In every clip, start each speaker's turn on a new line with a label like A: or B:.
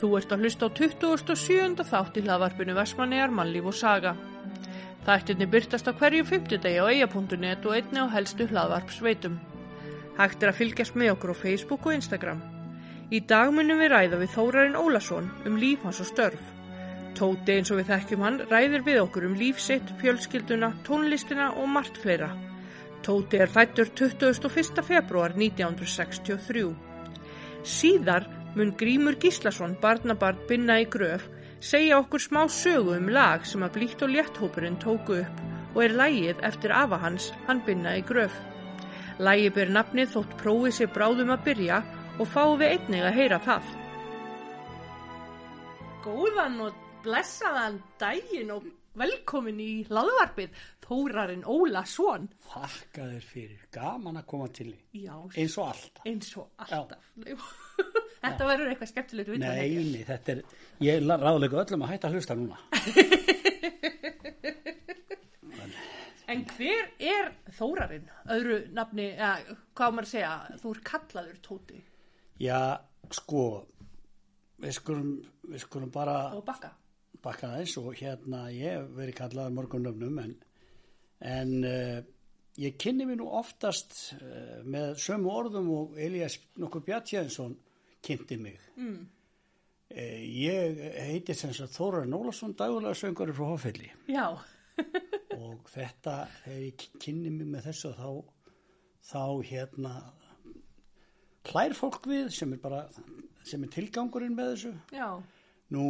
A: Þú ert að hlusta á 27. þátt í hlaðvarpinu Vestmannegar mannlíf og saga. Þættinni byrtast á hverju fymtudegi á eia.net og einni á helstu hlaðvarpsveitum. Hægt er að fylgjast með okkur á Facebook og Instagram. Í dag munum við ræða við Þórarinn Ólason um líf hans og störf. Tóti eins og við þekkjum hann ræðir við okkur um líf sitt, fjölskylduna, tónlistina og margt fleira. Tóti er fættur 21. februar 1963. Síðar mun Grímur Gíslason, barnabarn Binna í gröf, segja okkur smá sögu um lag sem að blíkt og létthópurinn tóku upp og er lægið eftir afa hans, hann Binna í gröf. Lægið ber nafnið þótt prófið sér bráðum að byrja og fáum við einnig að heyra það. Góðan og blessaðan daginn og velkomin í hlaðvarpið Þórarinn Óla Són.
B: Þakka þér fyrir, gaman að koma til þig,
A: Já,
B: eins og alltaf.
A: eins og alltaf. Þetta verður eitthvað skemmtilegt við það
B: Nei, nei, þetta er, ég ráðleika öllum að hætta að hlusta núna.
A: En hver er Þórarinn? Öðru nafni, eða, hvað á maður að segja, þú er kallaður Tóti
B: Já, sko, við skulum, við skulum bara
A: á bakka.
B: bakka þess og hérna ég hef verið kallaður morgun nöfnum en, en uh, ég kynni mér nú oftast uh, með sömu orðum og Elías nokkuð Bjartjæðinsson kynnti mig. Mm. ég heiti sem sagt Þórarin Ólafsson, dagulega söngari frá Hofelli.
A: Já,
B: og þetta þegar ég kynni mig með þessu þá, þá hérna hlær fólk við sem er bara sem er tilgangurinn með þessu
A: já,
B: nú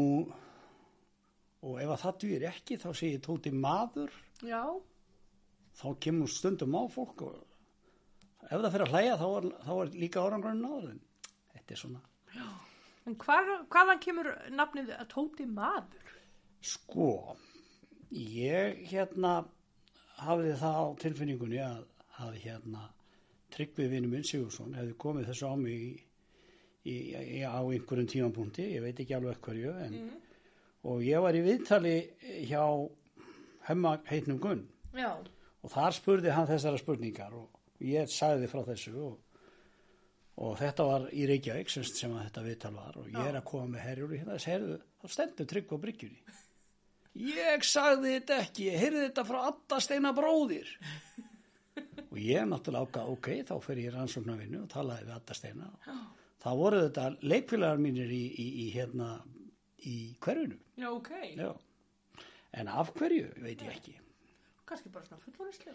B: og ef að það dýr ekki þá segir ég tóti maður
A: já,
B: þá kemur stundum á fólk og ef það fyrir að hlæja þá er, þá er líka árangurinn náður en þetta er svona
A: en hvar, hvaðan kemur nafnið eh, Tóti maður?
B: Sko, ég hérna hafði það á tilfinningunni að, að hérna Tryggvi vinnu minn Sigursson hefði komið þessu á mig í, í, í, á einhverjum tímanbúndi, ég veit ekki alveg hverju en, og ég var í viðtali hjá hemma heitnum Gunn
A: Já,
B: og þar spurði hann þessara spurningar og ég sagði frá þessu og, og þetta var í Reykjavík sem, sem að þetta viðtal var og ég er að koma með herjúli hérna þess herðu, þá stendur trygg á bryggjunni ég sagði þetta ekki ég heyrði þetta frá alltaf steina bróðir og ég náttúrulega ákvað ok, þá fer ég rannsóknarvinnu og talaði við alltaf steina það voru þetta leikfélagar mínir í, í, í hérna í hverjunu
A: já, ok.
B: Já. en af hverju, veit ég ekki
A: Kanski bara svona fullorðislega.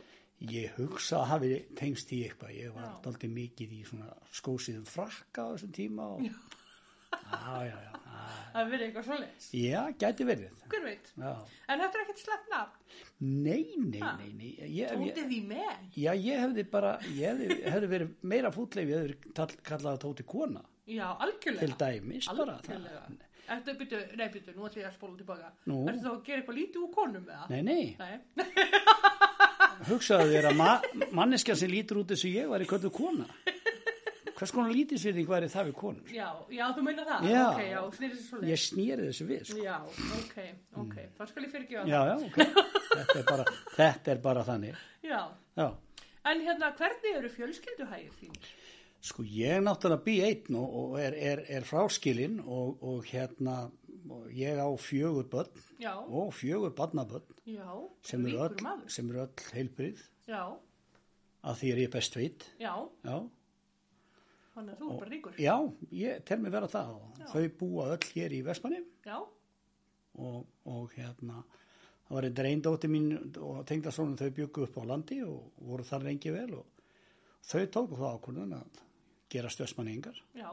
B: Ég hugsa að hafi tengst í eitthvað. Ég var daldið mikið í svona skósiðum frakka á þessum tíma og... Já, já, já. já.
A: Það verið eitthvað svoleiðis.
B: Já, gæti verið.
A: Hver veit?
B: Já.
A: En þetta er ekkert slepp nafn.
B: Nei, nei, nei, nei. Ég, ég,
A: Tótið í menn.
B: já, ég hefði bara, ég hefði, hefði verið meira fútleif, ég hefði verið kallað tóti kona
A: Já,
B: til
A: algjörlega.
B: dæmis bara. það.
A: Algjörlega. Þetta er byrju, nei byrju, nú ætlum ég að spóla tilbaka.
B: Nú.
A: Ertu þá að gera eitthvað lítið úr konum með það?
B: Nei, nei,
A: Nei.
B: hugsaðu þér að ma manneskjan sem lítur út þessu ég var í köllu kona. Hvers konar lítisvirðing væri það við konur?
A: Já, já, þú meina það?
B: Já.
A: Ok, já, snýrið sér svo leið.
B: Ég snýri þessu við, sko.
A: Já, ok, ok. Það skal ég fyrirgefa það.
B: Mm. Já, já, ok. þetta, er bara, þetta er bara þannig.
A: Já.
B: Já.
A: En hérna, hvernig eru fjölskylduhægir þínir?
B: Sko, ég er náttúrulega bý einn og, og er, er, er fráskilinn og, og hérna, og ég á fjögur börn
A: Já,
B: og fjögur barnabörn
A: já.
B: sem eru
A: ríkur
B: öll,
A: maður.
B: sem eru öll heilbrið
A: Já,
B: að því er ég best veit.
A: já.
B: Já,
A: Þannig að þú er bara ríkur.
B: já ég tel mig vera það. Já. Þau búa öll hér í Vestmanni
A: Já,
B: og, og hérna, það var einn reyndóti mín og tengdasónum þau byggu upp á landi og voru þar lengi vel og þau tóku það ákvörðun að gera stöðsmanningar
A: já,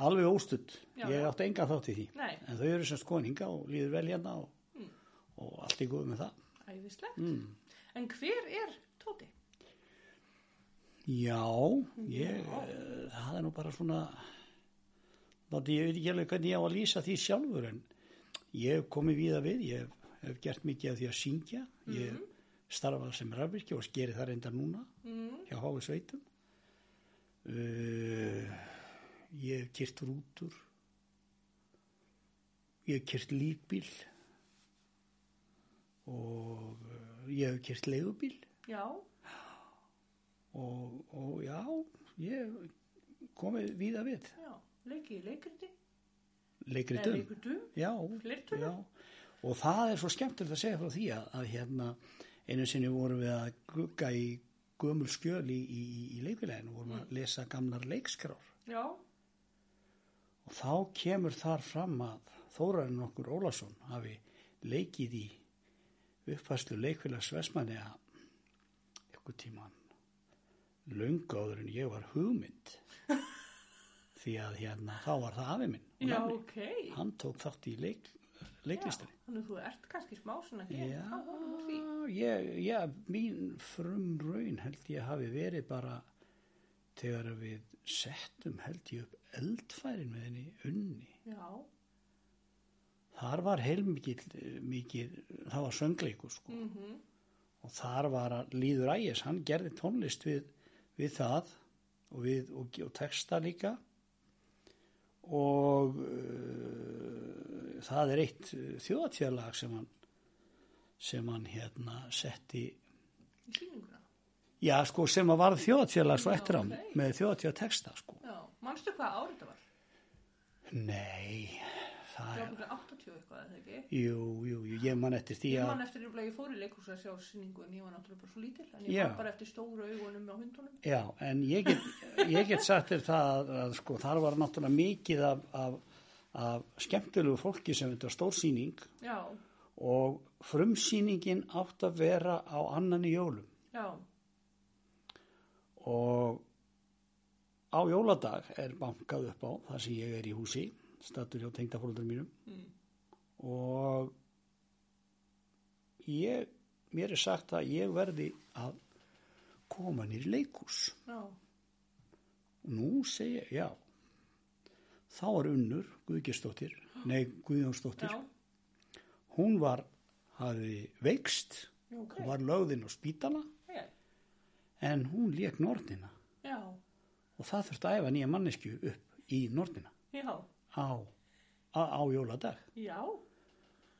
B: alveg óstutt,
A: Já,
B: ég
A: já.
B: átti enga þátt í því
A: Nei. Mm.
B: en þau eru sem skoninga og líður vel hérna og, og allt í góð með það
A: æðislegt.
B: Mm.
A: En hver er Tóti?
B: Já, ég, eh, það er nú bara svona, það, ég veit ekki alveg hvernig ég á að lýsa því sjálfur en ég hef komið víða við, ég hef, hef gert mikið af því að syngja, ég mm starfað sem rafvirkja og skeri það reyndar núna
A: Mm,
B: hjá Háfi Sveitum. Uh, ég hef kyrt rútur, ég hef kyrt lífbíl og eh, ég hef kyrt leigubíl
A: Já,
B: og, og já, ég hef komið víða við.
A: já. Leikið í leikriti?
B: leikritum.
A: leikritum?
B: Já,
A: Fleirtölu?
B: já. Og það er svo skemmtilegt að segja frá því að, að hérna einu sinni vorum við að gugga í gömul skjöl í, í, í- í leikvileginu, vorum að lesa gamlar leikskrár.
A: Já,
B: Og þá kemur þar fram að Þórarinn okkur Ólason hafi leikið í uppfæslu leikfélags Vestmanni að ykkur tíman löngáður en ég var hugmynd því að hérna þá var það afi minn og
A: já,
B: nafni.
A: ok.
B: hann tók þátt í leik, leiklistinni
A: Já, Þannig að þú ert kannski smá svona hér.
B: Já,
A: á honum og því.
B: ég, ég, mín frum raun held ég hafi verið bara þegar við settum held ég upp eldfærin með henni unni
A: Já,
B: Þar var heilmikið, mikið, það var söngleikur sko
A: mhm,
B: og þar var að Líður Ægis, hann gerði tónlist við, við það og, við, og, og texta líka og uh, það er eitt þjóðatjörlag sem hann, sem hann hérna setti,
A: í síninguna.
B: já sko sem að varð þjóðatjörlag svo
A: Já,
B: eftir á
A: ok.
B: með þjóðatjör texta sko.
A: Já, manstu hvað árið það var?
B: Nei,
A: Það
B: það
A: var
B: er,
A: bara 80 eitthvað, eða ekki?
B: jú, jú, jú, ég man eftir því
A: Ég
B: að
A: man eftir nefnilega að ég fór í leikhús að sjá sýningu en ég var náttúrulega bara svo lítil en ég
B: Já.
A: var bara eftir stóru augunum á hundunum
B: Já, en ég get, ég get sagt þér það að sko, þar var náttúrulega mikið af, af, af skemmtilegu fólki sem þetta var stórsýning
A: Já,
B: og frumsýningin átt að vera á annan í jólum
A: já,
B: og á jóladag er bankað upp á þar sem ég er í húsi, statur hjá tengdafólundur mínum
A: Mm.
B: og ég, mér er sagt að ég verði að koma nýr leikús.
A: já,
B: Nú segi ég, já. Þá er unnur, Guðgistóttir, nei Guðjónsdóttir,
A: já,
B: hún var, hafði veikst
A: já, ok,
B: og var lögðinn á spítala
A: Jæja.
B: en hún lék nornina
A: já,
B: og það þurfti að æfa nýja mannesku upp í nornina
A: já,
B: á, á, á jóladag
A: já,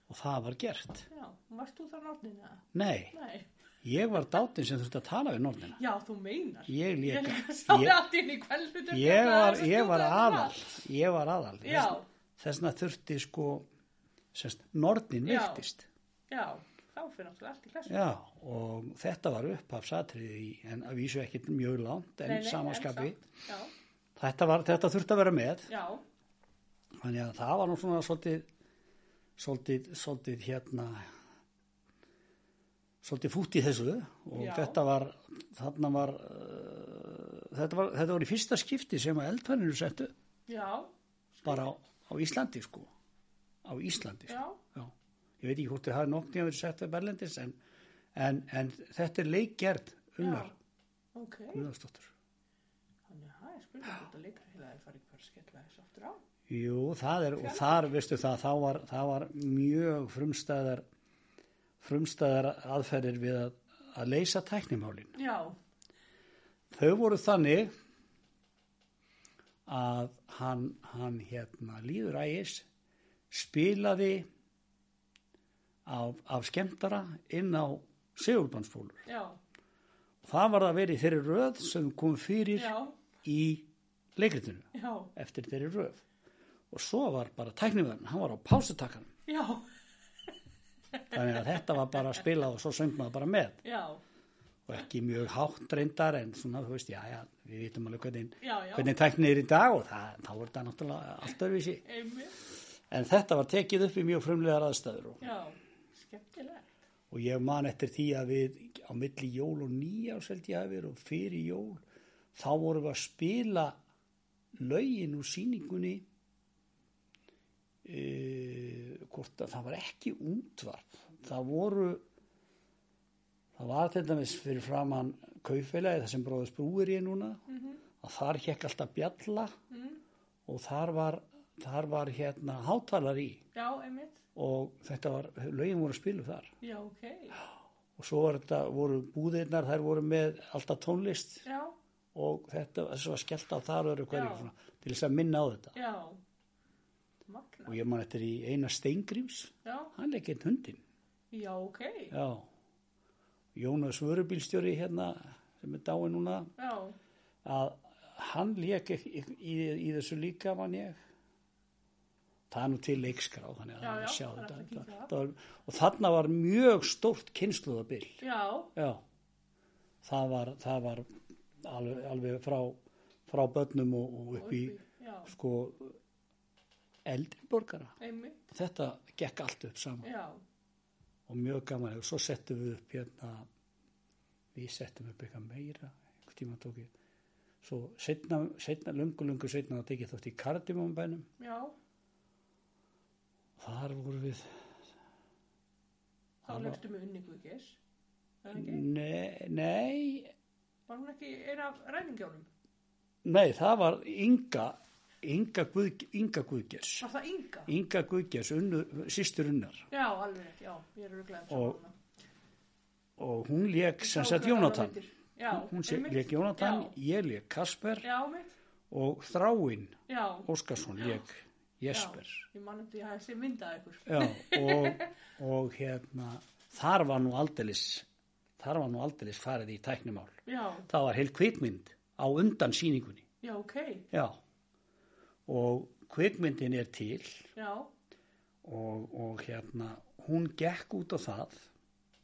B: og það var gert.
A: já, varst þú það nornina?
B: Nei,
A: Nei,
B: ég var dátinn sem þurfti að tala við nornina.
A: já, þú meinar
B: Ég
A: Ég
B: lék,
A: líka sá allt um
B: ég,
A: hérna inn í kveldutum
B: ég, var, ég var aðal, ég var aðal.
A: Já.
B: Þessna þurfti sko, sérst, nornin
A: Já.
B: veiktist.
A: Já, þá fyrir náttúrulega allt í klassu
B: Já, og þetta var upphafsatriði í, en að vísu ekkit mjög langt, en samanskapi.
A: Já,
B: Þetta, var, þetta þurfti að vera með,
A: já,
B: þannig að það var nú svona svolítið, svolítið, svolítið hérna, svolítið fútt í þessu og
A: Já.
B: þetta var, þarna var, uh, þetta var, þetta var í fyrsta skipti sem að eldfæninu settu
A: já,
B: bara á, á Íslandi sko, á Íslandi sko.
A: já,
B: Já, ég veit ekki hvort þið hafi nokkni að vera sett að Berlendis en, en, en þetta er leikgerð unnar
A: já Ok,
B: Guðnarsdóttur.
A: þannig að það er spurning hvort að leikra heila að fara ykkur að skella þessu aftur á
B: Jú, það er, og þar, veistu það, þá var, það var mjög frumstæðar, frumstæðar aðferðir við að, að leysa tæknimálin.
A: Já,
B: Þau voru þannig að hann, hann hérna, líður ægis, spilaði af, af skemmtara inn á segulbanspólur.
A: já,
B: Það var það verið í þeirri röð sem kom fyrir
A: já,
B: í leikritinu
A: já,
B: eftir þeirri röð. Og svo var bara tækniverðin, hann var á pásutakkanum.
A: já,
B: Þannig að þetta var bara að spila og svo söng maður bara með.
A: já,
B: Og ekki mjög hátt reyndar en svona, þú veist, já, já, við vitum alveg hvernig,
A: já, já,
B: hvernig tæknið er í dag og það, þá er þetta náttúrulega allt öðruvísi.
A: einmitt,
B: En þetta var tekið upp í mjög frumlegar aðstæður og,
A: já, skemmtilegt,
B: og ég man eftir því að við á milli jól og nýjárs held ég að við og fyrir jól, þá vorum við að spila lögin úr síningunni e, hvort að það var ekki útvarp. Það voru það var til dæmis fyrir framann kaufélagi, það sem bróðis brúir ég núna að þar hekk alltaf bjalla
A: Mm,
B: og þar var, þar var hérna hátalari í
A: já, einmitt,
B: og þetta var, lögin voru að spilu þar
A: já, ok,
B: og svo var þetta, voru búðirnar þær voru með alltaf tónlist
A: já,
B: og þetta, þessu var skellt á þar öru hverju
A: Já.
B: svona, til þess að minna á þetta
A: já, magna,
B: og ég man eftir í eina steingríms
A: já,
B: hann leik einn hundin
A: já, ok,
B: já. Jónas Vörubílstjóri hérna sem er dáin núna
A: já,
B: að hann leik í, í, í þessu líka man ég það er nú til leikskrá þannig að
A: Já,
B: það
A: já,
B: er að sjá
A: það er hægt
B: þetta
A: að
B: þetta,
A: kíkja á það.
B: þetta var, og þarna var mjög stórt kynsluðabil
A: Já,
B: já það var, það var alveg, alveg frá, frá börnum og, og upp í
A: já,
B: sko eldri borgara
A: einmitt,
B: þetta gekk allt upp saman
A: já,
B: og mjög gaman og svo settum við upp hérna við settum upp eitthvað meira einhvern tíma tók ég svo setna, setna, lungu, lungu setna það tekið þótt í kardimumbænum
A: já,
B: þar voru við
A: þá
B: Það var-
A: lögstu með unni Guðgeis, er það
B: Mm.
A: ekki?
B: nei, nei,
A: Var hún ekki einn af ræfingjónum?
B: nei, það var Inga Inga, Guð, Inga Guðgers
A: Var það Inga?
B: Inga Guðgers, unnu, sístur unnar
A: Já, alveg, rétt, já, ég er auðvitað um
B: Og-
A: hana.
B: og hún lék
A: Ég
B: sem
A: sá
B: sagt
A: hvernig hana
B: Jónatan
A: heitir. Já,
B: hún sé-
A: einmitt.
B: lék Jónatan,
A: Já,
B: ég lék Kasper
A: já, mitt,
B: og Þráinn
A: já,
B: Óskarsson lék Jesper
A: já, ég man eftir, ég hafði sér myndað ykkur.
B: Já, og, og hérna, þar var nú aldeilis, þar var nú aldeilis farið í tæknimál.
A: Já,
B: Það var heil kvikmynd á undan síningunni,
A: já, ok,
B: já. Og kvikmyndin er til
A: já,
B: og, og hérna, hún gekk út á það,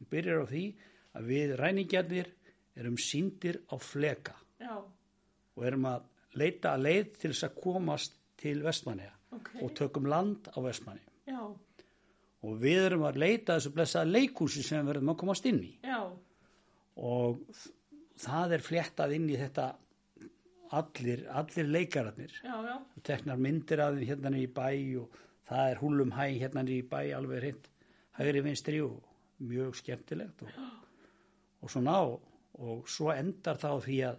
B: hún byrjar á því að við ræningjarnir erum síndir á fleka
A: já,
B: og erum að leita að leið til þess að komast til Vestmanneja
A: ok,
B: og tökum land á Vestmanneja.
A: já,
B: og við erum að leita að þessu blessaða leikúsi sem við verðum að komast inn í
A: já,
B: og þ- það er fléttað inn í þetta allir, allir leikararnir
A: já, já,
B: og teknar myndir af þeim hérna niður í bæ og það er húlum hæ hérna niður í bæ alveg hreint hægri vinstri og mjög skemmtilegt og, og svona og, og svo endar það á því að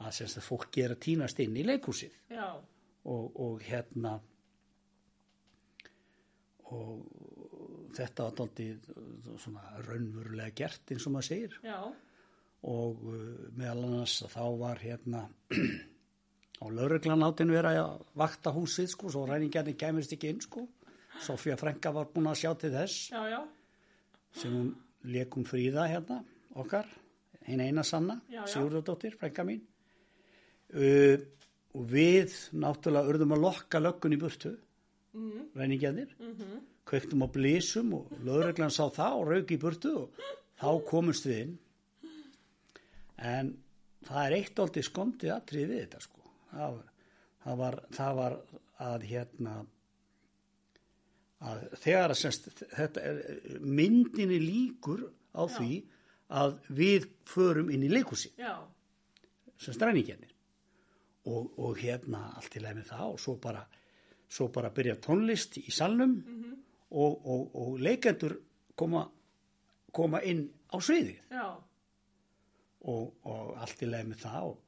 B: að semst að fólk gera tínast inn í leikúsið
A: já,
B: og, og hérna og þetta var daldið svona raunverulega gert eins og maður segir
A: já,
B: og uh, meðal annars að þá var hérna á lauruglan átin vera að vakta húsið sko, svo ræningarnir kæmist ekki inn sko Sofía Frenka var búin að sjá til þess
A: já, já,
B: sem hún lekum fríða hérna okkar, hinn eina sanna
A: Já, já.
B: Sigurðardóttir, Frenka mín uh, og við náttúrulega urðum að lokka löggun í burtu
A: mhm,
B: ræningjarnir
A: mhm,
B: kveiktum á blísum og lögreglan sá það og rauk í burtu og þá komumst við inn en það er eitt aldrei skondið atrið við þetta sko það var, það var, það var að hérna að þegar að semst þetta er, myndinni líkur á
A: Já.
B: því að við förum inn í leikhúsi
A: já,
B: sem stræningjarnir og, og hérna allt í leið með það og svo bara, svo bara byrja tónlist í salnum og, og, og leikendur koma, koma inn á sviðið
A: já,
B: og, og allt í leið með það og,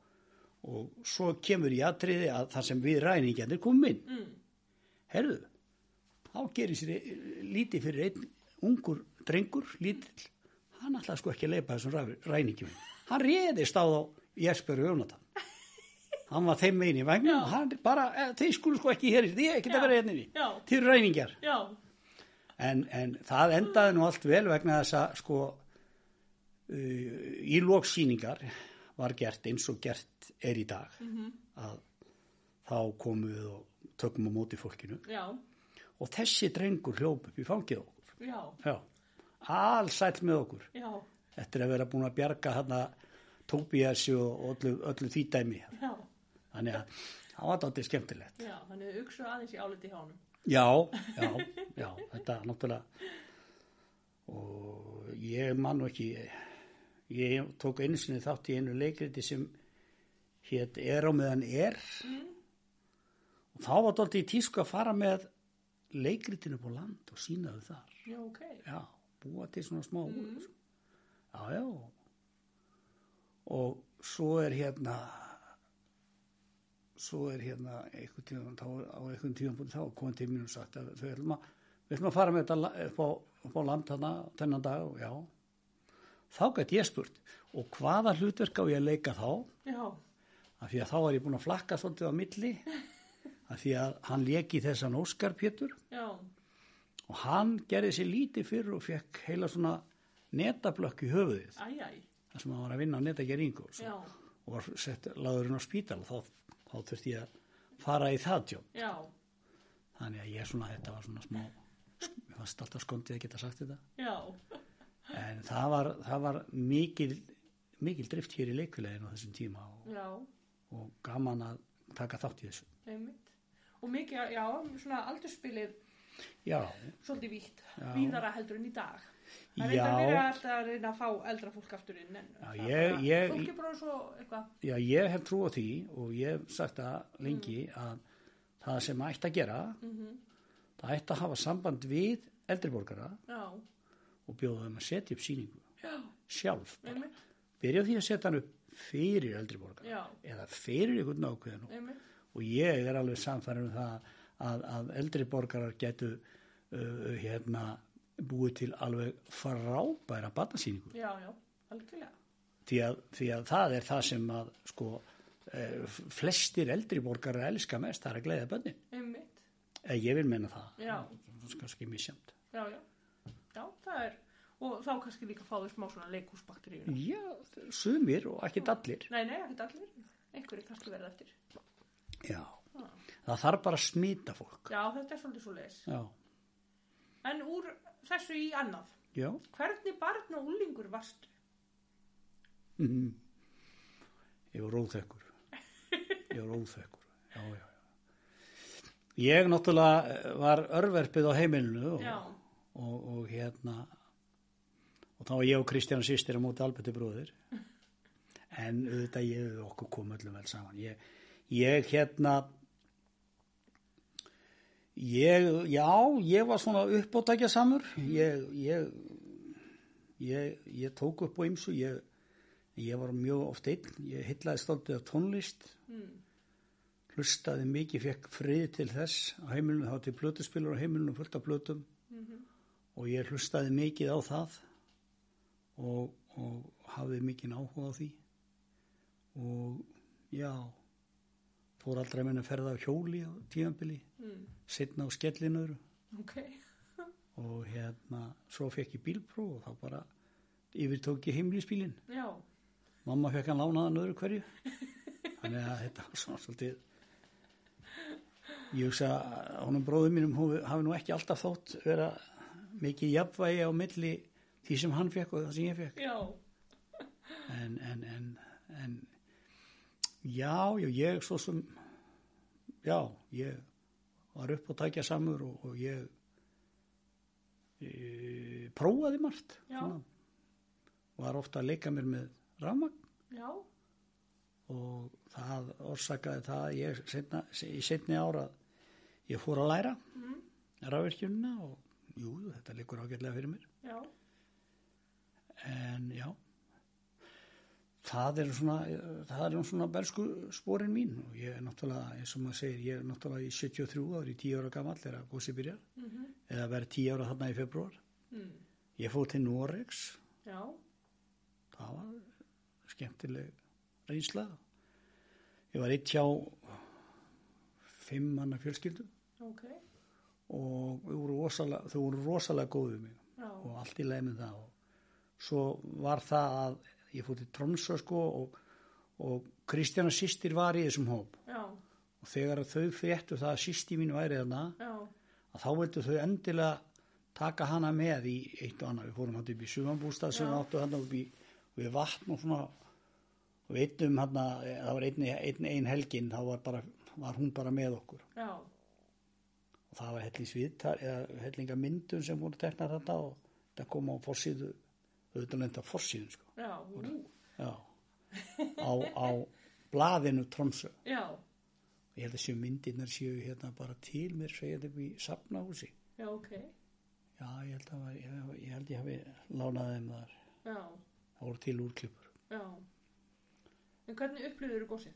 B: og svo kemur í atriði að það sem við ræningjarnir komum inn
A: mhm,
B: herðu, þá gerir sér e- lítið fyrir einn ungur drengur, lítill hann ætlaði sko ekki að leipa þessum ræf- ræningjum hann réðist á þá Jesper og Jónatan hann var þeim megin í vagnum og hann bara, eh, þeir skulu sko ekki hér í- þið ekki að
A: Já.
B: vera hérna í
A: Já.
B: þið eru ræningjar
A: já,
B: en, en það endaði nú allt vel vegna þess að sko uh, í lóksýningar var gert eins og gert er í dag
A: Mhm.
B: að þá komum við og tökum á móti fólkinu
A: já,
B: og þessi drengur hljóp upp í fangið á okkur.
A: já,
B: Já, allsæll með okkur
A: já,
B: eftir að vera búin að bjarga þarna Tóbíasi og öllu, öllu því dæmi.
A: já,
B: Þannig að það var dátir skemmtilegt.
A: já, þannig að hugsa aðeins í áliti hjá honum.
B: Já, já, já, þetta náttúrulega og ég man nú ekki, ég tók einu sinni þátt í einu leikriti sem hétt Er á meðan er og þá var dálítið í tísku að fara með leikritinu upp á land og sínaðu þar.
A: Já, ok,
B: já, búa til svona smá hús já, já og svo er hérna svo er hérna einhvern tíðan, þá, á einhvern tíðan búin þá komið til mín og sagt að þau erum að við ætlum að fara með þetta la- upp á, upp á land þarna, þennan dag og já þá gæti ég spurt og hvaða hlutverk á ég að leika þá
A: já,
B: af því að þá er ég búin að flakka svolítið á milli af því að hann leki þessan Óskar Pétur
A: já,
B: og hann gerði sér lítið fyrir og fekk heila svona netablökk í höfuðið
A: æj, æj,
B: þar sem hann var að vinna á netageringu og, svo,
A: já,
B: og var sett lagðurinn á spítal og þá, þá þurfti ég að fara í það tjón
A: já,
B: þannig að ég svona þetta var svona smá mér fannst alltaf skondið að geta sagt þetta
A: Já.
B: en það var, það var mikil mikil drift hér í leikulegin á þessum tíma og,
A: Já,
B: og gaman að taka þátt í þessu
A: einmitt. Og mikið, já, svona aldurspilið
B: já,
A: svolítið vítt,
B: Já.
A: víðara heldur en í dag. Það er
B: Já.
A: eitthvað verið alltaf að reyna að fá eldra fólk aftur inn en
B: Já,
A: það
B: ég-
A: bara-
B: ég-
A: fólk er bara svo eitthvað,
B: já, ég hef trú á því og ég hef sagt það lengi
A: Mm.
B: að það sem ætti að gera
A: Mhm.
B: það ætti að hafa samband við eldri borgara
A: já,
B: og bjóða þeim að setja upp síningu
A: já,
B: sjálf, bara.
A: einmitt,
B: byrja á því að setja hann upp fyrir eldri borgara
A: já,
B: eða fyrir ykkur nákvæðan
A: einmitt,
B: og ég er alveg samfæður um það að, að eldri borgarar getu uh, hérna búið til alveg frábæra barnasýningu
A: já, já, algjörlega,
B: því að, því að það er það sem að sko eh, f- flestir eldri borgarar elska mest það er að gleyða bönnin
A: einmitt,
B: eða ég vil menna það
A: Já.
B: það er kannski misjamt
A: já, já, já, það er, og þá kannski líka fá þau smá svona leikúsbakteríuna.
B: já, sumir og ekki allir
A: Nei, nei, ekkert allir, einhverju kannski verða eftir.
B: já,
A: Já.
B: það þarf bara að smita fólk
A: Já, þetta er svolítið svo leis.
B: já,
A: En úr þessu í annað,
B: já
A: hvernig barn og úlingur varstu?
B: Mhm. Ég var óþekkur. Ég var óþekkur. Já, já, já. Ég náttúrulega eh, var örverpið á heimilinu og,
A: Já,
B: og, og hérna og þá var ég og Kristjana sýstir á móti Alberti bróðir en auðvitað ég við okkur kom öllum vel saman ég, ég hérna ég, já, ég var svona uppátækja samur ég, ég ég, ég tók upp á ymsu ég, ég var mjög oft einn ég hillaði stoltið af tónlist
A: mm.
B: hlustaði mikið, fekk frið til þess á heimilinu, þá til plötuspilur á heimilinu fullt af plötum
A: mhm,
B: og ég hlustaði mikið á það og, og hafði mikið áhuga á því og já fór aldrei að minna að ferða á hjóli á tíðanbili,
A: Mm.
B: setna á skellinur
A: ok,
B: og hérna svo fekk ég bílpróf og þá bara yfirtók ég heimlisbílinn
A: já,
B: Mamma fekk hann lánaðan öðru hverju. Þannig að þetta var svona svolítið. Ég hugsa að honum bróðum mínum hafi- hafi nú ekki alltaf þótt vera mikið jafnvægi á milli því sem hann fekk og það sem ég fekk.
A: já,
B: En, en, en, en já, já, ég svo sem, já, ég var upp og tækja samur og, og ég e, prófaði margt.
A: Já.
B: svona. Var ofta að leika mér með rafmagn
A: já,
B: og það orsakaði það að ég setna, í setni ára ég fór að læra
A: mm.
B: rafvirkjunna og jú, þetta liggur ágætlega fyrir mér
A: já,
B: en já það er svona það er nú svona belsku sporin mín og ég er náttúrulega, eins og maður segir ég er náttúrulega í 73 ári, 10 ára gamall þegar gósi byrjar,
A: mm
B: eða verið 10 ára þarna í februar,
A: mm.
B: ég fór til Noregs
A: já,
B: það var skemmtileg reynsla ég var eitt hjá fimm manna fjölskyldu
A: ok,
B: og þau voru rosalega, þau voru rosalega góð við mig
A: já,
B: og allt í leið með það og svo var það að ég fór til Tromsö sko og, og Kristjana sýstir var í þessum hóp
A: já,
B: og þegar að þau fréttu það að sýsti mín væri þarna
A: já,
B: að þá vildu þau endilega taka hana með í eitt og annað við fórum hann upp í sumanbústað sem
A: Já.
B: við áttu hann upp í við vatn og svona og við eittum hann það var einn, einn, einn helgin þá var, bara, var hún bara með okkur
A: já,
B: og það var hellings viðtar eða hellinga myndum sem voru teknar þetta og þetta kom á forsýðu auðvitað lenda forsýðun sko
A: já, ú,
B: já. á, á blaðinu Tromsö
A: já,
B: ég held að séu myndirnar séu hérna bara til mér segja þetta upp í safnahúsi
A: já, ok,
B: Já, ég held að var, ég, ég held ég hafi lánað þeim þar.
A: já,
B: Það voru til úrklippur.
A: já. En hvernig upplýður þú gósið?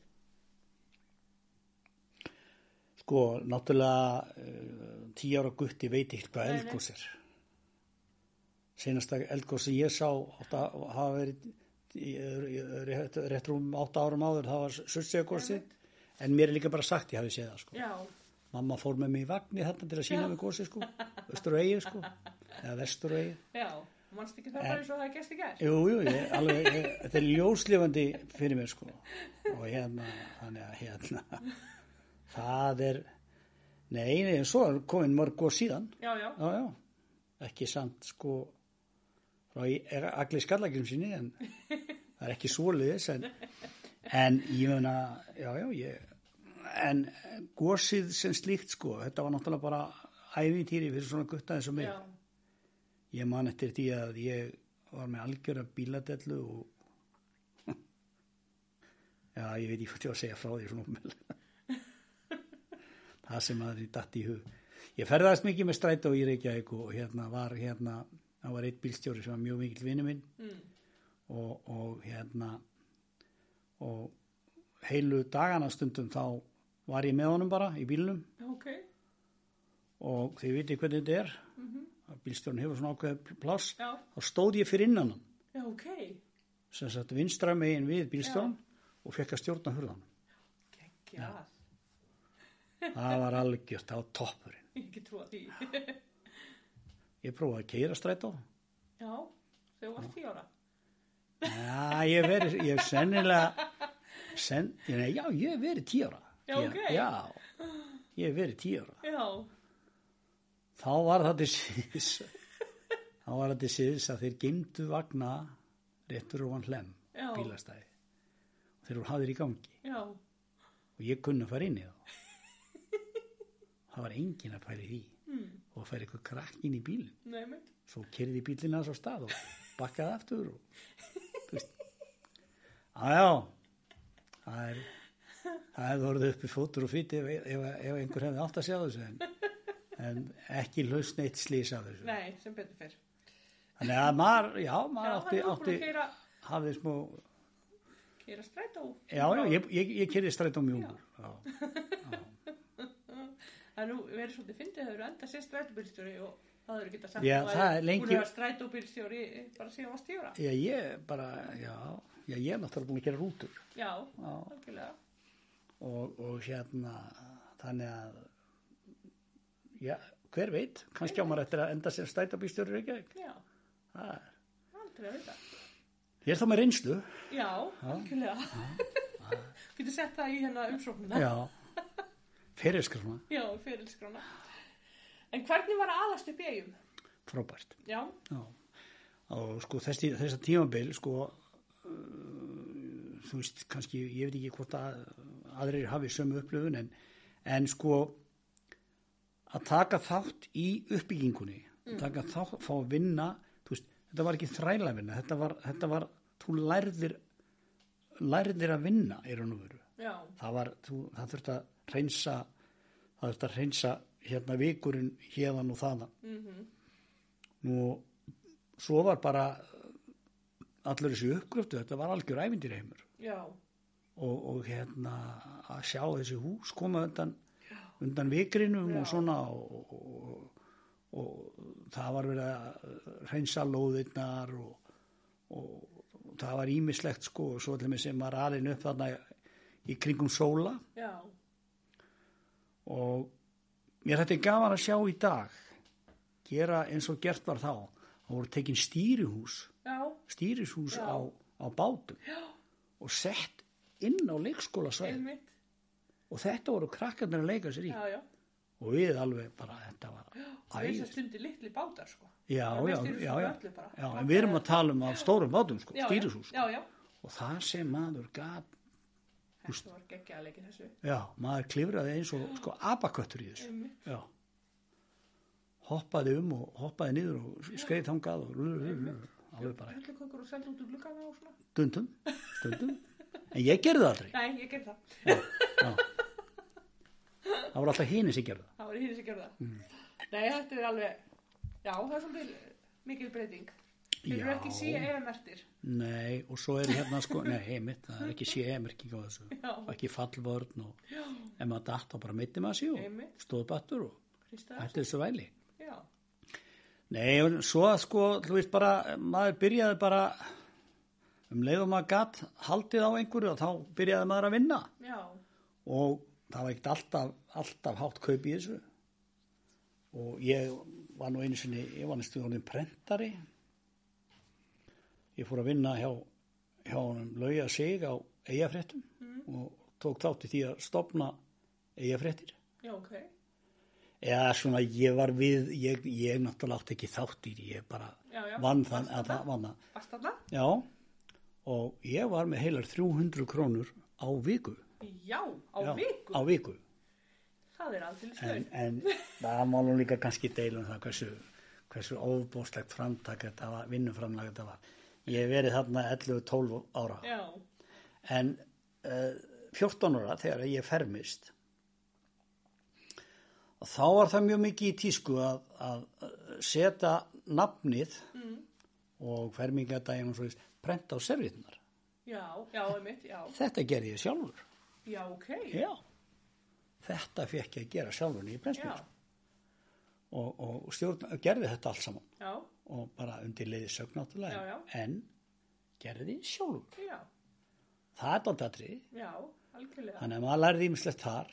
B: Sko, náttúrulega uh, tíu ára gutti veit ekkert hvað
A: Nei, nei.
B: eldgós er. Senasta eldgós sem ég sá átt að hafa verið í- í- rétt, rétt rúm átta árum áður, það var surtsegagósi. En mér er líka bara sagt, ég hafi séð það, sko.
A: Já,
B: Mamma fór með mig í vagnir þarna til að sína
A: Já.
B: mig gósi, sko. Östur og eigi, sko. Eða vestur og eigi.
A: já, mannst ekki það bara eins og það gerst í gær?
B: Jú, jú, ég, alveg, ég, þetta er ljóslifandi fyrir mér sko og hérna, þannig að hérna það er, Nei, nei, en svo er komin mörg góð síðan.
A: Já, já.
B: Já, já. Ekki samt sko frá í- er allir skallakjum sinni en það er ekki svoleiðis en, en ég meina, já, já, ég en gósið sem slíkt sko, þetta var náttúrulega bara ævintýri fyrir svona gutta eins og mig.
A: Já.
B: Ég man eftir því að ég var með algjöra bíladellu og já, ég veit ekki hvað ég á að segja frá því svona umvel. það sem maður er datt í hug. Ég ferðast mikið með strætó í Reykjavík og hérna var hérna, það var eitt bílstjóri sem var mjög mikill vinnu minn
A: Mm.
B: og, og hérna og heilu dagana stundum þá var ég með honum bara í bílnum
A: Ok.
B: og þið vitið hvernig þetta er mm -hmm. bílstjórn hefur svona ákveð pláss
A: Mhm. Já.
B: þá stóð ég fyrir innan hann
A: Já, ok.
B: sem sagt vinstra megin við bílstjórn og fekk að stjórna hurðan
A: Gengjað.
B: það var algjört, það var toppurinn
A: Ég ekki trúa því.
B: ég prófaði að keira strætó
A: Já, þau var því ára.
B: já, ég hef verið, ég hef sennilega sen, nei, já, ég hef verið tíu ára
A: Já,
B: Ég-
A: ok.
B: já, ég hef verið tíu ára
A: Já.
B: þá var það til síðs þá var það til síðs að þeir geimdu vagna réttur og hann hlem
A: Já.
B: bílastæði og þeir voru hafðir í gangi
A: Já.
B: og ég kunni að fara inn í þá það var engin að pæli því
A: Mm.
B: og færi eitthvað krakkin í bílinn
A: Nei, meit.
B: svo kerði bílinn aðeins á stað og bakkaði aftur og þú veist aðjá það er það hefði orðið uppi fótur og fýti ef, ef, ef einhver hefði átt að sjá þessu en, en ekki lausn eitt slýs af þessu
A: Nei, sem betur fyrr.
B: þannig að maður, já,
A: Já,
B: maður
A: hann var búin
B: átti,
A: að keira,
B: átti hafði smó,
A: keira strætó.
B: já, já ég, ég, ég kerði strætó mjúkur já.
A: Það er nú verið svolítið fyndið að þau eru enda sér strætóbílstjóri og það eru geta sagt
B: Já,
A: að
B: það er lengi-
A: Hún er strætóbílstjóri bara síðan varst tíra.
B: já, ég bara, já, já ég er náttúrulega búin að gera rútur
A: Já, algjörlega.
B: og, og hérna þannig að já, hver veit kannski á maður eftir að enda sem stætabýstjóri Reykjavík
A: Já,
B: Það er-
A: aldrei að vita.
B: ég er þá með reynslu
A: Já, algjörlega. Getur sett það í hérna umsóknuna.
B: já, fyrirskrifna,
A: Já, fyrirskrána. En hvernig var að alast upp í eigum?
B: frábært
A: Já,
B: já. og sko þessi, þessa tímabil sko uh, þú veist kannski ég veit ekki hvort að aðrir hafi sömu upplöfun en, en sko að taka þátt í uppbyggingunni taka þátt, fá að vinna þú veist, þetta var ekki þræla vinna þetta var, þetta var þú lærðir lærðir að vinna í raun og veru
A: já,
B: það var, þú, það þurfti að reynsa það þurfti að reynsa hérna vikurinn hérðan og þaðan
A: Mhm.
B: -hmm. nú svo var bara uh, allur þessi uppgröftu, þetta var algjör ævindir heimur
A: já,
B: og, og hérna að sjá þessi hús koma undan, undan vikrinum og svona og, og, og, og það var verið að reynsa lóðirnar og, og, það var ímislegt sko og svo allir sem var alinn upp þarna í kringum sóla
A: já,
B: og mér þetta er gaman að sjá í dag gera eins og gert var þá það voru tekin stýrihús
A: já,
B: stýrishús
A: Já.
B: á, á bátum
A: Já.
B: og sett inn á leikskólasvæð
A: einmitt,
B: og þetta voru krakkarnir að leika sér í
A: já, já.
B: og við alveg bara þetta var
A: Það er þess að
B: æðist
A: stundi litli bátar, sko. Það er
B: já, já,
A: mest stýrishús
B: já,
A: á
B: já,
A: öllu bara.
B: já en við erum að tala um á stórum bátum sko,
A: Já, já,
B: stýrishús sko.
A: Já, já,
B: og það sem maður gaf
A: þetta var geggjað leikið þessu.
B: já, maður klifraði eins og sko abaköttur í þessu
A: Einmitt.
B: já hoppaði um og hoppaði niður og skreið þangað og rú, rú, rú, alveg bara
A: Rullukökur og seldu út úr glugganum og svona.
B: stundum, stundum en ég gerði það aldrei
A: Nei, ég gerði það.
B: já, já. það voru alltaf hini sem gerði það
A: Það var hinn sem gerði það.
B: Mm.
A: Nei, þetta er alveg, já, það er svolítið mikil breyting. Þeir eru
B: Já.
A: ekki E síða eða
B: Nei, og svo er hérna sko, nei, heimitt, það er ekki CE-merking á þessu,
A: Já.
B: og ekki fallvörn og ef maður datt þá bara meiti maður sér
A: Einmitt.
B: og stóð battur og
A: Kristaðar,
B: hætti þessu væli.
A: já,
B: Nei, og svo að sko, þú veist bara, maður byrjaði bara, um leið og maður gatt haldið á einhverju og þá byrjaði maður að vinna
A: já,
B: og það var ekkert alltaf, alltaf hátt kaup í þessu og ég var nú einu sinni, ég var næstu honum prentari ég fór að vinna hjá, hjá honum lauja sig á
A: Mhm.
B: eigafréttum og tók þátt í því að stopna eigafréttir
A: já, ok,
B: eða svona ég var við, ég, ég náttúrulega átti ekki þátt í því, ég bara
A: Já, já.
B: vann þann, að það vann það.
A: Varst þarna?
B: Já, og ég var með heilar 300 krónur á viku.
A: Já, á
B: já,
A: viku.
B: Á viku,
A: Það er aldrei
B: en,
A: slöun.
B: en það má nú líka kannski deila um það hversu, hversu ofbóðslegt framtak þetta var, vinnuframlag þetta var. Ég hef verið þarna 11-12 ára.
A: Já,
B: En uh, 14 ára þegar ég fermist og þá var það mjög mikið í tísku að, að eh, setja nafnið og fermingadaginn og svo prenta á servitunar.
A: já, já, einmitt, já.
B: Þetta gerði ég sjálfur.
A: Já, ok.
B: Já. Þetta fekk ég að gera sjálfur í
A: Já,
B: prensmið og, og stjórn, gerði þetta allt saman
A: já,
B: og bara undir leiði sögn náttúrulega
A: Já, já.
B: en gerði sjálfur.
A: já,
B: Það er dálítið atrið.
A: já, algjörlega.
B: Þannig að maður lærði ímislegt þar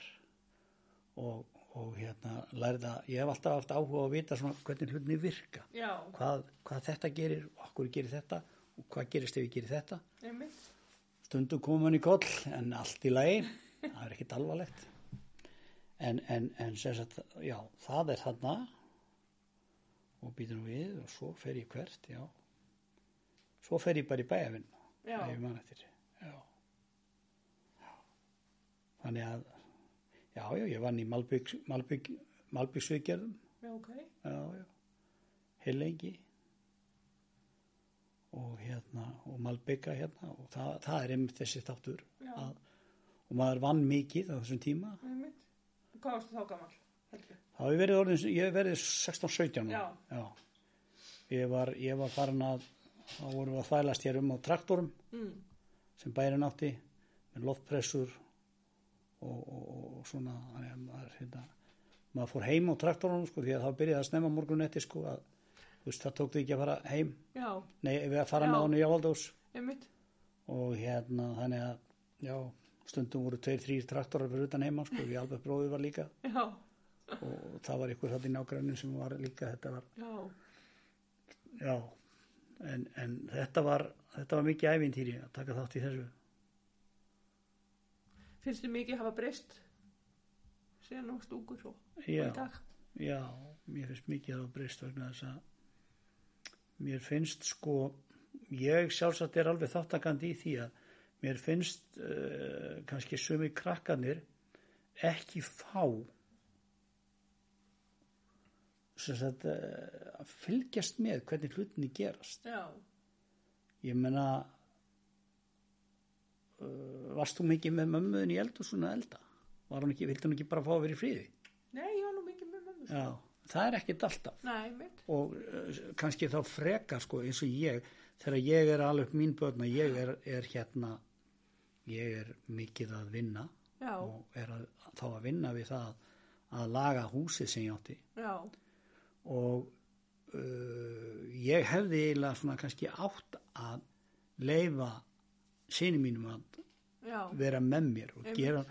B: og, og hérna lærði að ég hef alltaf haft áhuga á að vita svona hvernig hlutinni virka.
A: Já,
B: Hvað, hvað þetta gerir og okkur gerir þetta og hvað gerist ef ég gerir þetta.
A: einmitt.
B: Stundum komum hann í koll en allt í lagi, það er ekkit alvarlegt. En, en, en sem sagt, já, það er þarna og býtur nú við og svo fer ég hvert, já. Svo fer ég bara í bæjavinn
A: Já,
B: ef ég man eftir já. Já. þannig að já, já, ég vann í Malbygg Malbygg, Malbyggsviðgerðum
A: já, ok.
B: já, já, heil lengi og hérna og Malbygga hérna og það, það er einmitt þessi þáttur
A: Já.
B: að, og maður vann mikið á þessum tíma
A: Einmitt. Hvað varstu þá gammal? Helgi?
B: þá hef ég verið orðin, ég hef verið 16-17
A: Já.
B: ára. já, ég var ég var farin að þá vorum við að þvælast hér um á traktorum
A: Mm.
B: sem bærin átti með loftpressur og, og, og, og svona þannig að maður, hérna, maður fór heim á traktorunum sko því að það byrjaði að snemma morgun eftir sko að þú veist, það tók því ekki að fara heim
A: Já,
B: nei, við að fara
A: Já.
B: með honum í Áldós
A: einmitt.
B: og hérna þannig að já, stundum voru tveir, þrýr traktorar fyrir utan heima sko, því alveg bróðið var líka
A: Já,
B: og, og það var ykkur þátt í nágrænum sem var líka þetta var,
A: já,
B: já en, en þetta var þetta var mikið ævintýri að taka þátt í þessu
A: finnst þið mikið hafa breyst síðan og stúkur og,
B: já.
A: og í dag?
B: Já, mér finnst mikið að breyst vegna þess að mér finnst sko, ég sjálfsagt er alveg þáttakandi í því að mér finnst uh, kannski sumi krakkanir ekki fá sem sagt uh, að fylgjast með hvernig hlutinni gerast.
A: Já,
B: Ég menna, uh, varst þú mikið með mömmuðin í eldu svona elda? Var hún ekki, vildi hún ekki bara fá að vera í friði?
A: nei, ég var nú mikið með mömmu.
B: Já, það er ekkert alltaf
A: Nei, einmitt.
B: og uh, kannski þá frekar sko eins og ég þegar ég er alveg upp mín börn að ég er, er hérna ég er mikið að vinna
A: Já,
B: og er að, þá að vinna við það að laga húsið sem ég átti
A: já,
B: og uh, ég hefði eiginlega svona kannski átt að leifa sinni mínum að
A: já,
B: vera með mér og
A: Einmitt.
B: gera,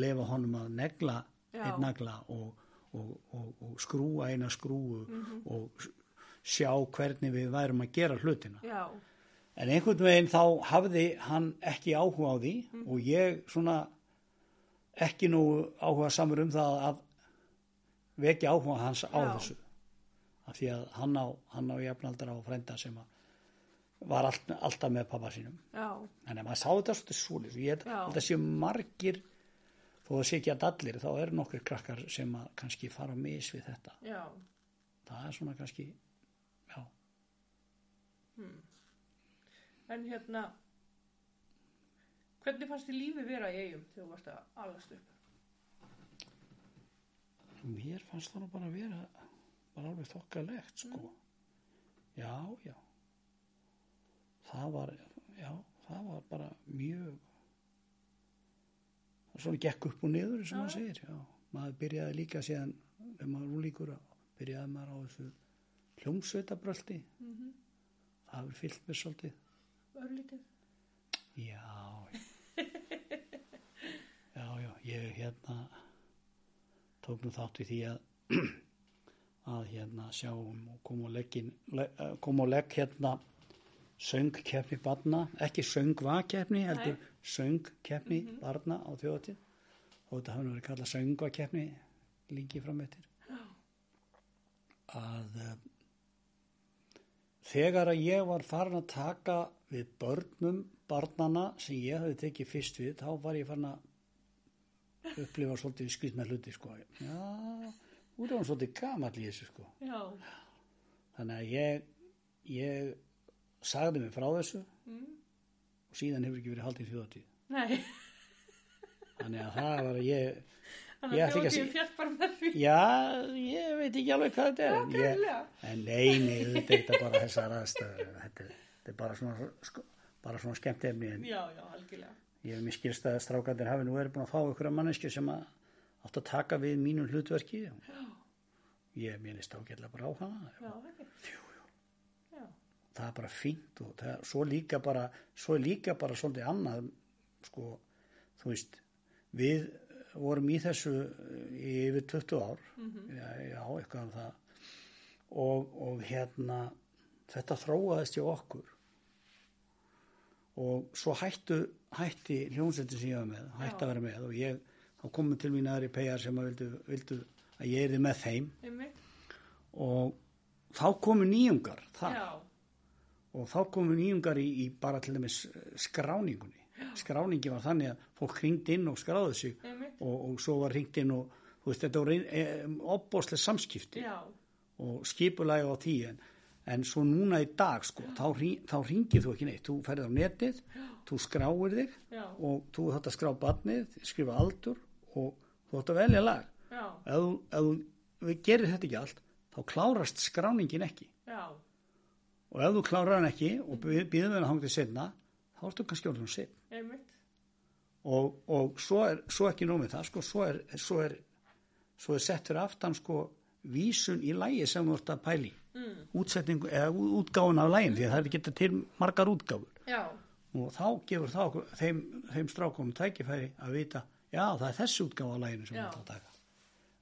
B: lefa honum að negla
A: Já.
B: einn nagla og, og, og, og skrúa eina skrúu
A: Mhm.
B: og s- sjá hvernig við værum að gera hlutina.
A: já,
B: En einhvern veginn þá hafði hann ekki áhuga á því
A: Mhm.
B: og ég svona ekki nú áhuga samur um það að vekja áhuga hans á
A: Já.
B: þessu. Af því að hann á, hann á jafnaldra og frænda sem að var allt, alltaf með pappa sínum.
A: já,
B: Þannig að maður sá þetta svolítið svolítið. Ég held-
A: Já.
B: held að sé margir, þó að sé ekki að allir, þá eru nokkur krakkar sem að kannski fara á mis við þetta.
A: já,
B: Það er svona kannski, já,
A: en hérna, hvernig fannst þið lífið vera í eigum þegar þú varst að alast upp?
B: mér fannst það nú bara að vera, bara alveg þokkalegt, sko. Já, já. Það var, já, það var bara mjög, það svona gekk upp og niður, sem maður segir, já. Maður byrjaði líka síðan, þegar maður úlíkur, byrjaði maður á þessu hljómsveitabröldi.
A: Mm -hmm.
B: Það hefur fyllt mér svolítið.
A: Örlítið?
B: Já, já, já, ég hérna tók nú þátt í því að, að hérna sjáum og kom á leggin, le, eh, kom á legg hérna söngkeppni barna, ekki söngvakeppni, heldur söngkeppni barna á þjóðatíð og þetta hafði verið kallað söngvakeppni líki fram eftir. að eh, þegar að ég var farin að taka við börnum barnana sem ég hafði tekið fyrst við þá var ég farin að upplifa svolítið skrýtna hluti sko. Já, úr er hún svolítið gamall í þessu sko.
A: Já,
B: Þannig að ég, ég sagði mig frá þessu og síðan hefur ekki verið haldið þjóðatíð.
A: Mm. nei,
B: Þannig að það var að ég,
A: þannig
B: Ég
A: að
B: ætla ekki að
A: þjóðtíðin fjall bara með því.
B: já, ég veit ekki alveg hvað þetta er. en ég,
A: greinilega.
B: en nei, nei, þetta er þetta bara þessar aðstæður. Þetta, er- þetta er bara svona, sko, bara svona skemmt efni. En
A: Já, já, algjörlega.
B: ég hef mér skilst að strákandir hafi nú verið búin að fá ykkur að manneski sem að átt að taka við mínum hlutverki. Ég mér líst ágætlega bara á hana.
A: Já, ekki. Jú, jú. Já,
B: það er bara fínt og það, er- svo líka bara svo er líka bara svolítið annað sko, þú veist við vorum í þessu eh, í yfir 20 ár
A: Mhm.
B: já, já, eitthvað um það og, og hérna þetta þróaðist hjá okkur og svo hættu hætti hljómsveitin sem ég var með hætti
A: Já.
B: að vera með og ég þá komum til mín aðri peyjar sem að vildu, vildu að ég erði með þeim
A: einmitt.
B: og þá komu nýjungar þar
A: Já,
B: og þá komu nýjungar í, í bara til dæmis eh, skráningunni skráningi var þannig að fólk hringt inn og skráði sig
A: einmitt.
B: og, og svo var hringt inn og þú veist, þetta voru e, opbóðslega samskipti
A: Já,
B: og skipulagi á því en, en svo núna í dag sko, þá, hring, þá ringir þú ekki neitt þú ferði á netið, þú skráir þig
A: Já.
B: og þú þátt að skrá barnið skrifa aldur og þú þátt að velja lag
A: já,
B: ef, þú- ef þú- við gerir þetta ekki allt þá klárast skráningin ekki
A: já,
B: og ef þú klárar hann ekki og býðum henni að hangið setna þá ertu kannski orðin setn
A: einmitt.
B: og, og svo, er, svo ekki nómið það sko, svo, er, svo, er, svo er sett fyrir aftan sko, vísun í lægi sem þú ert að pæli mm. útsetningu eða ú- útgáfun af lægin því að það er ekki þetta til margar útgáfur
A: Já,
B: og þá gefur það okkur, þeim, þeim strákum tækifæri að vita já það er þessi útgáfa af læginu sem
A: Já.
B: við ætlum að taka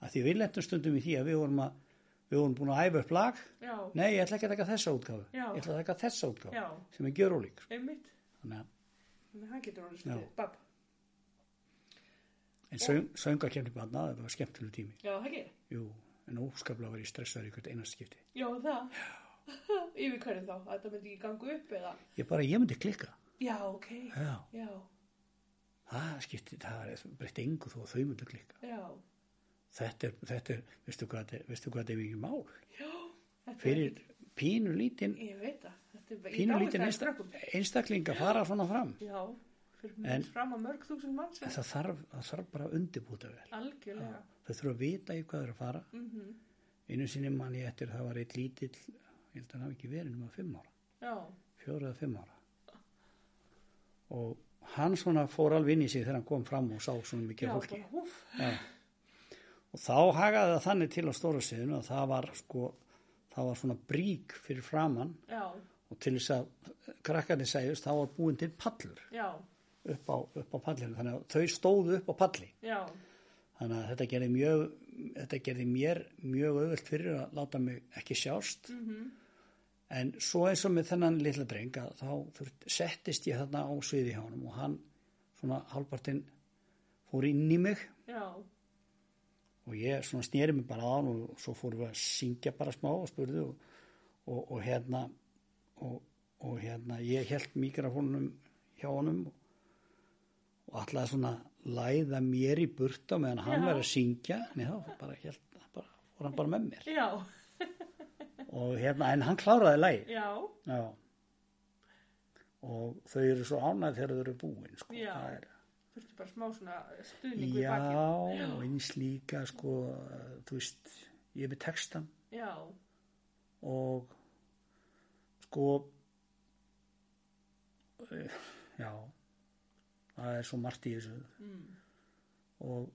B: að því við lentum stundum í því að við vorum, að, við vorum búin að æfa upp lag
A: já,
B: Nei, ég ætla ekki að taka þessa útgáfu.
A: Já.
B: Ég ætla að taka þessa útgáfu
A: Já.
B: sem er gjör ólík.
A: einmitt.
B: Þannig að
A: Þannig að hann getur orðið
B: Já.
A: svona babb.
B: en söng, söngakefni banna, þetta var skemmtileg tími.
A: Já, ekki.
B: Jú, en óskaplega var ég stressaður í hvert einast skipti.
A: Já, það. Yfir hverju þá? Að það myndi ekki ganga upp eða?
B: Ég bara, ég myndi klikka.
A: Já, ok.
B: Já.
A: Já,
B: Það skipti, það er breytti engu þó að þau myndi klikka.
A: já,
B: Þetta er, þetta er, veistu hvað, þetta er- veistu hvað þetta er mikið mál?
A: já. Þetta er
B: Fyrir
A: ekkert-
B: pínu lítinn,
A: Ég veit það. Þetta er
B: pínu lítinn
A: einsta.
B: einstakling að fara svona fram.
A: Já, fyrir
B: En-
A: mjög fram að mörg þúsund manns.
B: En Það þarf, það þarf bara að undirbúta vel.
A: Algjörlega.
B: Þau þurfa að vita í hvað þau eru að fara.
A: Mm
B: Einu sinni mann ég eftir það var eitt lítill, ég held að hann hafi ekki verið um að fimm ára,
A: Já,
B: fjóra eða fimm ára. Og hann svona fór alveg inn í sig þegar hann kom fram og sá svona mikið
A: já,
B: af fólki.
A: bara húf.
B: Já. Og þá hagaði það þannig til á stóra siðinu að það var sko, það var svona brík fyrir framann
A: Já,
B: og til þess að krakkarnir segjust þá var búin til pallur
A: já,
B: upp á, upp á pallinu. Þannig að þau stóðu upp á palli.
A: já,
B: Þannig að þetta gerði, mjög, þetta gerði mér mjög auðvöld fyrir að láta mig ekki sjást.
A: Mhm.
B: En svo eins og með þennan litla dreng að þá þurft, settist ég þarna á sviði hjá honum og hann svona halvpartinn fór inn í mig
A: já,
B: og ég svona sneri mig bara á hann og svo fórum við að syngja bara smá og spurðu og, og, og hérna og, og hérna ég held mikrofónum hjá honum og, og allavega svona læða mér í burta meðan
A: Já.
B: hann var að syngja en þá bara held bara, fór hann bara með mér
A: já,
B: og hérna en hann kláraði lægi
A: já,
B: já og þau eru svo ánægð þegar þau eru búin sko.
A: Já.
B: Það er,
A: þurfti bara smá svona stuðning við bakið.
B: já og eins líka sko, þú veist ég er með textan
A: Já,
B: og sko eh, já það er svo margt í þessu
A: mm.
B: og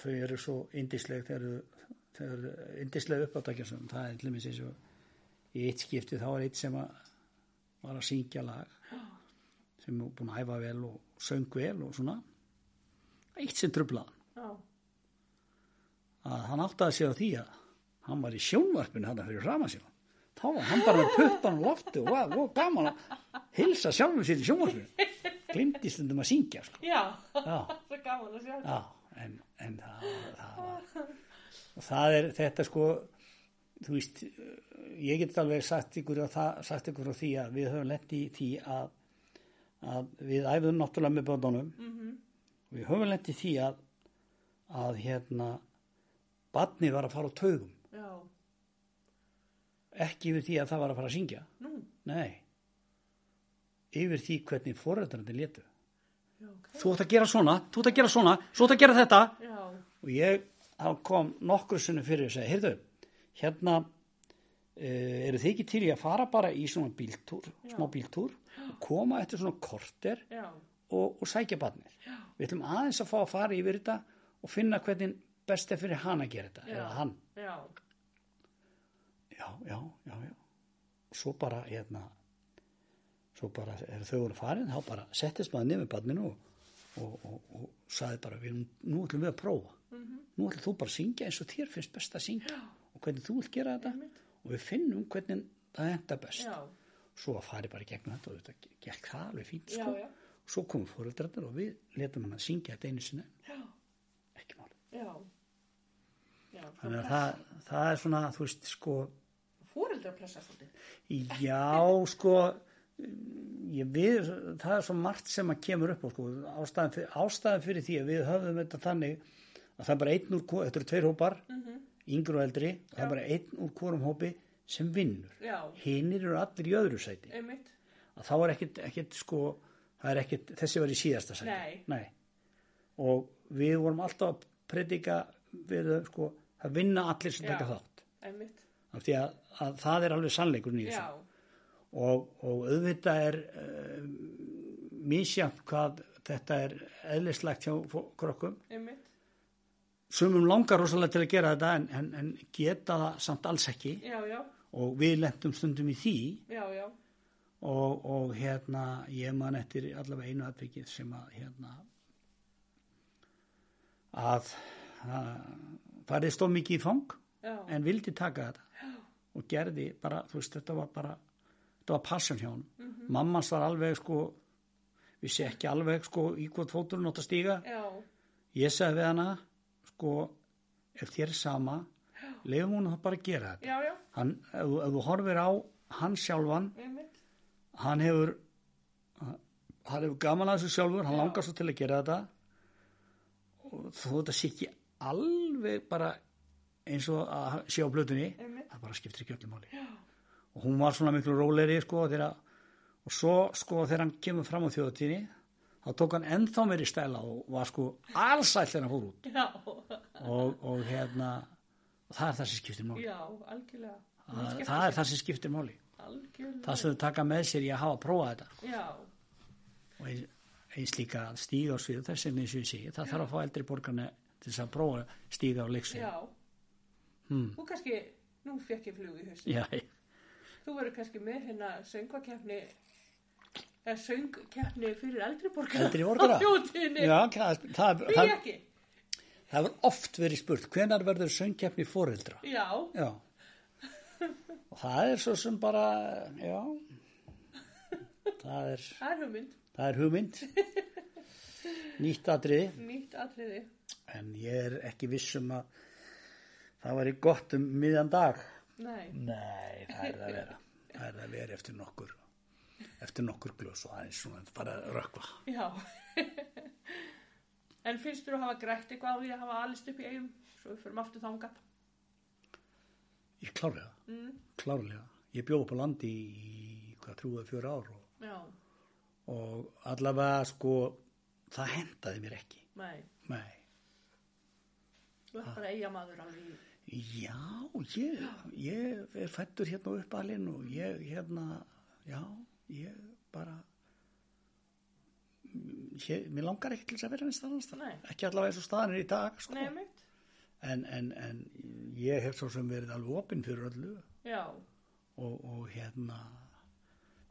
B: þau eru svo indisleg þegar þau- þegar þau eru indisleg uppáttakjarsum það er til dæmis eins og í eitt skipti þá er eitt sem að var að syngja lag sem er búin að æfa vel og söng vel og svona eitt sem trublaðan
A: já,
B: að hann áttaði sig á því að hann var í sjónvarpinu hann fyrir rama sér þá var hann bara með puttan á lofti og var og gaman að hilsa sjálfum sér í sjónvarpinu glimti stundum að syngja sko.
A: já,
B: já,
A: það er gaman að sjá.
B: já, en, en það, það var og það er þetta sko þú veist, ég get alveg sagt ykkur, að það, sagt ykkur frá því að við höfum lent í því að, að við æfum náttúrulega með böndunum
A: Mhm,
B: við höfum lent í því að að hérna barnið var að fara á taugum
A: Já,
B: ekki yfir því að það var að fara að syngja
A: nú,
B: nei yfir því hvernig foreldrarnir létu
A: já, ok.
B: þú ætti að gera svona, þú ætti að gera svona svo ætti að gera þetta
A: Já,
B: og ég þá kom nokkur sinnum fyrir og segi, heyrðu, hérna uh, eru þið ekki til í að fara bara í svona bíltúr, smá bíltúr og koma eftir svona korter
A: já,
B: og, og sækja barnið. Já. Við ætlum aðeins að fá að fara yfir þetta og finna hvernig best er fyrir hann að gera þetta,
A: Já.
B: eða hann.
A: já,
B: Já, já, já, já. Svo bara, hérna, svo bara er þau voru farin, þá bara settist maður nefnir barninu og, og, og, og saði bara, við, erum- nú ætlum við að prófa.
A: mhm,
B: Nú ætlum þú bara að syngja eins og þér finnst best að syngja já. og hvernig þú vilt gera þetta og við finnum hvernig það enda best.
A: já,
B: Svo að fari bara í gegnum þetta og þetta gekk það alveg fínt,
A: já,
B: sko.
A: já,
B: Svo komum fóröldrarnir og við letum hann að syngja þetta einu sinni.
A: Já.
B: Ekki máli.
A: já. Já,
B: Þannig að það, það er svona, þú veist, sko,
A: fóreldra pressa svolítið.
B: já, sko, ég við, það er svo margt sem að kemur upp á, sko, ástæðan fyrir, ástæðan fyrir því að við höfðum þetta þannig að það er bara einn úr, hvor- þetta eru tveir hópar,
A: Mhm.
B: yngri og eldri, það er bara einn úr hvorum hópi sem vinnur.
A: Já,
B: Hinir eru allir í öðru sæti.
A: einmitt,
B: að þá er ekkit, ekkit sko, það er ekkit, þessi var í síðasta sæti.
A: Nei.
B: Og við vorum alltaf að predika við þau, sko, að vinna allir sem
A: Já.
B: taka þátt.
A: einmitt,
B: Af því að, að það er alveg sannleikurinn í þessu.
A: já,
B: Og, og auðvitað er uh, misjafn hvað þetta er eðlislegt hjá fó- krökkum.
A: einmitt,
B: Sumum langar rosalega til að gera þetta en, en, en geta það samt alls ekki
A: já, já,
B: og við lentum stundum í því
A: já, já,
B: og, og hérna ég man eftir allavega einu atvikið sem að hérna að farið stóð mikið í fang
A: já,
B: en vildi taka þetta og gerði bara, þú veist, þetta var bara þetta var passion hjá honum mm mammans var alveg sko vissi ekki alveg sko í hvort fóturinn átt að stíga
A: já,
B: ég sagði við hana sko, ef þér er sama leifum hún að bara að gera þetta
A: já, já,
B: hann, ef, þú- ef þú horfir á hann sjálfan
A: einmitt,
B: hann hefur hann hefur gaman að þessu sjálfur hann
A: Já.
B: langar svo til að gera þetta og þó þetta sé ekki alveg bara eins og að sé á blötunni
A: Einmitt.
B: það bara skiptir ekki öllu máli Já. og hún var svona miklu róleri sko þegar og svo sko þegar hann kemur fram á þjóðatíðni þá tók hann ennþá meiri stæla og var sko allsæll þegar hann fór út
A: já,
B: og, og hérna og það er það sem skiptir máli
A: já, algjörlega,
B: það, það er það sem skiptir máli
A: algjörlega,
B: það sem þau taka með sér í að hafa að prófa þetta
A: já,
B: og eins- eins líka að stíga á svið þess vegna eins og ég segi, það þarf að fá eldri borgarna til þess að prófa að stíga á leiksvið
A: já,
B: Hmm.
A: þú kannski, nú fekk ég flug í hausinn.
B: já,
A: Þú verður kannski með hérna söngvakeppni eða söngkeppni fyrir eldri borgara
B: Eldri borgara?
A: á þjóðtíðinni.
B: já það, það,
A: Því
B: það,
A: ekki.
B: það var oft verið spurt hvenar verður söngkeppni fóreldra
A: Já,
B: já og það er svo sem bara já það er,
A: það er hugmynd.
B: það er hugmynd nýtt atriði
A: Nýtt atriði.
B: en ég er ekki viss um að það væri gott um miðjan dag
A: Nei,
B: Nei, það er það að vera. Það er það að vera eftir nokkur, eftir nokkur glös og aðeins svona bara að rökva.
A: já. en finnst þú að hafa grætt eitthvað á því að hafa alist upp í eigum svo við förum aftur þangað?
B: Ég klárlega,
A: Mm.
B: klárlega. Ég bjóð upp á landi í hvað trú eða fjöra ár og,
A: Já,
B: og allavega sko, það hendaði mér ekki.
A: nei.
B: Nei,
A: Þú ert bara eigamaður alveg í.
B: já, ég, ég er fættur hérna upp alinn og ég hérna, já, ég bara, ég, mér langar ekki til þess að vera minnst annars það.
A: Nei.
B: Ekki allavega eins og staðan er í dag, sko.
A: Nei, mitt.
B: en, en, en ég hef svo sem verið alveg opinn fyrir öllu
A: Já,
B: og, og hérna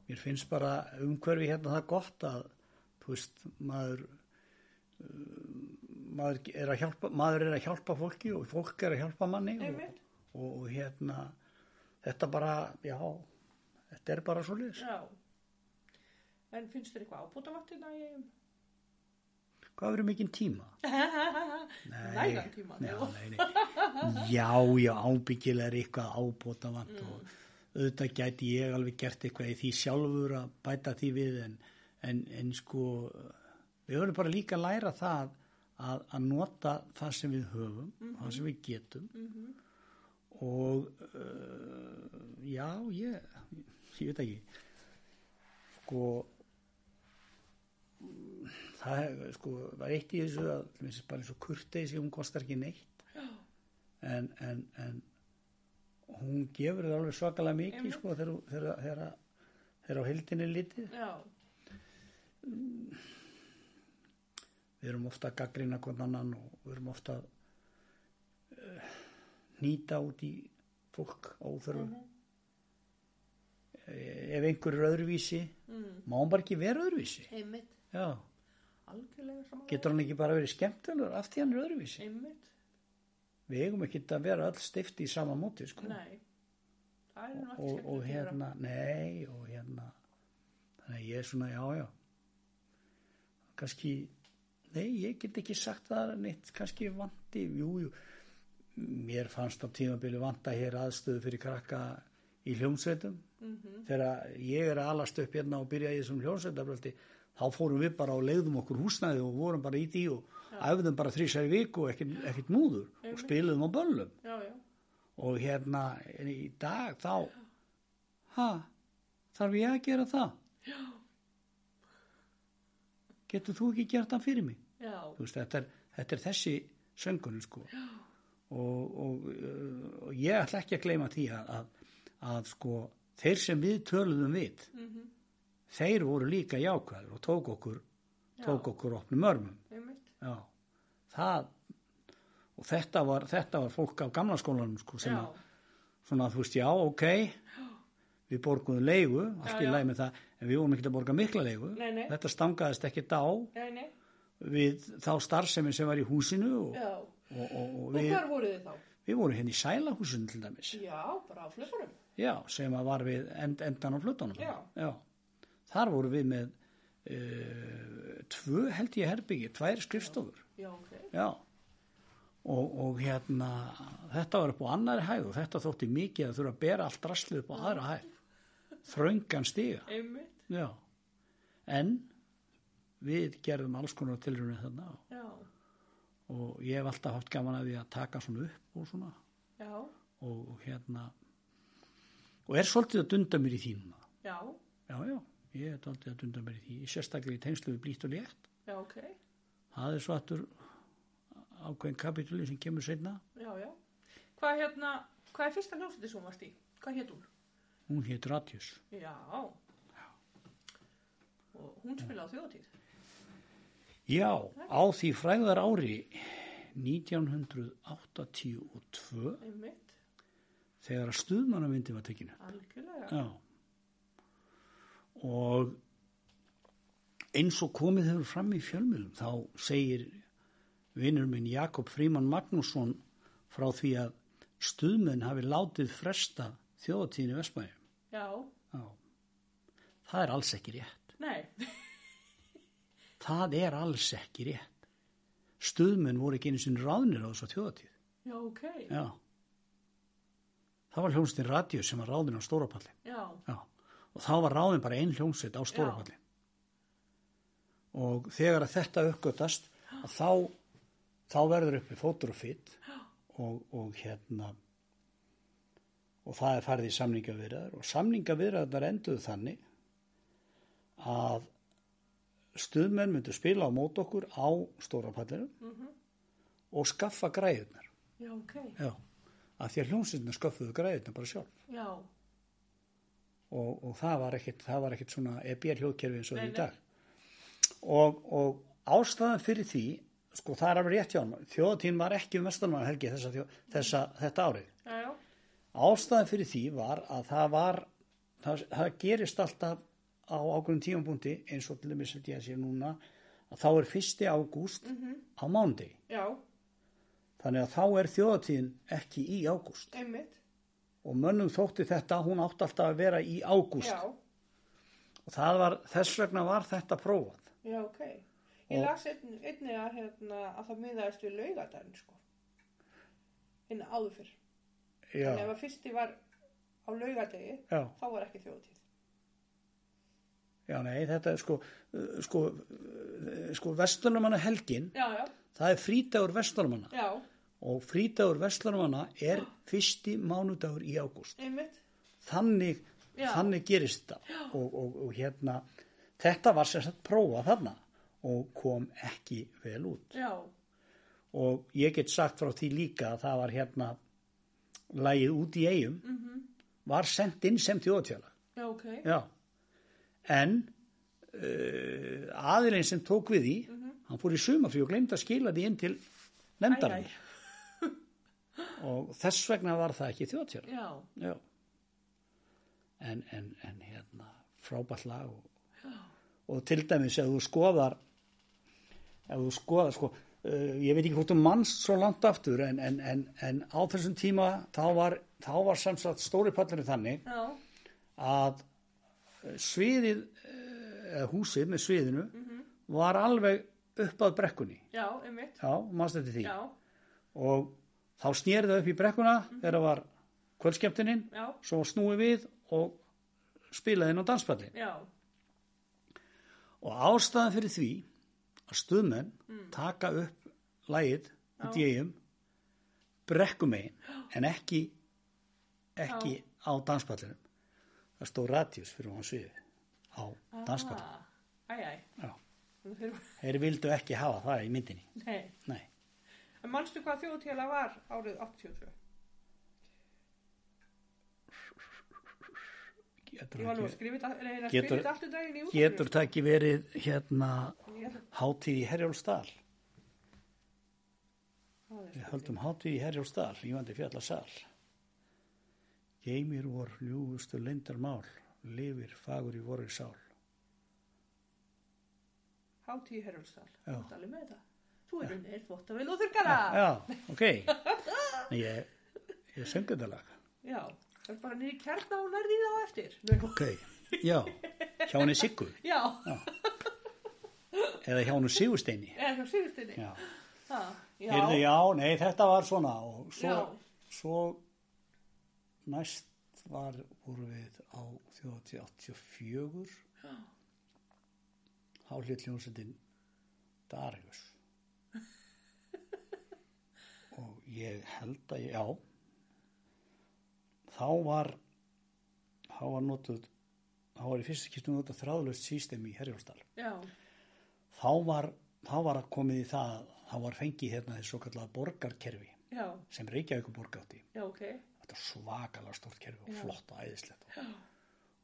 B: mér finnst bara umhverfi hérna það gott að þú veist, maður uh, maður er að hjálpa maður er að hjálpa fólki og fólk er að hjálpa manni og,
A: Einmitt.
B: og, og hérna þetta bara, já þetta er bara svo liðs
A: já. En finnst þér eitthvað ábútavattina í eigum?
B: hvað verður mikinn tíma?
A: Nægan tíma.
B: Nei,
A: jú.
B: nei, nei. já, já, ábyggilega er eitthvað ábótavant
A: Mm.
B: og auðvitað gæti ég alveg gert eitthvað í því sjálfur að bæta því við en, en, en sko við höfum bara líka að læra það að, að nota það sem við höfum
A: Mhm.
B: það sem við getum og uh, já, ég, ég veit ekki sko mm, það er, sko var eitt í þessu að mér finnst bara eins og kurteisi hún kostar ekki neitt en, en, en hún gefur það alveg svakalega mikið
A: Einmitt.
B: sko þegar, þú- þegar, þegar, þegar á heldinni litið
A: já,
B: við erum ofta að gaggrina hvern annan og við erum ofta að uh, nýta út í fólk óþörfu
A: Mhm.
B: Eh, ef einhver er öðruvísi
A: Mm.
B: má hann bara ekki vera öðruvísi
A: einmitt,
B: já.
A: algjörlega saman
B: getur hann ekki bara verið skemmtilegur af því hann er öðruvísi
A: einmitt,
B: við eigum ekki að vera öll stifti í sama móti sko.
A: nei það er nú ekki
B: og,
A: skemmtilegt
B: og
A: að gera.
B: hérna, nei og hérna þannig að ég er svona, já, já kannski nei, ég get ekki sagt það neitt, kannski vandi, jú, jú mér fannst á tímabili vanda hér aðstöðu fyrir krakka í hljómsveitum
A: Mhm.
B: þegar ég er að alast upp hérna og byrja í þessum hljómsveitabröldi þá fórum við bara og leiðum okkur húsnæði og vorum bara í því og æfðum bara þrísæri viku og ekkert, ekkert múður og spiluðum á böllum
A: já, já,
B: og hérna en í dag þá ha, þarf ég að gera það já getur þú ekki gert það fyrir mig
A: já,
B: Þú veist, þetta, er, þetta er þessi söngunum sko og, og, uh, og ég ætla ekki að gleyma því að, að, að sko þeir sem við töluðum við
A: Mhm.
B: þeir voru líka jákvæður og tók okkur tók okkur opnum örmum
A: einmitt
B: Já, það og þetta var, þetta var fólk af gamla skólanum sko, sem
A: já,
B: að svona þú veist já, ok við borguðum leigu,
A: Já,
B: allt í
A: já.
B: lagi með það en við vorum ekki að borga mikla leigu
A: Nei, nei.
B: þetta stangaðist ekki dá
A: nei, nei,
B: við þá starfsemi sem var í húsinu og,
A: já
B: og, og, og
A: og
B: við,
A: hvar voru þið þá?
B: við vorum hérna í sælahúsinu til dæmis
A: já, bara á flöfurum
B: já, sem að var við end, endan á flutunum
A: Já.
B: þar vorum við með uh, tvö held ég herbyggi, tvær skrifstofur
A: já, ok,
B: Já. Og, og hérna, þetta var upp á annari hæð og þetta þótti mikið að þurfa að bera allt rastlið upp á aðra hæð. Þröngan stiga.
A: einmitt
B: Já. En við gerðum alls konar tilrunni þarna og-
A: já,
B: og ég hef alltaf haft gaman að því að taka svona upp og svona
A: já,
B: og, og hérna og er svolítið að dunda mér í því núna.
A: já,
B: Já, já, ég er svolítið að dunda mér í því. Ég sérstaklega í tengslu við blítt og létt.
A: já, ok
B: Það er svo aftur ákveðin kapitúli sem kemur seinna.
A: já, já hvað hérna, hvað er fyrsta hljómsveitin sem þú varst í? hvað hétt hún?
B: Hún hétt Radjus.
A: já og hún spilaði á þjóðatíð
B: Já, á því fræðar ári 1982
A: einmitt,
B: þegar að stuðmannamyndi var tekinu.
A: algjörlega
B: Já. Og eins og komið hefur fram í fjölmiðlum þá segir vinnur minn Jakob Fríman Magnússon frá því að stuðmenn hafi látið fresta þjóðatíðinu Vestmæði.
A: já,
B: Já. Það er alls ekki rétt.
A: nei,
B: Það er alls ekki rétt. Stuðmenn voru ekki einu sinni ráðnir á þessu þjóðatíð.
A: já, ok
B: Já. Það var hljómsveitin Radio sem var ráðin á Stórapalli.
A: já,
B: Já. Og þá var ráðin bara ein hljómsveit á Stórapalli. Og þegar að þetta uppgötast, að þá, þá verður uppi fótur og fytt og, og hérna og það er farið í samningavirðar og samningavirðar enduðu þannig að stuðmenn myndu spila á mót okkur á Stórapallinu og skaffa græðunar.
A: já, ok
B: Já, af því að hljómsveitina sköffuðu græðina bara sjálf
A: já,
B: og, og það var ekkit, það var ekkit svona EBR hljóðkerfi eins og
A: Nei,
B: því í
A: nei.
B: dag og, og ástæðan fyrir því sko það er alveg rétt hjá hann þjóðatíðin var ekki um vestanmann helgi þessa, þjó- þessa, þetta árið
A: já, já
B: ástæðan fyrir því var að það var það, það gerist alltaf á ákveðum tímapunkti eins og til dæmis held ég að sé E núna að þá er 1. ágúst
A: Mhm.
B: á mándi
A: já,
B: þannig að þá er þjóðatíðin ekki í ágúst
A: einmitt
B: og mönnum þótti þetta hún átti alltaf að vera í ágúst
A: já,
B: og það var, þess vegna var þetta prófað
A: já, ok ég
B: Og-
A: las einn, einnig að, hérna, að það miðaðist við laugadaginn sko en áður fyrr. En ef
B: já,
A: að fyrsti var á laugadegi,
B: já,
A: þá var ekki þjóðtíð.
B: já, nei, þetta er sko, uh, sko, uh, sko, vestlunumanna helgin,
A: Já, já,
B: það er frítagur vestlunumanna
A: já,
B: og frítagur vestlunumanna er fyrsti mánudagur í ágúst.
A: einmitt.
B: Þannig,
A: Já.
B: þannig gerist þetta og, og, og hérna, þetta var sem sagt prófa þarna og kom ekki vel út.
A: Já,
B: og ég get sagt frá því líka að það var hérna lægið út í eigum
A: Mhm.
B: var sendt inn sem þjóðtjála
A: já, ok.
B: já en uh, aðilinn sem tók við því hann fór í sumafrí og glemd að skila því inn til nefndarinn og þess vegna var það ekki þjóðtjála
A: Já,
B: já en, en, en hérna frábært lag og, og til dæmis ef þú skoðar ef þú skoðar sko Uh, ég veit ekki hvort um manns svo langt aftur en, en, en, en á þessum tíma þá var, þá var sem sagt stóri pallurinn þannig
A: já,
B: að eh, sviðið eh, húsið með sviðinu
A: Mhm.
B: var alveg upp að brekkunni
A: já, einmitt.
B: já, mannst eftir því
A: Já,
B: og þá snýrði það upp í brekkuna
A: Mhm.
B: þegar það var kvöldskeptininn
A: já,
B: svo snúi við og spilaði inn á danspalli
A: já,
B: og ástæðan fyrir því að stuðmenn
A: Mm.
B: taka upp lægið út í eigum brekkumegin en ekki ekki á danspallinum það stóð radius fyrir hann sviðið á danspallinu
A: ah, æj, æj.
B: Já.
A: Nú þurfum
B: þeir vildu ekki hafa það í myndinni
A: Nei.
B: nei,
A: En manstu hvað þjóðtíðala var árið 82? Ég
B: getur,
A: var nú að
B: ekki,
A: skrifa þetta, reyna að
B: Getur-
A: skrifa þetta alltaf daginn í útvarpinu.
B: getur það ekki verið hérna
A: Ég ætla-
B: hátíð í Herjólfsdal
A: það er
B: Við
A: sko-
B: höldum hátíð í Herjólfsdal, lífandi fjallasal. Geimir vor ljúfustu lindarmál, lifir fagur í voru sál.
A: Hátíð í Herjólfsdal.
B: Já.
A: Þú ert alveg með þetta. Þú er unnið þvottavél og þurrkara.
B: Já, ok. En Ég, ég söngu þetta lag.
A: Já, það er bara niður kjarna og nærði það á eftir. Nei.
B: Ok, já. Hjá henni Siggu,
A: Já,
B: eða hjá henni Sigursteini.
A: eða hjá Sigursteini.
B: Já.
A: Ha, Já,
B: Heyrðu, já, nei, þetta var svona og svo,
A: Já.
B: svo næst var, voru við á 84
A: Já.
B: þá hlut hljómsveitin Darius og ég held að ég, já þá var þá var notuð þá var í fyrsta kýstum notað þráðlöst sístem í Herjólfsdal
A: já,
B: þá var, þá var að komið í það þá var fengið hérna þessu svo kallað borgarkerfi
A: já,
B: sem Reykjavíkur borg átti
A: já, ok.
B: þetta er svakalega stórt kerfi og
A: Já.
B: flott og æðislegt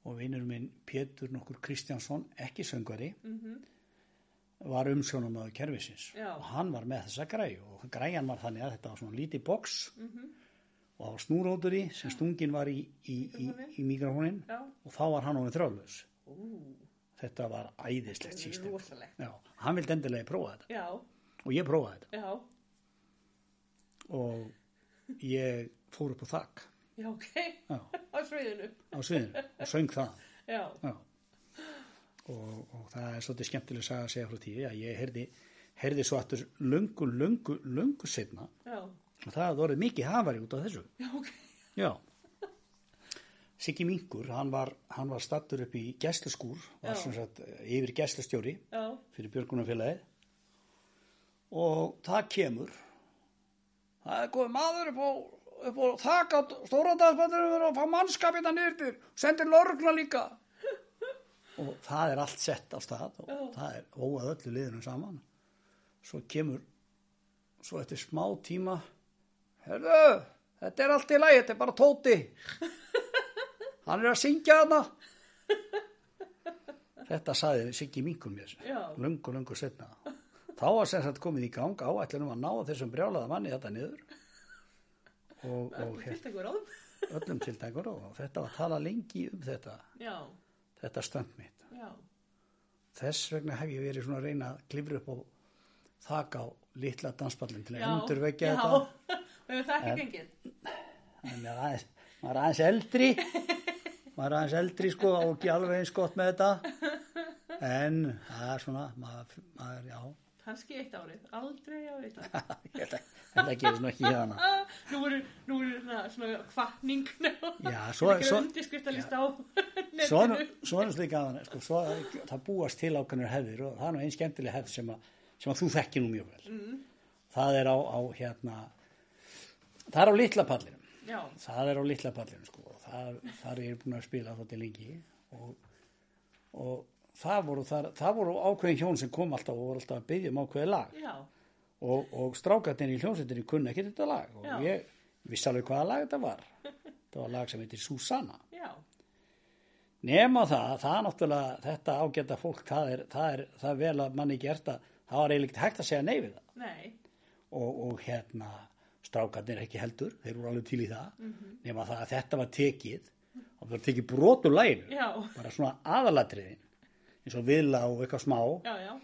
B: og vinnur minn Pétur nokkur Kristjánsson ekki söngvari
A: Mm
B: var umsjónamaður kerfisins
A: Já.
B: og hann var með þessa græju og græjan var þannig að þetta var svona lítið boks
A: Mhm.
B: og það var snúrótur í sem stungin var í, í, í, í mikrofónin
A: Já,
B: og þá var hann ofin þráðlaus
A: ú,
B: þetta var æðislegt
A: það er
B: sístem
A: rosalegt.
B: Já, hann vildi endilega prófa þetta
A: Já,
B: og ég prófaði þetta
A: já,
B: og ég fór upp á þakk
A: já, ok.
B: já,
A: Á sviðinu.
B: á sviðinu og söng það
A: Já,
B: Já. Og, og það er svolítið skemmtileg saga að segja frá tíu að ég heyrði, heyrði svo aftur löngu, löngu, löngu setna
A: já,
B: og það hafði orðið mikið hafari út af þessu.
A: já, ok.
B: Já. Siggi Mingur, hann var, hann var stattur upp í gæsluskúr, var
A: Já.
B: sem sagt eh, yfir gæslustjóri
A: Já,
B: fyrir Björgunarfélagið og það kemur það er góð maður upp á, upp á þak á stórandagsbættur og fá mannskap hérna niður til sendir lörgla líka og það er allt sett á stað og
A: Já.
B: það er óað öllu liðinu saman svo kemur svo eftir smá tíma herðu, þetta er allt í lagi þetta er bara Tóti hann er að syngja hana þetta saði Siggi Minkum mér
A: Já.
B: lungu, lungu setna þá var sem sagt komið í gang áætlunum að ná þessum brjálaða manni þetta niður og, og
A: það er fyrst eitthvað ráðum.
B: hér- öllum tiltækur og þetta var að tala lengi um þetta
A: Já,
B: þetta stönd mitt
A: já,
B: þess vegna hef ég verið svona að reyna að klifra upp á þak á litla dansballin til
A: já.
B: að
A: já.
B: endurvekja þetta
A: Og hefur það ekki gengið?
B: Hann er aðeins, maður er aðeins eldri maður er aðeins eldri sko og ekki alveg eins gott með þetta en það er svona maður, maður já
A: kannski eitt árið, aldrei að vita
B: ég held að- held að gera svona ekki hérna
A: Ah, Nú eru, nú eru na, svona kvartning
B: Já, svo- svo-
A: undirskriftalista á
B: Svona,
A: netinu
B: svona slíka að hann, sko, svo það, það búast til ákveðnir hefðir og það er nú einn skemmtileg hefð sem að, sem að þú þekkir nú mjög vel. Mm. Það er á, á, hérna, það er á litla pallinum.
A: Já,
B: Það er á litla pallinum, sko. og Það, þar er ég búin að spila þátti lengi og, og það voru, þar, það voru ákveðin hjón sem kom alltaf og voru alltaf að byggja um ákveðið lag
A: já,
B: og, og strákarnir í hljómsveitinni kunna ekki þetta lag og
A: Já.
B: ég vissi alveg hvaða lag þetta var. þetta var lag sem heitir Susanna.
A: já,
B: Nefna það, það er náttúrulega þetta ágæta fólk, það er, það er, það er vel að manni gert að það var eiginlega ekki hægt að segja nei við það
A: nei,
B: og, og hérna strákarnir ekki heldur, þeir voru alveg til í það mm nema það að þetta var tekið það var tekið brot úr læginu
A: já,
B: bara svona aðalatriðin eins og vila og eitthvað smá
A: já, já,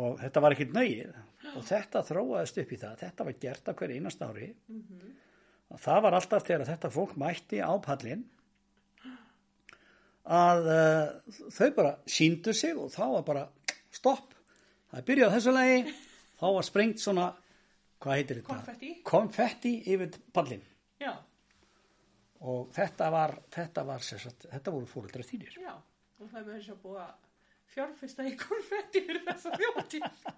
B: og þetta var ekkert nögið og þetta þróaðist upp í það, þetta var gert á hverju einast ári
A: Mhm.
B: og það var alltaf þegar þetta fólk mætti á pallin að uh, þau bara síndu sig og þá var bara stopp, það byrjaði á þessu lagi þá var sprengt svona hvað heitir þetta?
A: Konfetti.
B: Konfetti yfir pallin
A: já,
B: og þetta var, þetta var sem sagt, þetta voru fóreldra þínir
A: já og það er með þess að búa fjárfesta í konfetti fyrir þessa þjóti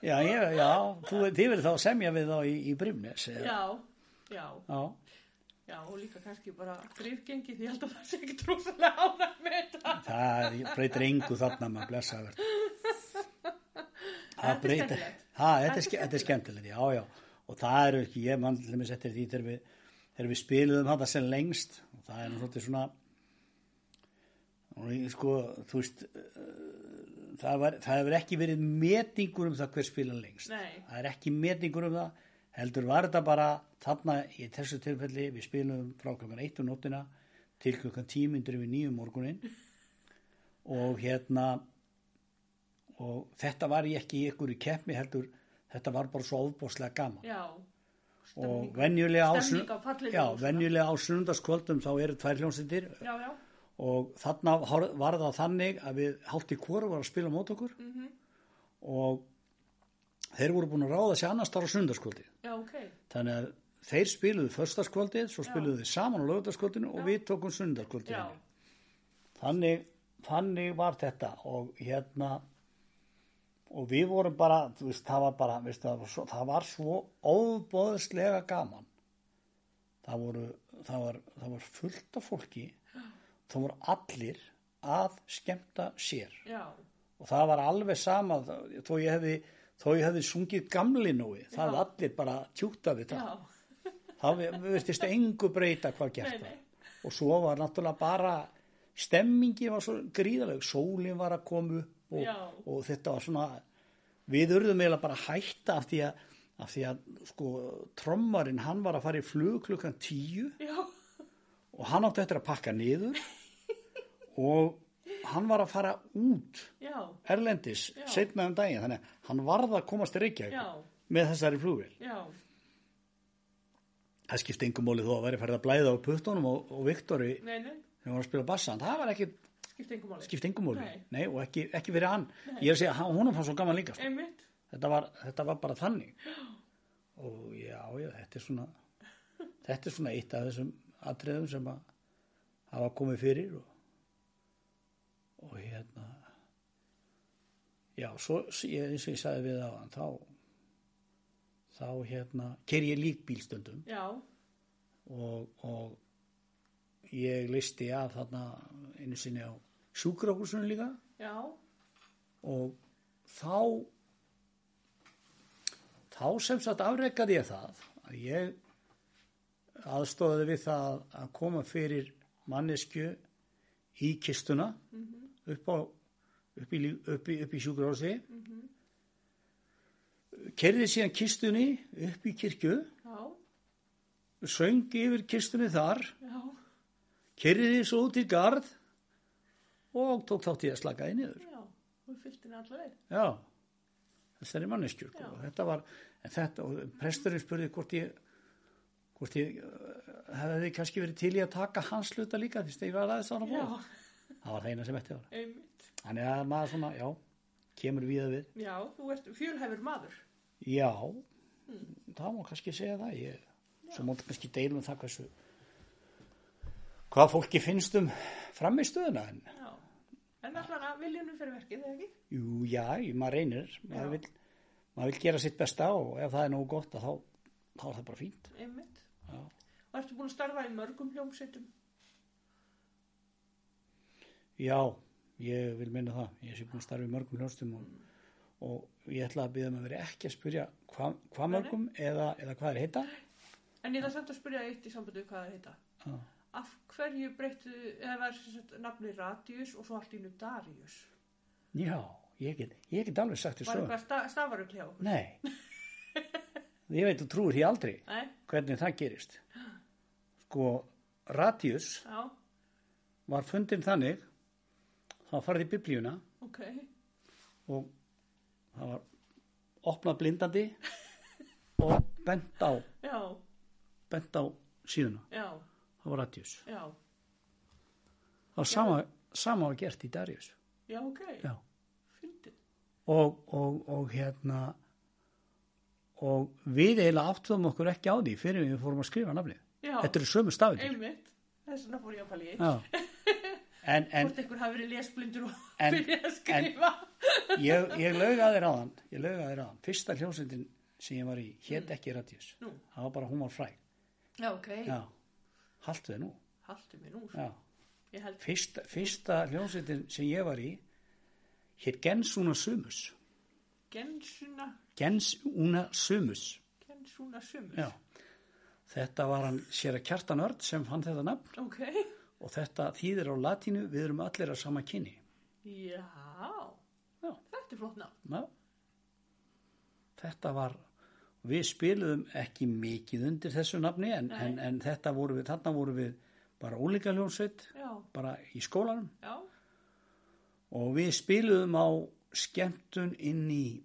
B: Já, ég, já, þú, þið verið þá að semja við þá í, í Brimnes eða-
A: Já, já,
B: já.
A: já og líka kannski bara drifgengi því ég held að það sé ekki trúsalega ánæg með þetta
B: Það breytir engu þarna maður blessaður.
A: Þetta er
B: Það breytir,
A: skemmtilegt.
B: ha, þetta, er, ske- þetta er skemmtilegt, já, já. Og það eru ekki, ég mann til dæmis eftir því þegar við, þegar við spiluðum þetta sem lengst og það er nú svolítið svona, og ég sko, þú veist, eh, það, var, það hefur ekki verið metingur um það hver spila lengst.
A: Nei.
B: Það er ekki metingur um það, heldur var þetta bara þarna í þessu tilfelli, við spilum frá klokkan 1 um nóttina til klokkan 10 myndur við nýjum morgunin og hérna og þetta var ég ekki í ykkur í keppni heldur þetta var bara svo ofbóðslega gaman
A: Já,
B: og
A: stemning
B: venjulega á, sunn-
A: stemning á pallinu
B: já,
A: og svona.
B: venjulega á sunnundaskvöldum þá eru tvær hljómsveitir
A: Já, já,
B: og þarna hor- var það þannig að við hálft í kóru var að spila mót okkur
A: Mhm.
B: og þeir voru búin að ráða sér annars þar á sunnundaskvöldi
A: já, ok
B: þannig að þeir spiluðu förstaskvöldið, svo spiluðu þeir saman á lögutaskvöldinu og við tókum hérna. sunnundaskvöldið
A: Já,
B: þannig, þannig var þetta og hérna og við vorum bara, þú veist, það var bara veist, það, var svo, það var svo óbóðslega gaman það voru það var, það var fullt af fólki það voru allir að skemmta sér
A: já,
B: og það var alveg sama þó þó ég hefði, þó ég hefði sungið gamli núi, það hefði allir bara tjúta við það
A: já,
B: það virtist engu breyta hvað gert
A: Nei, nei.
B: var og svo var náttúrulega bara stemmingi var svo gríðaleg sólin var að koma upp
A: Já.
B: og, og þetta var svona við urðum eiginlega bara að hætta af því að, af því að sko, trommarinn hann var að fara í flug klukkan tíu
A: já,
B: og hann átti eftir að pakka niður og hann var að fara út
A: já,
B: erlendis
A: Já.
B: setna um daginn þannig að hann varð að komast til Reykjavík
A: Já.
B: með þessari flugvél
A: já,
B: það skipti engum móli þó að væri færð að blæða á puttunum og, og Viktori
A: nei, nei,
B: þegar hann var að spila bassa, en það var ekki
A: skipt engum máli
B: skipt engum múli,
A: Nei.
B: nei, og ekki, ekki verið hann ég er að segja, hann- honum fannst svo gaman líka sko.
A: Einmitt,
B: þetta, var, þetta var bara þannig og já, já, þetta er svona þetta er svona eitt af þessum atriðum sem að hafa komið fyrir og, og hérna já, svo s- ég, eins og ég sagði við á hann þá þá hérna, ker ég lík bílstöndum
A: já,
B: og, og ég listi af þarna einu sinni á sjúkrahúsunum líka
A: já,
B: og þá þá sem sagt afrekaði ég það að ég aðstóði við það að koma fyrir mannesku í kistuna upp á upp í, lí- upp í, upp í sjúkrahúsi mm síðan kistunni upp í kirkju
A: já,
B: söng yfir kistunni þar
A: já,
B: kyrriði svo út í garð og tók þátt í að slaka þið niður.
A: já, hún fyllt henni allaveg
B: Já, þessari manneskju. sko. Og Þetta var, en þetta, og presturinn spurði hvort ég, hvort ég eh, hefði kannski verið til í að taka hans hluta líka því að ég var aðeins ára
A: Já,
B: bóð. Það var það eina sem eftir var.
A: einmitt,
B: Þannig að maður svona, já, kemur við við.
A: já, þú ert fjölhæfur maður
B: Já, það má kannski segja það. Ég, svo móti kannski deilum það hversu hvað fólki finnst um framistöðuna en
A: Já. En allavega viljunum fyrir verkið, eða ekki?
B: jú, já, jú, maður reynir
A: Já.
B: maður vil, maður vil gera sitt besta og ef það er nógu gott að þá, þá er það bara fínt
A: Einmitt.
B: Já.
A: Og ertu búin að starfa í mörgum hljómsveitum?
B: já, ég vil minna það ég sé búin að starfa í mörgum hljóstum og, og ég ætla að byggja mig að vera ekki að spyrja hva, hvað
A: Nei, nei.
B: mörgum eða, eða hvað er heita
A: En ég það samt að spyrja eitt í sambandi við hvað það heita.
B: Já.
A: Af hverju breyttu, eða var sem sagt nafni Radius og svo allt í nú Darius?
B: já, ég get, ég get alveg sagt því
A: Var
B: svo
A: eitthvað sta, stafarugl hjá? okkur?
B: nei ég veit þú trúir því aldrei
A: Nei,
B: hvernig það gerist sko, Radius
A: já,
B: var fundin þannig það farið í biblíuna
A: ok.
B: og það var opnað blindandi og bent á
A: Já,
B: bent á síðuna,
A: já,
B: það var Radius
A: já,
B: það var sama, sama var gert í Darius
A: já, ok.
B: já.
A: Fyndið.
B: og, og, og hérna og við eiginlega áttuðum okkur ekki á því fyrir við fórum að skrifa nafnið
A: Já,
B: þetta eru sömu stafinir
A: einmitt. Þess vegna fór ég að pæla í eitt.
B: já. en, en
A: Hvort einhver hafi verið lesblindur og
B: En-
A: byrjað að skrifa.
B: ég, ég lauga þér aðan ég lauga þér aðan, fyrsta hljómsveitin sem ég var í, hétt ekki Radius
A: Mm. Nú.
B: það var bara, hún var fræg
A: Já, ok.
B: já, haltu þið nú
A: Haltu mig nú.
B: já.
A: Ég held,
B: Fyrsta, fyrsta hljómsveitin sem ég var í hétt Gensuna Sumus
A: gensuna,
B: Gensuna Sumus
A: gensuna sumur.
B: já. þetta var hann sér að kjartan örd sem fann þetta nafn
A: Ok.
B: og þetta þýðir á latínu við erum allir að sama kynni
A: Já,
B: já,
A: þetta er flott nafn.
B: já. þetta var við spiluðum ekki mikið undir þessu nafni en,
A: Nei.
B: en, en þetta voru við, þarna voru við bara ólíka hljómsveit
A: Já,
B: bara í skólanum
A: já,
B: og við spiluðum á skemmtun inn í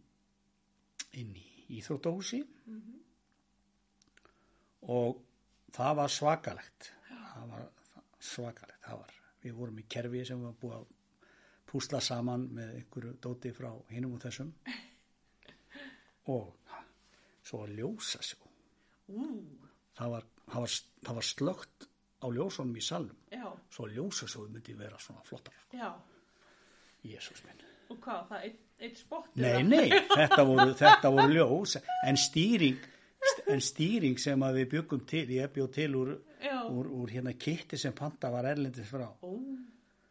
B: inn í Íþróttahúsi og það var svakalegt það var svakalegt það var. við vorum í kerfi sem var búið að púsla saman með einhverju dóti frá hinum og þessum og svo að ljósa svo
A: ú,
B: það var, það var, það var slögt á ljósunum í salnum
A: já,
B: svo að ljósa svo myndi vera svona flottar
A: já.
B: Jésús minn
A: Og hvað, það er eitt, eitt spott?
B: Nei, nei, þetta voru, þetta voru ljós en stýring, en stýring sem að við byggum til, ég bjóð til úr,
A: Já,
B: úr, úr hérna kitti sem panta var erlendis frá.
A: ó,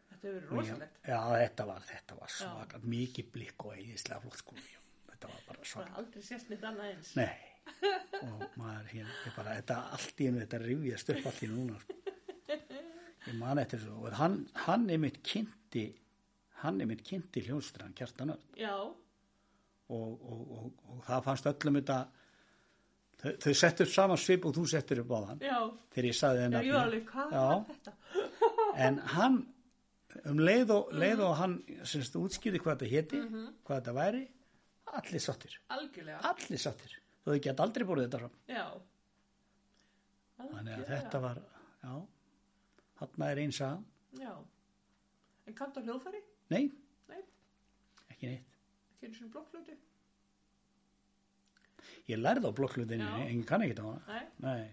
A: þetta hefur verið rosalegt.
B: Já, þetta var, þetta var svaka, mikið blikk og eigislega flott sko, já, þetta var bara
A: Það
B: svaka.
A: er aldrei sérst neitt annað eins.
B: Nei, og maður hérna, ég bara, þetta allt í hennu, þetta rifjast upp allt í einu núna, sko. Ég man eftir svo, og hann, hann er mitt kynnti, hann er mitt kynnti hljónstrann, kjartan öll.
A: Já,
B: og, og, og, og það fannst öllum þetta þau, þau settur saman svip og þú settur upp á þann
A: já,
B: þegar ég saði
A: já,
B: þeim
A: ég var alveg, hvað
B: Já.
A: var þetta?
B: en hann um leið og,
A: Mhm.
B: leið og hann semst, útskýði hvað þetta héti hvað þetta væri, allir sattir
A: Algjörlega,
B: allir sattir, þau get aldrei borðið þetta fram
A: já.
B: þannig að
A: Algjörlega.
B: þetta var já, hann er eins að
A: Já. En kanntu á hljóðfæri?
B: nei,
A: Nei,
B: ekki neitt
A: ekki einu sinni blokkflötu?
B: ég lærði á blokklutinni,
A: Já.
B: en ég kann ekki á hana
A: Nei,
B: nei,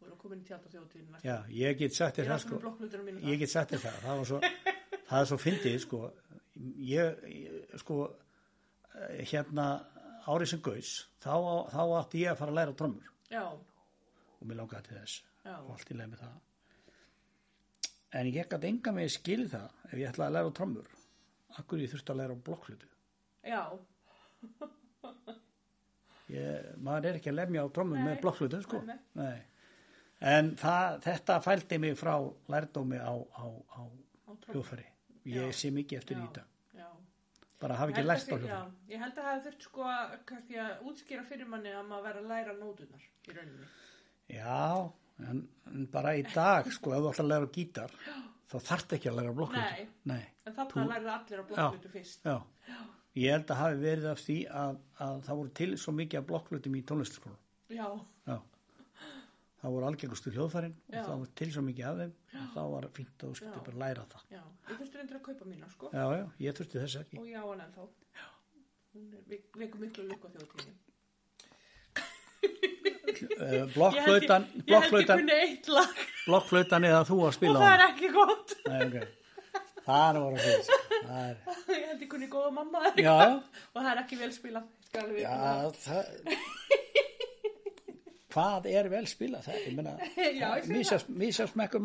A: þú eru að koma inn í tjaldathjóðtíðin næst.
B: já, ég get
A: Ég
B: sagt þér
A: er
B: það
A: alltaf
B: sko
A: með blokkflötuna mínu
B: ég get sagt þér það, það var svo það er svo fyndið sko ég, ég sko eh, hérna árið sem gaus þá, á- þá átti ég að fara að læra á trommur
A: Já,
B: og mér langaði til þess
A: já,
B: og allt í leið með það en ég gæti enga með skil það ef ég ætlaði að læra á trommur akkur ég þurfti að læra á blokklutu
A: já,
B: ég, maður er ekki að lemja á trommur
A: Nei.
B: með blokklutu sko
A: Nei,
B: Nei. en það, þetta fældi mig frá lærdómi á, á, á
A: á trommur.
B: hljófari ég
A: Já.
B: sé mikið eftir því
A: Já.
B: í dag
A: Já.
B: bara hafi ekki
A: Ég held að
B: lært á
A: sé-
B: hljófari
A: Já, ég held að það hefði þurft sko að, kannski að útskýra fyrir manni að maður verið að læra nótunar í rauninni.
B: Já, en, en bara í dag, sko, ef þú ætlar að læra á gítar, þá þarft ekki að læra á blokkflötu.
A: Nei.
B: Nei.
A: En þarna lærið allir að blokkflötu fyrst.
B: já. Ég held að hafi verið af því að, að það voru til svo mikið af blokkflötum í tónlistaskóla.
A: Já,
B: Já. Það voru algengustu hljóðfærin og
A: Já.
B: það voru til svo mikið af þeim og þá var fínt að þú skipti
A: Já.
B: bara að læra það.
A: já. Ég þurfti reyndir að kaupa mína sko
B: Já, já, ég þurfti þess ekki.
A: og ég á hann ennþá. Hún er- ve- vekur miklu lukku á þjóðtíðinni.
B: Eh,
A: Ég held ég, ég
B: Blokkflautan,
A: held ég
B: blokkflautan,
A: kunni eitt lag
B: blokkflautan eða þú að
A: og
B: spila á
A: það er
B: hana.
A: ekki gott.
B: Nei, ok. Það er að vera fyrir þessu. Það er,
A: Ég held ég kunni góða mamma eða
B: já,
A: eitthvað. og það er ekki vel spila. Ég skal alveg
B: já,
A: viðurkenna það.
B: já, það, hvað er vel spilað það? Ég
A: Já, ég segi
B: meina, mísjásmekkur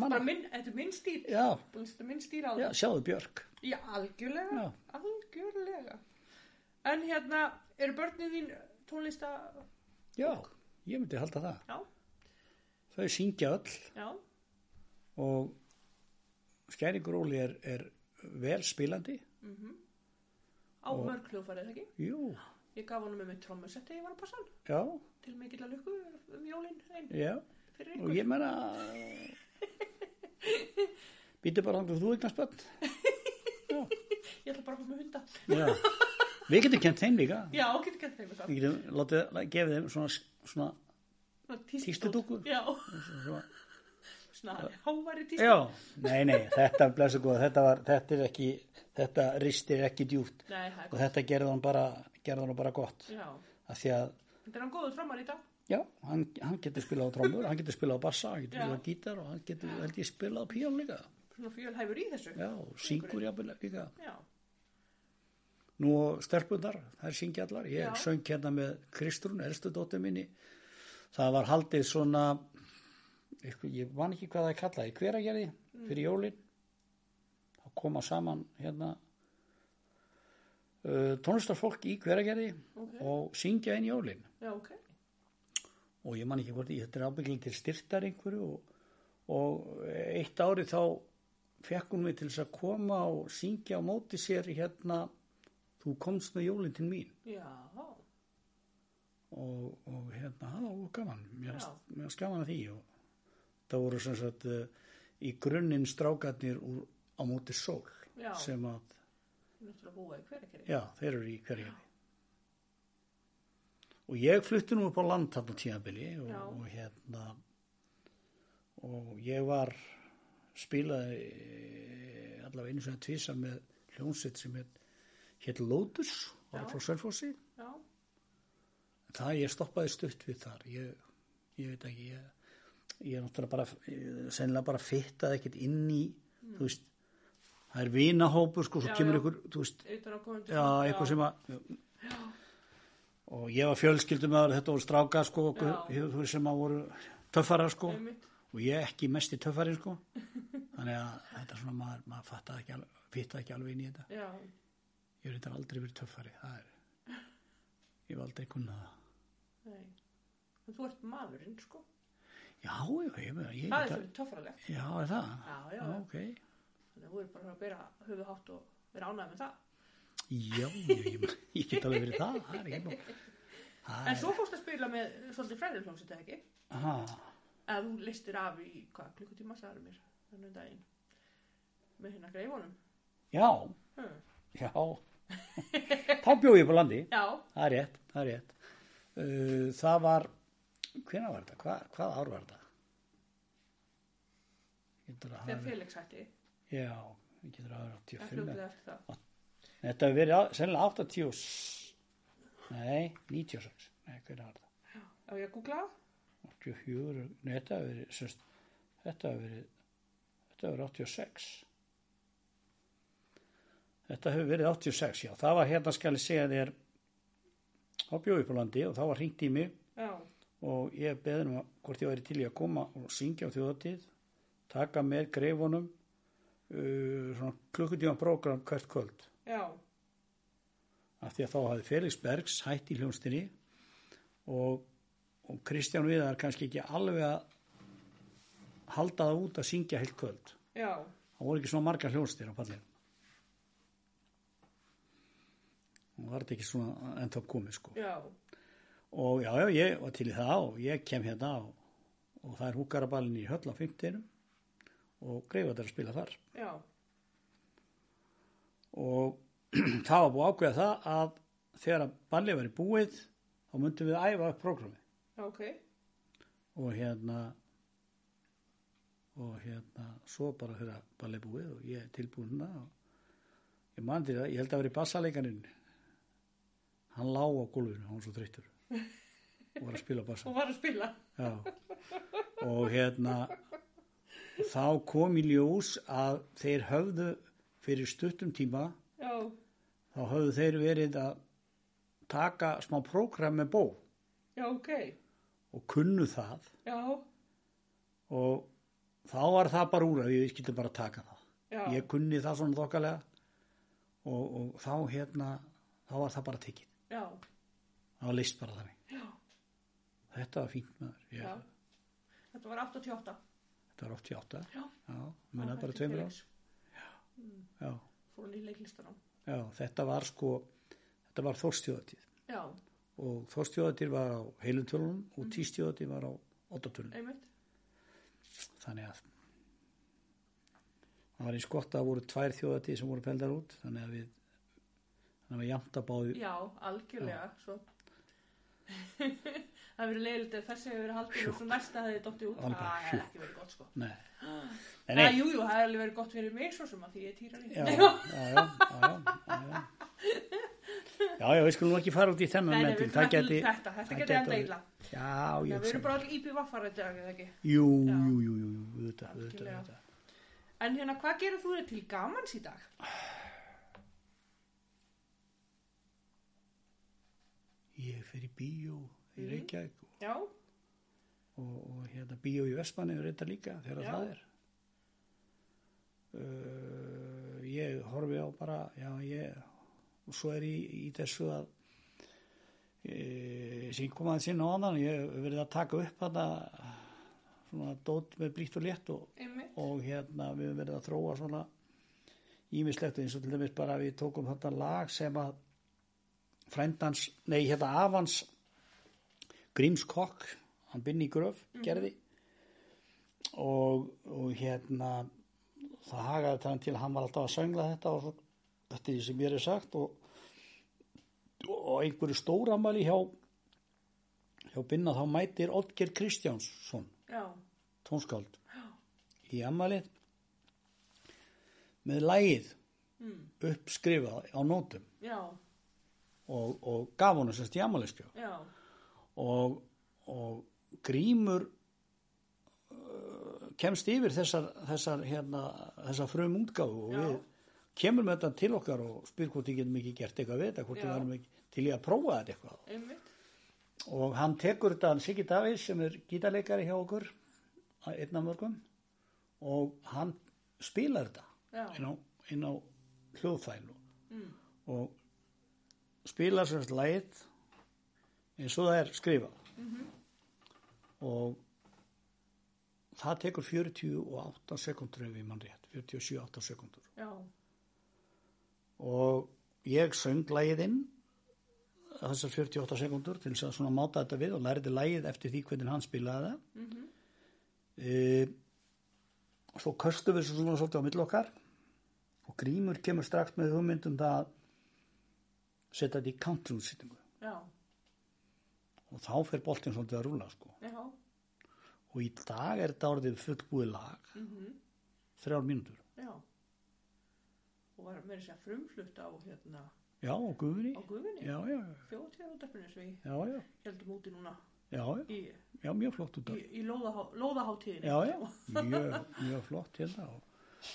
A: Bara
B: manna.
A: minn, þetta er minn stíl.
B: Já,
A: Þetta er minn stíl á
B: já, sjáðu Björk.
A: Já, algjörlega,
B: Já.
A: algjörlega. En hérna, eru börnin þín tónlista,
B: Já, ég myndi halda það.
A: já,
B: Þau syngja öll
A: já,
B: og skæringróli er, er vel spilandi.
A: Mhm. á mörg hljófarið, ekki?
B: Jú,
A: Ég gaf honum með mitt trommusett þegar ég var að passa hann,
B: já,
A: til mikill að lukku um jólinn einn
B: já.
A: fyrir
B: Og
A: ykkur.
B: ég meina, býtu bara þannig að þú eignast börn. Já,
A: Ég ætla bara að fá með hunda.
B: já. Við getum kent þeim líka.
A: Já, getur gett þeim það.
B: Við getum látið, gefið þeim svona, svona, Tístudúkku?
A: Já,
B: svona
A: svona háværi tístu.
B: já, nei, nei, þetta er blessu góð, þetta var, þetta er ekki, þetta ristir ekki djúpt
A: Nei, það er
B: og
A: gott.
B: þetta gerði hann bara, gerði hann bara gott.
A: Já,
B: Af því að,
A: þetta er hann góður framar í dag.
B: já, hann, hann getur spilað á trommur, hann getur spilað á bassa, hann getur
A: Já.
B: spilað á gítar og hann getur, held ég, spilað á píón líka.
A: Svona fjölhæfur í þessu.
B: Já, og syngur jafnvel líka.
A: Já,
B: Nú og stelpundar, þær syngja allar. Ég
A: Já.
B: söng hérna með Kristrún, elstu dóttir minni. Það var haldið svona, eitthvað, ég man ekki hvað það er kallaði, hveragerði
A: Mm.
B: fyrir jólin. Það koma saman hérna uh, tónlistarfólk í hveragerði
A: Ok.
B: og syngja inn jólin.
A: já, ok.
B: Og ég man ekki hvort, ég- þetta er ábyggling til styrtar einhverju og, og eitt ári þá fekk hún mig til þess að koma og syngja á móti sér hérna Þú komst með jólin til mín.
A: Já,
B: og, og hérna, það var gaman mér
A: Já.
B: fannst- mér fannst gaman að því og það voru sem sagt eh, í grunninn strákarnir úr, á móti sól
A: Já.
B: sem að,
A: ég er náttúrulega búið í hverjarkerri.
B: já, þeir eru í hverjarni og ég flutti nú upp á land þarna tíðabili og,
A: Já.
B: og hérna og ég var spilaði eh, allavega einu sem að tvísa með hljónsitt sem hétt hét Lótus var
A: Já.
B: frá Sölfossi
A: Já,
B: Það ég stoppaði stutt við þar. Ég, ég veit ekki, ég, ég er náttúrulega bara, ég- sennilega bara fittað ekkert inn í, þú veist, það er vinahópur, sko, svo
A: Mm. Já,
B: kemur
A: já.
B: ykkur, þú veist,
A: auðvitað á komum
B: já, eitthvað sem að, og ég var fjölskyldumöður, þetta voru strákar, sko, okkur,
A: Já.
B: þú veist, sem að voru töffarar, sko,
A: Einmitt.
B: og ég ekki mest í töffarin, sko, þannig að þetta er svona, maður, maður fattaði ekki alveg, fittaði ekki alveg inn í þetta.
A: Já,
B: Ég er þetta aldrei verið töffari, það er, ég var aldrei kunnað það.
A: nei. En þú ert maðurinn, sko.
B: Já, já, ég meina,
A: Það
B: ég
A: er
B: þetta-
A: svolítið töffralegt.
B: Já, er það?
A: Já, já.
B: ok.
A: Þannig að þú eru bara að bera höfu hátt og vera ánægð með það.
B: Já, ég, ég, ég get alveg verið það, það er ekki mál. Það
A: En
B: er,
A: svo fórst að spila með eh, svolítið fræðirhljómsið, ekki?
B: ha,
A: Að þú listir af í, hvað, klukkutíma sagður mér þannig daginn. Með hérna greifunum.
B: já,
A: Hm.
B: já, þá bjóð ég upp á landi,
A: Já,
B: það er rétt, það er rétt. Uh, það var, hvenær var þetta, Hva, hvað ár var þetta? Getur að
A: þegar
B: hafa,
A: Felix hætti.
B: já, getur að hafa
A: Það
B: 85.
A: fljóðið eftir það.
B: Þetta hefur verið á- sennilega 80, s- nei, 96, nei, hvernig var þetta?
A: Á ég að googla það?
B: 84, nei þetta hefur verið semst, þetta hefur verið þetta hefur verið 86 þetta hefur verið 86 já, það var hérna skal ég segja þér þá bjóði upp á landi og þá var hringt í mig
A: Já,
B: og ég beði nú að- hvort ég væri til í að koma og syngja á þjóðatíð taka með greifunum uh, svona klukkutíma prógram hvert kvöld
A: já,
B: af því að þá hafði Felix Bergs hætt í hljónstinni og, og Kristján Viðar kannski ekki alveg að halda það út að syngja heilt kvöld.
A: já,
B: Það voru ekki svona margar hljónstir á pallinu. Það var þetta ekki svona ennþá komið sko.
A: já,
B: Og já, já, ég var til í það og ég kem hérna og, og það er húkarabalinn í höll á 15 og greifat er að spila þar.
A: já,
B: og það var búið að ákveða það að þegar að ballið væri búið þá myndum við að æfa upp prógrami
A: já, ok.
B: og hérna og hérna svo bara þegar að ballið er búið og ég er tilbúin hérna og ég man til það, ég held að vera í bassaleikanin hann lá á gólfinu, hann var svo þreyttur og var að spila á bassa
A: og var að spila.
B: Já. og hérna þá kom í ljós að þeir höfðu fyrir stuttum tíma
A: Já,
B: þá höfðu þeir verið að taka smá prógram með bó
A: já, ok.
B: og kunnu það
A: Já,
B: og þá var það bara úr að ég skildi bara taka það
A: já.
B: ég kunni það svona þokkalega og, og þá hérna þá var það bara tekið
A: Já,
B: það var list bara þannig
A: já,
B: þetta var fínt maður
A: já.
B: ég,
A: Þetta var 88.
B: þetta var 88
A: Já.
B: já, munaði bara tveimur ár já,
A: Fór hann í leiklistanum.
B: já, þetta var sko þetta var þorstjóðatíð
A: Já,
B: og þorstjóðatíð var á heilum tölunum
A: Mm.
B: og tístjóðatíð var á ottatölunum
A: einmitt.
B: þannig að það var eins gott að það voru tvær þjóðatíð sem voru feldar út þannig að við þannig að við jæmt að báðu
A: Já, algjörlega. Svo. það hefur verið leiðilegt ef þessi hefur verið haldið og svo næsta hefði dottið út.
B: Alveg bara,
A: Það hefði ekki verið gott sko.
B: nei,
A: Nei,
B: Nei, nei.
A: jú, jú, það hefði alveg verið gott fyrir mig svo sem að því ég týra líka.
B: já, já, já, já, já, já. Já, já, við skulum ekki fara út í þennan
A: Nei, nei,
B: mentil,
A: við
B: það
A: förum
B: geti...
A: ekki til þetta, þetta
B: það
A: geti enda
B: orðið-
A: illa.
B: Já,
A: Nei,
B: ég
A: við erum
B: hugsa um-
A: bara allir íbjöð vaffar þetta, er það ekki?
B: Jú,
A: Já.
B: jú, jú, jú, jú, auðvitað, auðvitað,
A: Algjörlega.
B: auðvitað.
A: En hérna, hvað gerir þú þér til gamans í dag?
B: Ég fer í bíó í
A: Mhm.
B: Reykjavík og,
A: Já,
B: og, og hérna bíó í Vestmanni er þetta líka þegar
A: Já.
B: það er. Uh, ég horfi á bara, já, ég, og svo er ég í þessu að, e, sem ég kom aðeins inn á annan, ég hef verið að taka upp þetta svona dót með blítt og létt og,
A: einmitt.
B: og hérna við höfum verið að þróa svona ímislegt eins og til dæmis bara við tókum þetta lag sem að frændans, nei hérna afans Gríms Kokk hann binni í gröf, gerði og, og hérna það hagaði þannig til að hann var alltaf að söngla þetta og svo, þetta er því sem mér er sagt og, og einhverju stóramæli hjá hjá binna þá mætir Oddger Kristjánsson
A: Já,
B: tónskáld í ammalið með lægið
A: mm.
B: uppskrifað á nótum
A: já,
B: og, og gaf honum sérst í ammaliðskjó
A: já,
B: og, og grímur uh, kemst yfir þessar, þessar, hérna, þessar frum útgáfu og
A: Já.
B: við kemur með þetta til okkar og spyr hvort ég getum ekki gert eitthvað við þetta, hvort
A: Já.
B: ég varum ekki til ég að prófa þetta eitthvað
A: einmitt.
B: og hann tekur þetta hann Siggi Davís sem er gítarleikari hjá okkur einn af mörgum og hann spilar
A: Já.
B: þetta inn á, inn á hljóðfælu
A: Mm.
B: og spilar sérst lægit eins og það er skrifað
A: Mhm.
B: og það tekur 48 sekundur ef ég mann rétt 47-8 sekundur
A: Já,
B: og ég söng lægið inn þessar 48 sekundur til þess að svona máta þetta við og læriði lægið eftir því hvernig hann spilaði það
A: mhm,
B: mm svo köstum við svo svona svolítið á milli okkar og Grímur kemur strax með hugmyndum það að setja þetta í countrúsýtingu
A: já,
B: og þá fer boltinn svolítið að rúla sko
A: já,
B: og í dag er þetta orðið fullbúið lag þrjár mínútur
A: mhm, já. Og var meira að segja frumflutt á hérna,
B: já og guðinni
A: á guðinni.
B: já já
A: Þjóðtíðar sem við
B: já já,
A: heldum úti núna
B: já, já.
A: í,
B: já mjög flott út af
A: í, í lóðahá, lóðaháttíðinni.
B: já, já, mjög, mjög flott hérna og-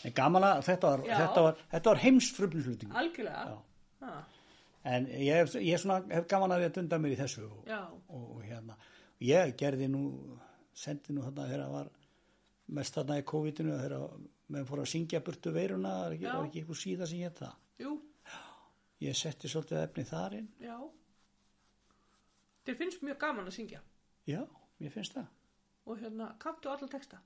B: en gaman að þetta var,
A: Já.
B: þetta var, þetta var heimsfrumflutning
A: Algjörlega.
B: Já.
A: Já.
B: en ég, hef- ég svona, hef gaman að ég dunda mér í þessu og,
A: já,
B: og, og hérna ég gerði nú, sendi nú þarna þegar var mest þarna í COVID-inu þegar meðan fór að syngja burtu veiruna það er ekki,
A: Já.
B: var ekki eitthvað síða sem ég það
A: jú,
B: ég setti svolítið efni þar inn
A: já. Þér finnst mjög gaman að syngja.
B: já, mér finnst það
A: Og hérna, kanntu alla texta?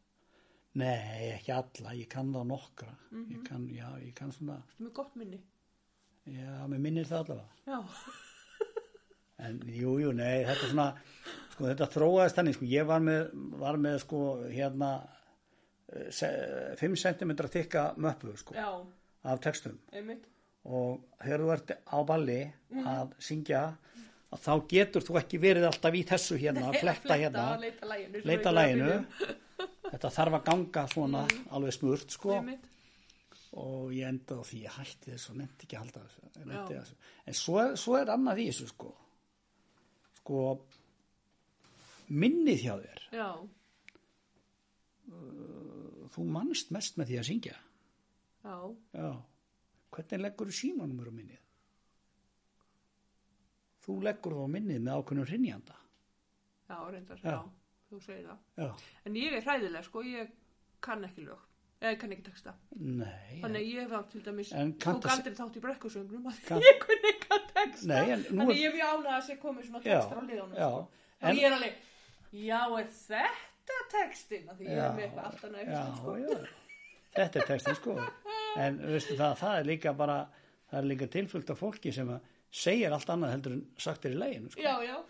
B: nei, ekki alla, ég kann það nokkra
A: Mhm.
B: ég, kann, já, ég kann svona
A: Ertu með gott minni?
B: já, mér minnir það allavega
A: Já,
B: En jú, jú, nei, þetta er svona, sko, þetta þróaðist þannig, sko, ég var með, var með, sko, hérna, eh, 5 cm þykka möppu, sko,
A: já,
B: af textum
A: einmitt.
B: og þegar þú ert á balli að syngja, að þá getur þú ekki verið alltaf í þessu hérna, að fletta hérna,
A: leita læginu.
B: leita læginu,
A: um.
B: þetta þarf að ganga svona alveg smurt, sko,
A: Einmitt,
B: og ég enda á því, ég hætti þessu, nefndi ekki að halda þessu, ég nennti þessu. en svo, svo er annað í þessu sko sko minnið hjá þér
A: já,
B: þú mannst mest með því að syngja
A: já,
B: já. hvernig leggur þú símanumur á minnið þú leggur þú á minnið með ákveðnum hrinnjanda
A: já, reyndar, já.
B: Já.
A: þú segir það.
B: já,
A: En ég er hræðilega, sko, ég kann ekki lög, eða ég kann ekki texta.
B: nei
A: Þannig að ég hef það til dæmis,
B: En
A: tók
B: kanntu-
A: aldrei þátt í brekkusöngrum að
B: Kann-
A: ég kunni kann texta.
B: Nei, en nú
A: Þannig
B: er-
A: ég er mjög ánægð að sé komið svona
B: já,
A: textar á liðanum.
B: já,
A: En
B: en,
A: ég er alveg, já, er þetta textin? Af Því ég
B: Já,
A: er með eitthvað allt annað í
B: já,
A: hausnum, sko.
B: já. þetta er textin sko en veistu það, það er líka bara það er líka tilfullt af fólki sem að segir allt annað heldur en sagt er í læginu sko.
A: Já, já,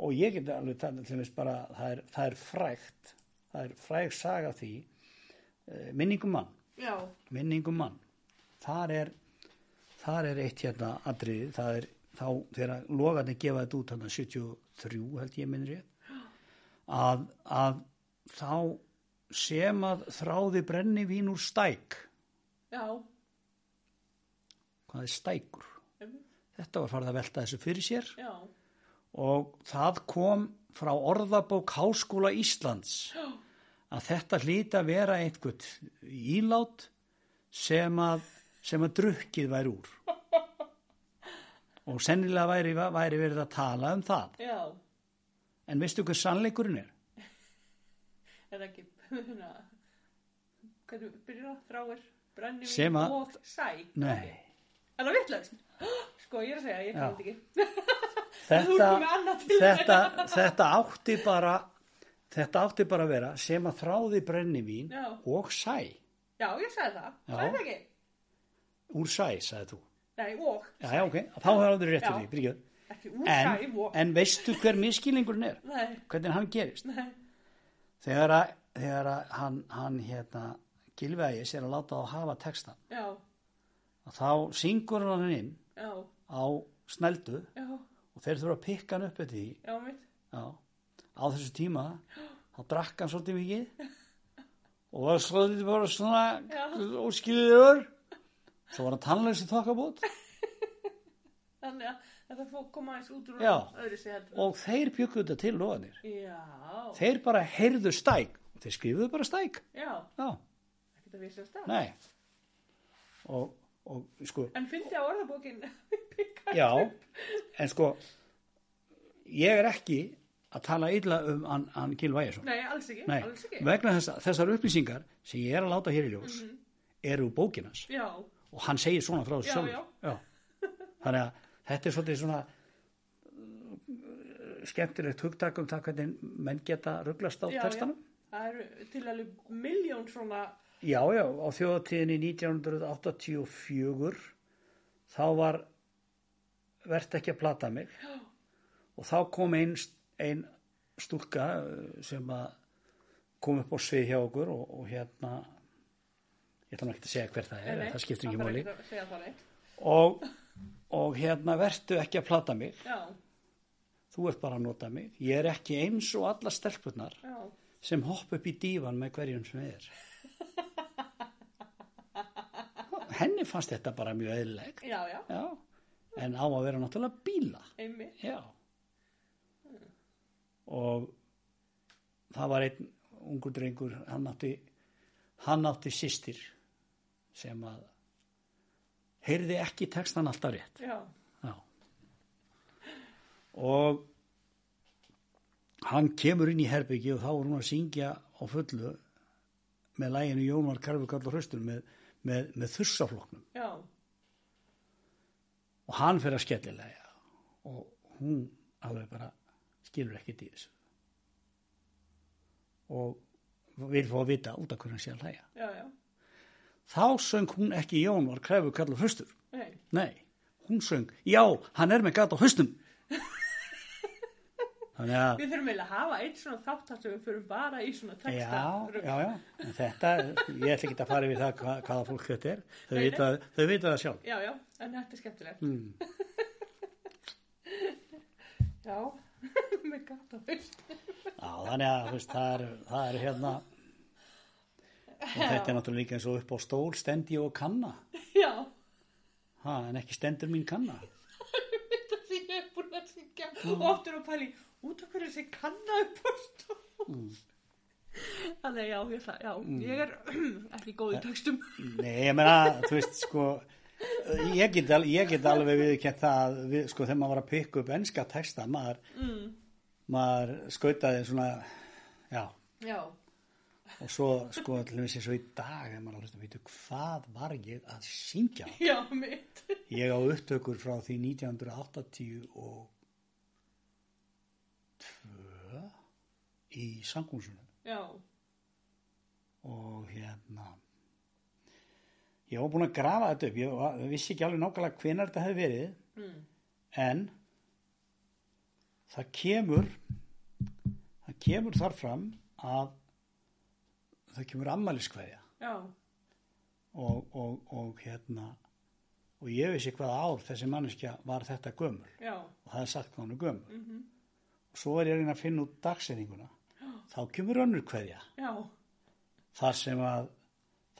B: og ég get alveg talað um, til þess bara það er, það er frægt það er fræg saga af því eh, minningum mann
A: já,
B: minningum um mann þar er, þar er eitt hérna atriði, það er þá þegar logarnir gefa þetta út hann 73 held ég minnir ég að, að þá sem að þráði brenni vín úr stæk
A: já,
B: hvað er stækur
A: einmitt,
B: þetta var farið að velta þessu fyrir sér
A: já,
B: og það kom frá orðabók Háskóla Íslands
A: já,
B: að þetta hlýta að vera einhvern ílát sem að, sem að drukkið væri úr og sennilega væri, væri verið að tala um það
A: já,
B: en veistu hvað sannleikurinn er?
A: er ekki, hérna, hvernig byrjar það, þráir,
B: Sem
A: brennivín
B: að-
A: og sæk.
B: Nei,
A: Er það vittlaust? Sko, ég er að segja, ég
B: Já.
A: kann þetta ekki. Þú
B: þetta,
A: ert með annað til
B: þetta, þetta átti bara þetta átti bara að vera sem að þráði brennivín
A: Já.
B: og sæ
A: Já, ég sagði það,
B: Já.
A: sagði það ekki.
B: úr sæ, sagði þú
A: Nei, og,
B: Já, já, ok, þá hefur þú rétt
A: Já.
B: fyrir því, byrjuð
A: ekki úr sæ,
B: en,
A: og.
B: en veistu hver miskilningurinn er?
A: Nei,
B: Hvernig hann gerist?
A: nei,
B: þegar að, þegar að hann, hann hérna, gilvægis er að láta á hafa textan
A: já,
B: að þá syngur hann hann inn
A: já,
B: á snældu
A: já,
B: og þeir þurfa að pikka hann upp eftir því
A: já, mitt,
B: já, á þessu tíma þá drakk hann svolítið mikið og var svolítið bara svona
A: Já.
B: óskilur svo var hann tannlegs í þokkabót
A: þannig að þetta fór koma aðeins út úr
B: Já.
A: öðru sér heldur.
B: og þeir byggu þetta til loðanir
A: Já,
B: þeir bara heyrðu stæk og þeir skrifuðu bara stæk
A: já,
B: já,
A: ekki það vissast það.
B: nei og, og sko
A: En fyndi á orðabókin
B: Já, en sko ég er ekki að tala illa um hann, hann Gil Væjason
A: Nei, alls ekki,
B: Nei,
A: alls ekki.
B: vegna þess, þessar upplýsingar sem ég er að láta hér í ljós eru úr bókinans
A: Já,
B: og hann segir svona frá þessu
A: Já,
B: sjálfur
A: já.
B: Þannig að þetta er svolítið svona uh, skemmtilegt hugtak um það hvernig menn geta ruglast á
A: já,
B: textanum
A: já. Það eru til alveg miljón svona,
B: Já, já, á þjóðatíðinni 1984 þá var verðt ekki að plata mig og þá kom ein, ein stúlka eh, sem að kom upp á svið hjá okkur og, og hérna ég ætla nú ekki að segja hver það er,
A: Nei,
B: það skiptir
A: þarf
B: ekki máli
A: að segja það neitt.
B: og, og hérna verðtu ekki að plata mig
A: Já,
B: þú ert bara að nota mig, ég er ekki eins og alla stelpurnar
A: já,
B: sem hoppa upp í dívan með hverjum sem er henni fannst þetta bara mjög eðlilegt
A: já, já,
B: já, en á að vera náttúrulega bíla
A: einmitt.
B: já og það var einn ungur drengur hann átti, hann átti sýstir sem að heyrði ekki textan alltaf rétt
A: Já,
B: Já. Og hann kemur inn í herbyggi og þá er hún að syngja á fullu með læginu Jónvar Karfukall og Hraustur með, með, með þursafloknum
A: já,
B: og hann fer að skellilega og hún alveg bara skilur ekkert í þessu og vil fá að vita út af hvernig hann sé að læga.
A: já, já,
B: Þá söng hún ekki Jónvar Karfukall og Hraustur.
A: nei,
B: Nei, hún söng, já, hann er með gata á haustum. Þannig að,
A: Við þurfum eiginlega að hafa eitt svona þátt þar sem við förum bara í svona
B: já,
A: texta.
B: já, já, en þetta, ég ætla ekki að fara við það hva, hvaða fólk þetta er.
A: Nei,
B: Þau
A: nei.
B: vita, þau vita það sjálf. Mm.
A: Já, já, en þetta er skemmtilegt. já, með gata veist.
B: Já, þannig að, þú veist, það er, það er hérna, og þetta er náttúrulega líka eins og upp á stól, stend ég og kanna.
A: Já,
B: Ha, en ekki stendur mín kanna.
A: þetta sem ég er búin að syngja og oftur að pæli, út af hverju þið kannaðu posthús þannig að já, ég, ætla- já ég er ekki góð í textum
B: Nei, ég meina, þú veist, sko, ég get, al- ég get alveg viðkjönt það, að við, sko, þegar maður var að pikka upp enska texta, maður, mm. maður skautaði svona, já,
A: já,
B: og svo, sko, til þess að svo í dag, þegar maður hlustum, veitu, hvað var ég að syngja?
A: já, mitt
B: Ég á upptökur frá því 1980 og tvö í sangúsunum
A: já,
B: og hérna ég var búinn að grafa þetta upp ég var, vissi ekki alveg nákvæmlega hvenar þetta hefði verið
A: mm.
B: en það kemur það kemur þar fram að það kemur ammæliskveðja
A: já,
B: og, og, og hérna og ég vissi hvaða ár þessi manneskja var þetta gömul
A: já
B: og það er sagt hvað hún er gömul
A: mm
B: og svo er ég að reyna að finna út dagsetninguna þá kemur önnur kveðja
A: já,
B: þar sem að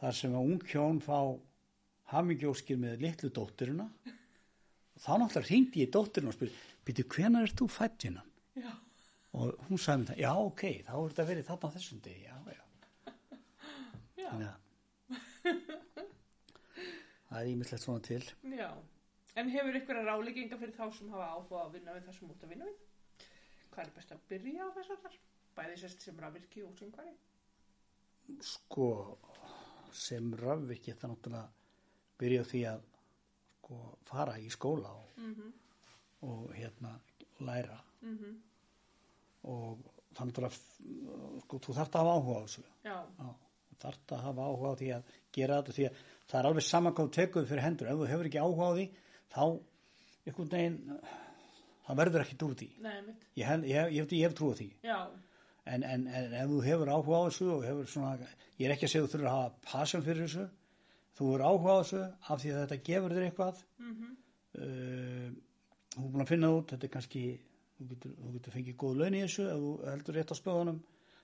B: þar sem að ung hjón fá hamingjóskir með litlu dótturina og þá náttúrulega hringdi ég dótturina og spyrir, býtu hvenær ert þú fætt hérna
A: já,
B: og hún sagði mér það, já ok þá er þetta verið þarna á þessum degi já, já.
A: já,
B: Þannig að- það er ímislegt svona til
A: já en hefur ykkur að ráleikinga fyrir þá sem hafa áhuga á að vinna við það sem út að vinna við hvað er best að byrja á þess að þar bæði sérst sem rafvirki og syngvari
B: sko sem rafviki það náttúrulega byrja á því að sko, fara í skóla og,
A: Mhm,
B: og hérna læra
A: mm -hmm.
B: og þannig að sko, þú þarft að hafa áhuga á þessu
A: já,
B: Já, þú þarft að hafa áhuga á því að gera þetta því að það er alveg saman hvað þú tekuð fyrir hendur ef þú hefur ekki áhuga á því þá einhvern veginn uh, það verður ekki úr því
A: nei, mitt
B: ég hef, ég hef, ég hef, ég hef trúið því
A: já,
B: en, en, en ef þú hefur áhuga á þessu og hefur svona, ég er ekki að segja að þú þurfur að hafa passion fyrir þessu þú hefur áhuga á þessu af því að þetta gefur þér eitthvað
A: mm
B: uh, þú er búin að finna það út þetta er kannski, þú getur, þú getur fengið góð laun í þessu ef þú heldur rétt á spöðunum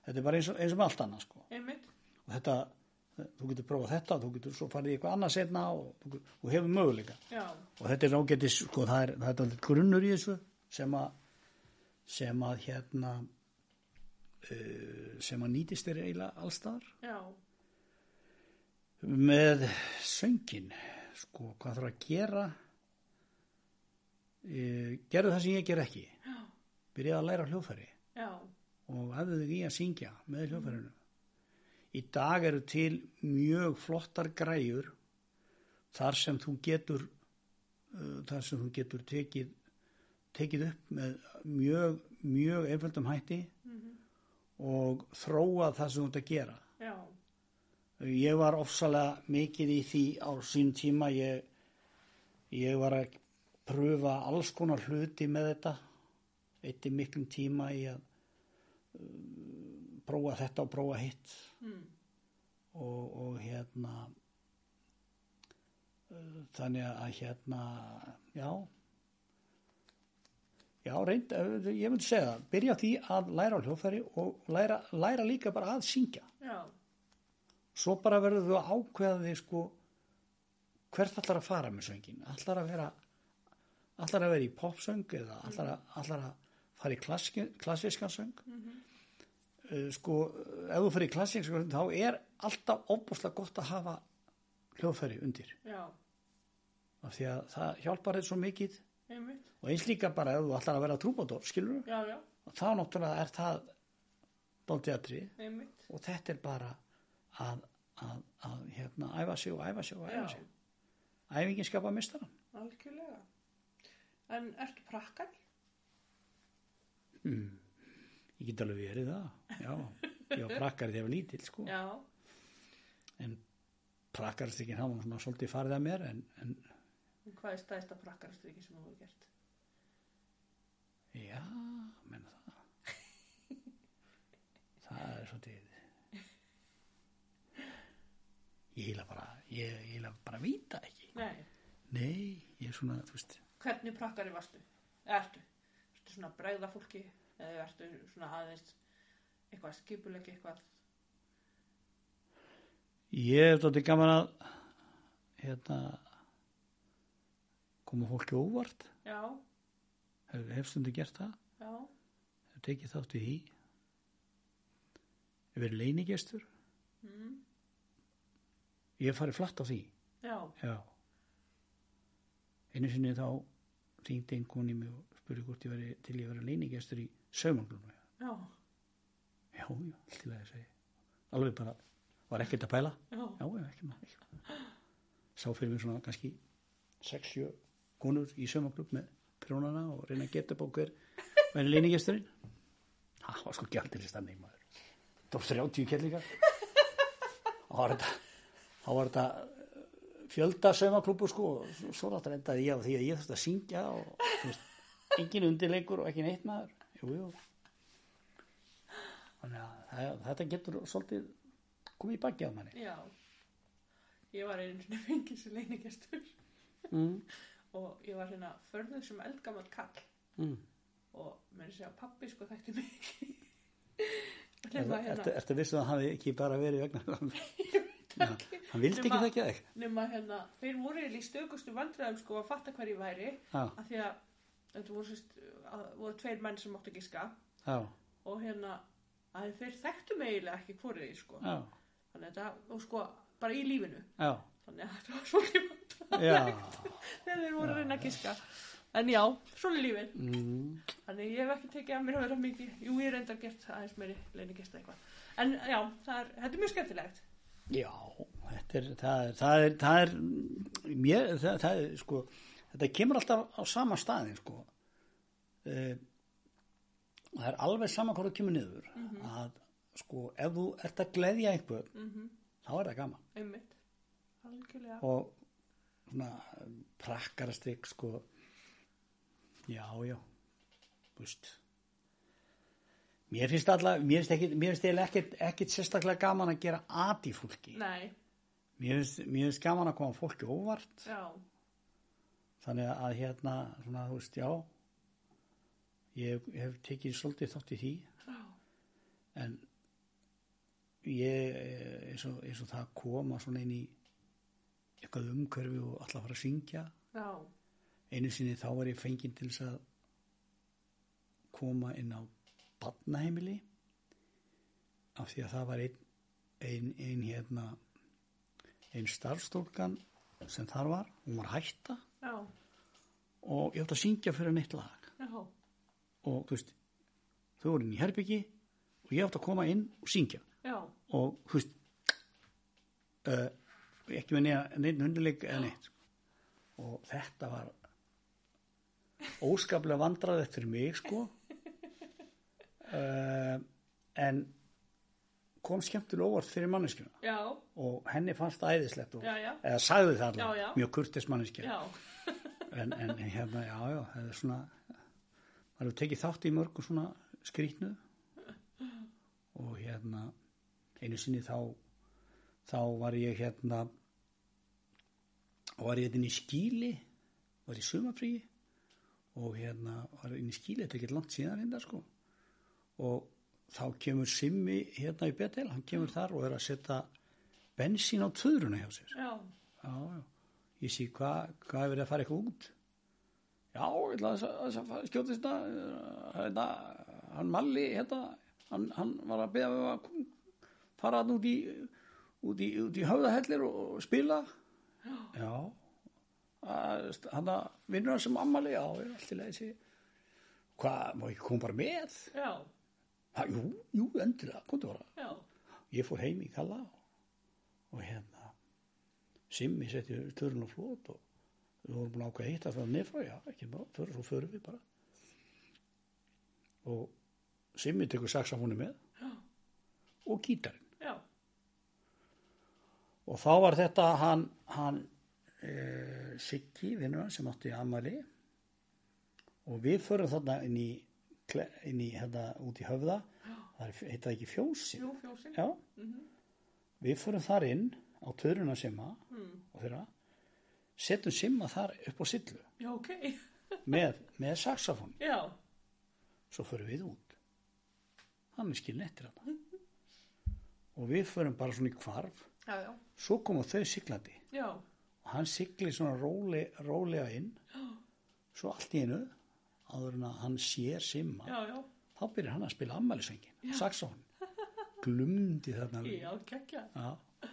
B: þetta er bara eins og, eins og með allt annað sko.
A: einmitt
B: og þetta, þú getur prófað þetta þú getur svo farið í eitthvað annað setna og, þú getur- og hefur möguleika
A: já,
B: og þetta er ágætis, sko, það er, það er dálítið grunnur í þessu sem að sem að hérna uh, sem að nýtist þér eiginlega allstaðar
A: já,
B: með söngin sko, hvað þarf að gera e, gerðu það sem ég ger ekki
A: Já.
B: byrjaði að læra á hljóðfæri
A: já,
B: og hefðu þig í að syngja með hljóðfærinu í dag eru til mjög flottar græjur þar sem þú getur uh, þar sem þú getur tekið tekið upp með mjög, mjög einföldum hætti og þróa það sem þú ert að gera
A: já,
B: Ég var ofsalega mikið í því á sín tíma, ég, ég var að pröfa alls konar hluti með þetta, eitt í miklum tíma í að um, prófa þetta og prófa hitt
A: mm.
B: og, og hérna, uh, þannig að hérna, já, já, reynd, eh, ég vil segja það, byrja á því að læra á hljóðfæri og læra, læra líka bara að syngja
A: já,
B: svo bara verður þú að ákveða þig sko hvert allar að fara með söngin allar að vera allar að vera í popsöng eða allar að, allar að fara í klaski, klassískan söng mm sko ef þú fyrir í klassískan söng þá er alltaf opbúslega gott að hafa hljóðfæri undir
A: já,
B: af því að það hjálpar þér svo mikið
A: einmitt
B: og eins líka bara ef þú allar að vera trúbátor skilur
A: já, já,
B: þá náttúrulega er það dálítið atrið
A: einmitt
B: og þetta er bara að, að, að hérna, æfa sig og æfa sig og æfa
A: já,
B: sig æfingin skapa mistaran
A: algjörlega en ertu prakkar?
B: ég get alveg verið það já, ég var prakkari þegar ég var lítill sko.
A: já,
B: en prakkarstykkin hafa nú svona svolítið farið að mér en, en
A: en hvað er stæðsta prakkarstryki sem þú hefur gert?
B: já, menna það það er svolítið ég heila bara ég heila bara vita ekki
A: nei,
B: nei, ég er svona, þú veist
A: hvernig prakkari varstu? ertu? ertu svona að bregða fólki? eða ertu svona aðeins eitthvað skipulegi eitthvað?
B: Ég er þátti gaman að hérna koma fólki á óvart
A: já,
B: hefur hefstundi gert það
A: já,
B: tekið þátt í því ég verið leinigestur ég hef farið flatt á því
A: Hmm. Já,
B: já einu sinni þá ringdi einhvern í mig og spurði hvort ég veri til ég verið leinigestur í sömanglunum
A: já,
B: já, já, allt í lagi segi ég. alveg bara, var ekkert að pæla
A: já,
B: já, já, ekki maður ekki. sá fyrir mér svona kannski 6-7 konur í sömaklub með prjónana og reyna að geta upp á hver með leiningesturinn það var sko gjaldir í stannig maður tók 30 kellingar þá var þetta þá var þetta eh, fjölda sömaklubur sko og svo- svo náttúrulega endaði ég á því að ég þurfti að syngja og þú veist, engin undirleikur og ekki neitt maður jú, jú þannig að það- þetta getur svolítið komið í bakið á manni
A: já. Ég var einu sinni fengið sem leinigestur
B: mm.
A: og ég var hérna förðuð sem eldgammal kall
B: Mm.
A: og mér er að segja pappi sko þekkti mig ekki.
B: Ertu,
A: Nema
B: ertu,
A: hérna,
B: ertu vissu að hann hafi ekki bara verið vegna hann vildi ekki
A: Nema-
B: þekkja þig
A: nema hérna, þeir voru eiginlega í stökustu vandræðum sko að fatta hver ég væri
B: já,
A: af því að þetta voru, sérst, að, voru tveir menn sem máttu giska
B: já,
A: og hérna að þeir þekktu mig eiginlega ekki hvorið því sko
B: já,
A: þannig að þetta, og sko bara í lífinu
B: já,
A: þannig að þetta var svolítið
B: já.
A: þegar þeir voru að reyna að giska en já, svona er lífið
B: Mm.
A: Þannig ég hef ekki tekið að mér að vera mikið, jú ég er reyndar gert aðeins meiri leinigesta eitthvað. En já, það er, þetta er mjög skemmtilegt.
B: já þetta er það er, það er, það er mér, það, það er sko þetta kemur alltaf á sama staðin sko Eh, það er alveg sama hvort það kemur niður að sko ef þú ert að gleðja einhver
A: Mm -hmm.
B: þá er það gaman
A: Einmitt. Algjörlega.
B: og svona prakkarastrygg sko já, já búst mér finnst alltaf, mér finnst ekkit, mér finnst eiginlega ekkit, ekkit sérstaklega gaman að gera at í fólki
A: Nei,
B: mér finnst, mér finnst gaman að koma fólki óvart
A: já,
B: þannig að hérna, svona þú veist, já ég hef, hef tekið svolítið þátt í því
A: já,
B: en ég eh, eins og, eins og það að koma svona inn í eitthvað umhverfi og alltaf að fara að syngja
A: já,
B: einu sinni þá var ég fenginn til þess að koma inn á badnaheimili af því að það var einn ein, ein hérna ein starfstólkan sem þar var, hún var að hætta
A: já,
B: og ég átti að syngja fyrir hann eitt lag
A: já,
B: og þú veist, þau voru inn í herbyggi og ég átti að koma inn og syngja
A: já,
B: og þú veist uh, ekki með neina- neinn hundileik eða neitt sko. og þetta var óskaplega vandraðið fyrir mig sko uh, en kom skemmtilega óvart fyrir manneskjuna
A: já,
B: og henni fannst það æðislegt og,
A: já, já,
B: eða sagði það allavega,
A: Já, já.
B: mjög kurtis manneskja
A: já,
B: en, en hérna, já, já, það er svona maður hefur tekið þátt í mörgu svona skrýtnu og hérna einu sinni þá þá var ég hérna var ég hérna inn í skíli var í sumafríi og hérna var inn í skíli þetta er ekki langt síðan hérna sko og þá kemur Simmi hérna í Betel, hann kemur þar og er að setja bensín á töðruna hjá sér
A: já,
B: Já, já. Ég sé hvað hva er verið að fara eitthvað út? Já, ég ætla að, að, að, að skjóta þetta, þetta, hann Malli, hérna, hann, hann var að beða við að kom- fara hann út í, út í, út í höfðahellir og, og spila. Já. Að- Hann að vinnur hann sem ammali, já, ég er allt í leiði sér. Hvað, má ég koma bara með?
A: já,
B: Ha, jú, jú, endilega, komdu bara
A: já,
B: ég fór heim í kalla og hérna Simmi setti törun á flót og við vorum búin að ákveða að hitta það nefra, já, ekki bara, fyrir, svo förum við bara og Simmi tekur saxafónu með og gítarinn
A: já,
B: og þá var þetta hann, hann e, Siggi, vinnur hann sem átti ammali og við förum þarna inn í, kle- inn í hérna, út í höfða það er- heita það ekki fjósi
A: jú, fjósin,
B: já
A: Mhm.
B: við förum þar inn á töruna simma
A: Mm.
B: og þeirra setjum simma þar upp á sillu
A: já, ok,
B: með, með saxofón
A: já,
B: svo förum við út hann er skilin eftir hann og við förum bara svona í kvarf
A: já, já,
B: svo koma þau siglandi
A: já,
B: og hann sigli svona róli, rólega inn svo allt í einu áður en að hann sér simma
A: já, já,
B: þá þá byrjar hann að spila ammælisöngin saxón glumdi þarna alveg.
A: Já, kekja.
B: Já.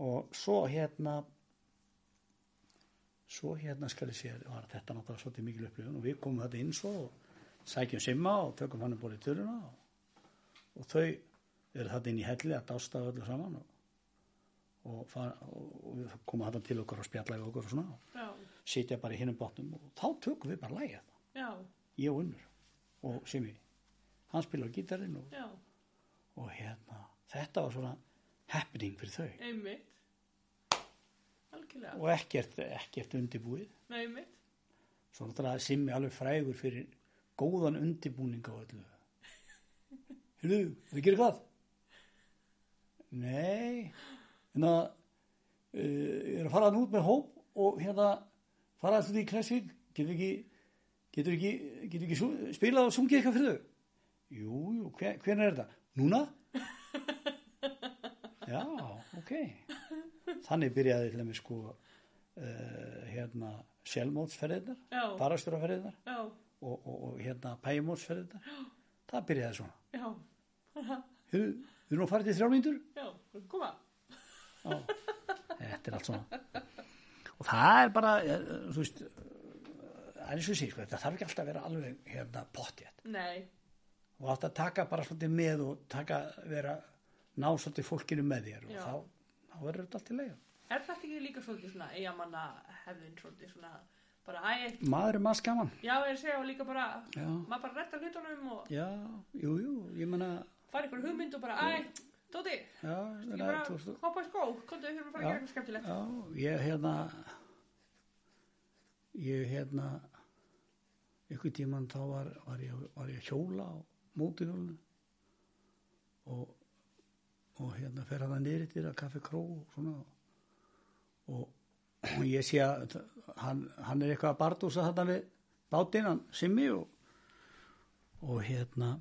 B: og svo hérna svo hérna skal ég sé var þetta náttúrulega svolítið mikil upplifun og við komum þetta inn svo og sækjum simma og tökum hann um borðið töruna og, og þau eru þetta inn í helli að dásta öllu saman og, og, fara, og, og við komum þetta til okkur og spjalla við okkur og svona og
A: Já,
B: sitja bara í hinnum botnum og þá tökum við bara lægið
A: já,
B: ég og unnur og simmi hann spilar á gítarinn og,
A: já,
B: og hérna þetta var svona happening fyrir þau
A: einmitt. Algjörlega,
B: og ekkert, ekkert undirbúið
A: nei, einmitt.
B: svo náttúrulega er Simmi alveg frægur fyrir góðan undirbúning á öllu Hérðu, það gerir hvað? Nei hérna uh, ég er að fara hann út með hóp og hérna fara hann út í klassík getur ekki getur ekki, getur ekki sú, spilað og sungið eitthvað fyrir þau Jú, jú, hver, hvernig er þetta? Núna? Já, ok Þannig byrjaði til þeim sko uh, hérna sjálfmótsferðirnar
A: Já,
B: barasturaferðinar
A: já,
B: og, og, og hérna pæjumótsferðinar það byrjaði svona
A: já,
B: Heyrðu, við erum að fara til þrjá mínútur
A: já, koma.
B: Já. þetta er allt svona og það er bara eh, þú veist eh, það er eins og sé, sko, þetta þarf ekki alltaf að vera alveg hérna pottjætt
A: Nei,
B: og alltaf taka bara svolítið með og taka, vera, ná svolítið fólkinu með þér og
A: Já.
B: þá, þá verður þetta allt í leið
A: er þetta ekki líka svolítið svona eigamanna hefðin svolítið svona bara æg,
B: maður er maður skaman
A: já, ég er að segja og líka bara,
B: Já.
A: maður bara rettar hlutunum og
B: já, jú, jú, ég menna
A: fara ykkur hugmynd og bara æg, Dóti,
B: já,
A: ég
B: meina,
A: bara
B: þú veist,
A: hoppa í skó, komdu við höfum að fara að
B: Já.
A: gera eitthvað skemmtilegt.
B: Já, ég hérna ég hérna einhvern tímann þá var, var, ég, var ég að hjóla á mótuhjólinu og, og hérna fer hann að nýri til að kaffi kró og svona og, og ég sé að hann, hann er eitthvað að bardúsa þetta við bátinn, hann simmi og, og hérna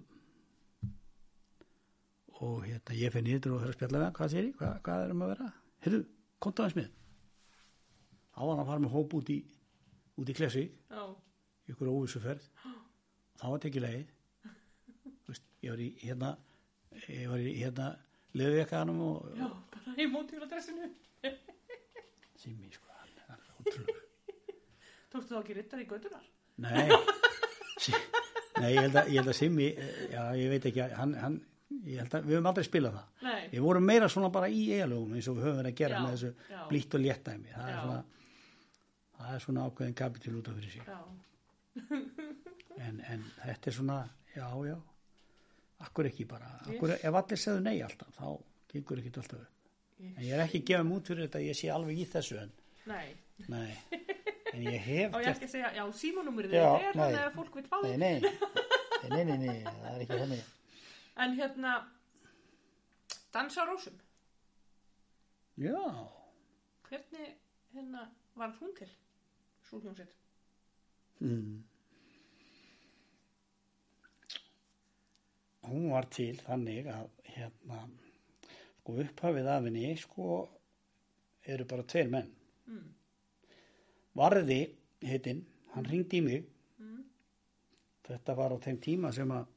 B: og hérna ég fer nýður og höfðu spjalla við hann, hvað sér ég, hvað, hvað erum að vera heyrðu, konta hans með þá var hann að fara með hóp út í út í Klesvík,
A: Já,
B: í ykkur óvissuferð þá var tekið leið Þú veist, ég var í hérna ég var í hérna leðvekkanum og
A: já, bara í mótíkuladressinu.
B: Simmi sko, hann er alveg ótrúlega
A: Tókstu þá ekki rittar í gödunar?
B: Nei, sí, nei ég, held að, ég held að Simmi eh, já, ég veit ekki, hann, hann ég held að, við höfum aldrei spilað það
A: Nei,
B: við vorum meira svona bara í eigalögum eins og við höfum verið að gera
A: Já,
B: með þessu
A: já.
B: blítt og léttæmi það er,
A: Já.
B: svona, það er svona ákveðin kapitíl út af fyrir sig
A: já,
B: en, en þetta er svona, já, já akkur ekki bara
A: Yes.
B: akkur, ef allir segðu nei alltaf, þá gengur ekki alltaf upp
A: Yes.
B: en ég er ekki að gefa mút fyrir þetta, ég sé alveg í þessu en,
A: nei.
B: nei, en ég hef
A: Á ég
B: gert,
A: ekki að segja, já, símanúmerið
B: Já,
A: þetta er
B: nei.
A: þannig að fólk vil fá
B: nei,
A: þig.
B: nei nei, nei, nei, nei, það er ekki henni
A: En hérna, dansa á rósum,
B: já,
A: hvernig hérna var hún til? Svo hljómsveit.
B: mm. hún var til þannig að hérna, sko upphafið af henni sko, eru bara tveir menn
A: Mm.
B: Varði heitinn, hann ringdi í mig
A: Mm.
B: þetta var á þeim tíma sem að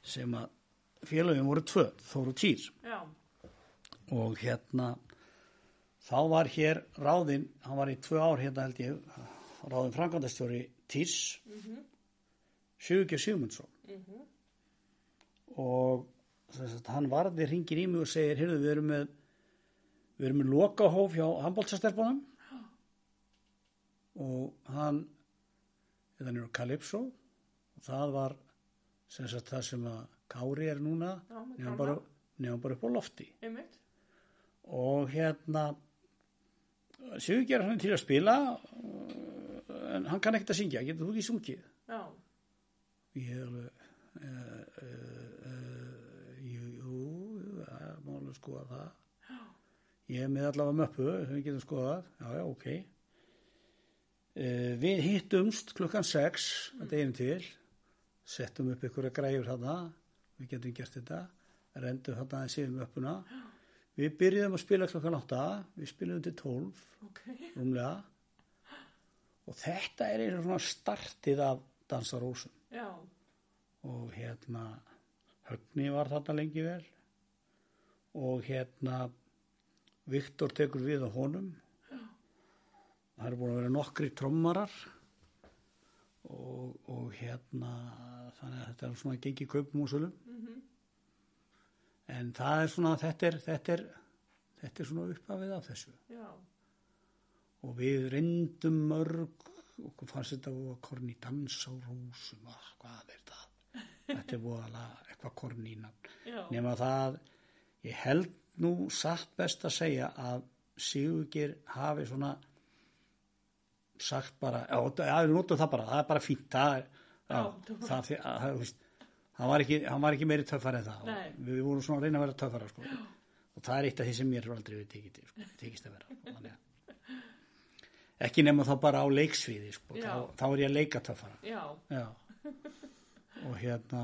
B: sem að félögum voru tvö, Þóru Týr
A: Já,
B: og hérna þá var hér ráðinn, hann var í tvö ár hérna held ég, ráðinn framkvæmdastjóri Týrs mm -hmm. Sigmundsson
A: Mhm.
B: og þess að hann varði ringir í mig og segir, heyrðu við erum með við erum með lokahóf hjá handbóltastelpunum og hann hérna er á Calypso og það var sem sagt það sem að Kári er núna
A: Já, með
B: nefnum
A: Kára.
B: bara, nefnum bara upp á lofti
A: einmitt.
B: og hérna Sigurgerð hann er til að spila eh, en hann kann ekkert að syngja getur þú ekki sungið
A: Já,
B: ég er alveg uh, uh, uh, jú, jú, jú, það er málega að skoða það ég er með allavega möppu sem við getum skoðað já, já, ok uh, við hittumst klukkan 6 að deginum til settum upp ykkur að græjur þarna við getum gert þetta rendum þarna að séum möppuna við byrjuðum að spila klukkan 8 við spilum til 12
A: ok.
B: rúmlega og þetta er einu svona startið af dansar ósum
A: Já,
B: og hérna Högni var þarna lengi vel og hérna Viktor tekur við á honum það eru búin að vera nokkri trommarar og, og hérna þannig að þetta er svona gengið kaupmúsulum mm
A: Mhm.
B: en það er svona þetta er, þetta er, þetta er svona upphafið af þessu
A: já,
B: og við reyndum mörg og fannst þetta voru að korni dans á rúsum ah, hvað er það þetta er voðalega eitthvað kornínan
A: já,
B: nema það ég held nú satt best að segja að Sigurgir hafi svona sagt bara já, þetta- já, við notum það bara, það er bara fínt það, er- já,
A: Já.
B: það, þi- að- það, þú veist, hann, var ekki, hann var ekki meiri töffar en það
A: Nei.
B: við, við vorum svona að reyna að vera töffara sko. og það er eitt af því sem mér er aldrei við tekist, sko, tekist að vera sko, þannig að- ekki nema þá bara á leiksviði sko,
A: Já.
B: þá, þá er ég að leika töffara
A: já,
B: Já. Og hérna,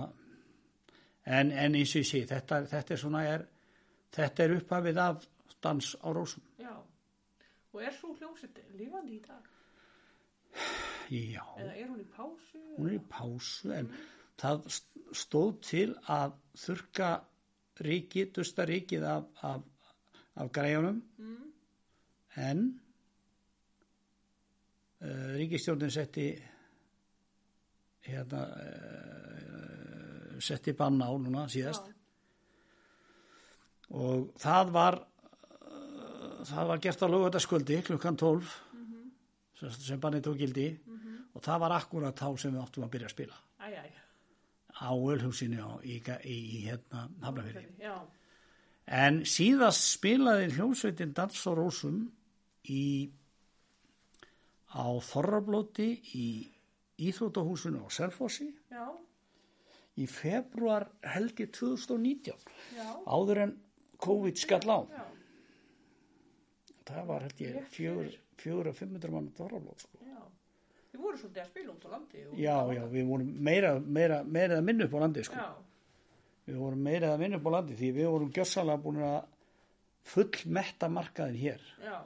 B: en, en eins og ég sé, þetta, þetta er svona, er, þetta er upphafið af dans á rósum.
A: já. Og er svo hljómsett lífandi í dag?
B: Já,
A: Eða er hún í pásu?
B: hún er í pásu, en það st- stóð til að þurka ríkið, dusta ríkið af, af, af græjunum,
A: Mm.
B: en uh, ríkistjórnin setti, hérna, uh, setti banna á núna síðast.
A: Já,
B: og það var uh, það var gert á lögutaskvöldi klukkan 12 sem, sem bannið tók gildi og það var akkurat þá sem við áttum að byrja að spila
A: æj, æj.
B: á ölhúsinu á, í, í, í, hérna hafnafyrði
A: Já,
B: en síðast spilaði hljómsveitin Dans og Rósum í á Þorrablóti í Íþrótahúsinu á Selfossi
A: já,
B: í februar helgi 2019
A: já,
B: áður en COVID skall á
A: já,
B: Það var held ég
A: Rétt
B: fjögur,
A: fyrir.
B: fjögur að 500 mann þorralóð sko.
A: já. Þið voru svolítið að spila út á landi. og-
B: Já, já, við vorum meira, meira, meira að minna upp á landi sko.
A: Já,
B: Við vorum meira að minna upp á landi því við vorum gjössalega búin að fullmetta markaðin hér.
A: já,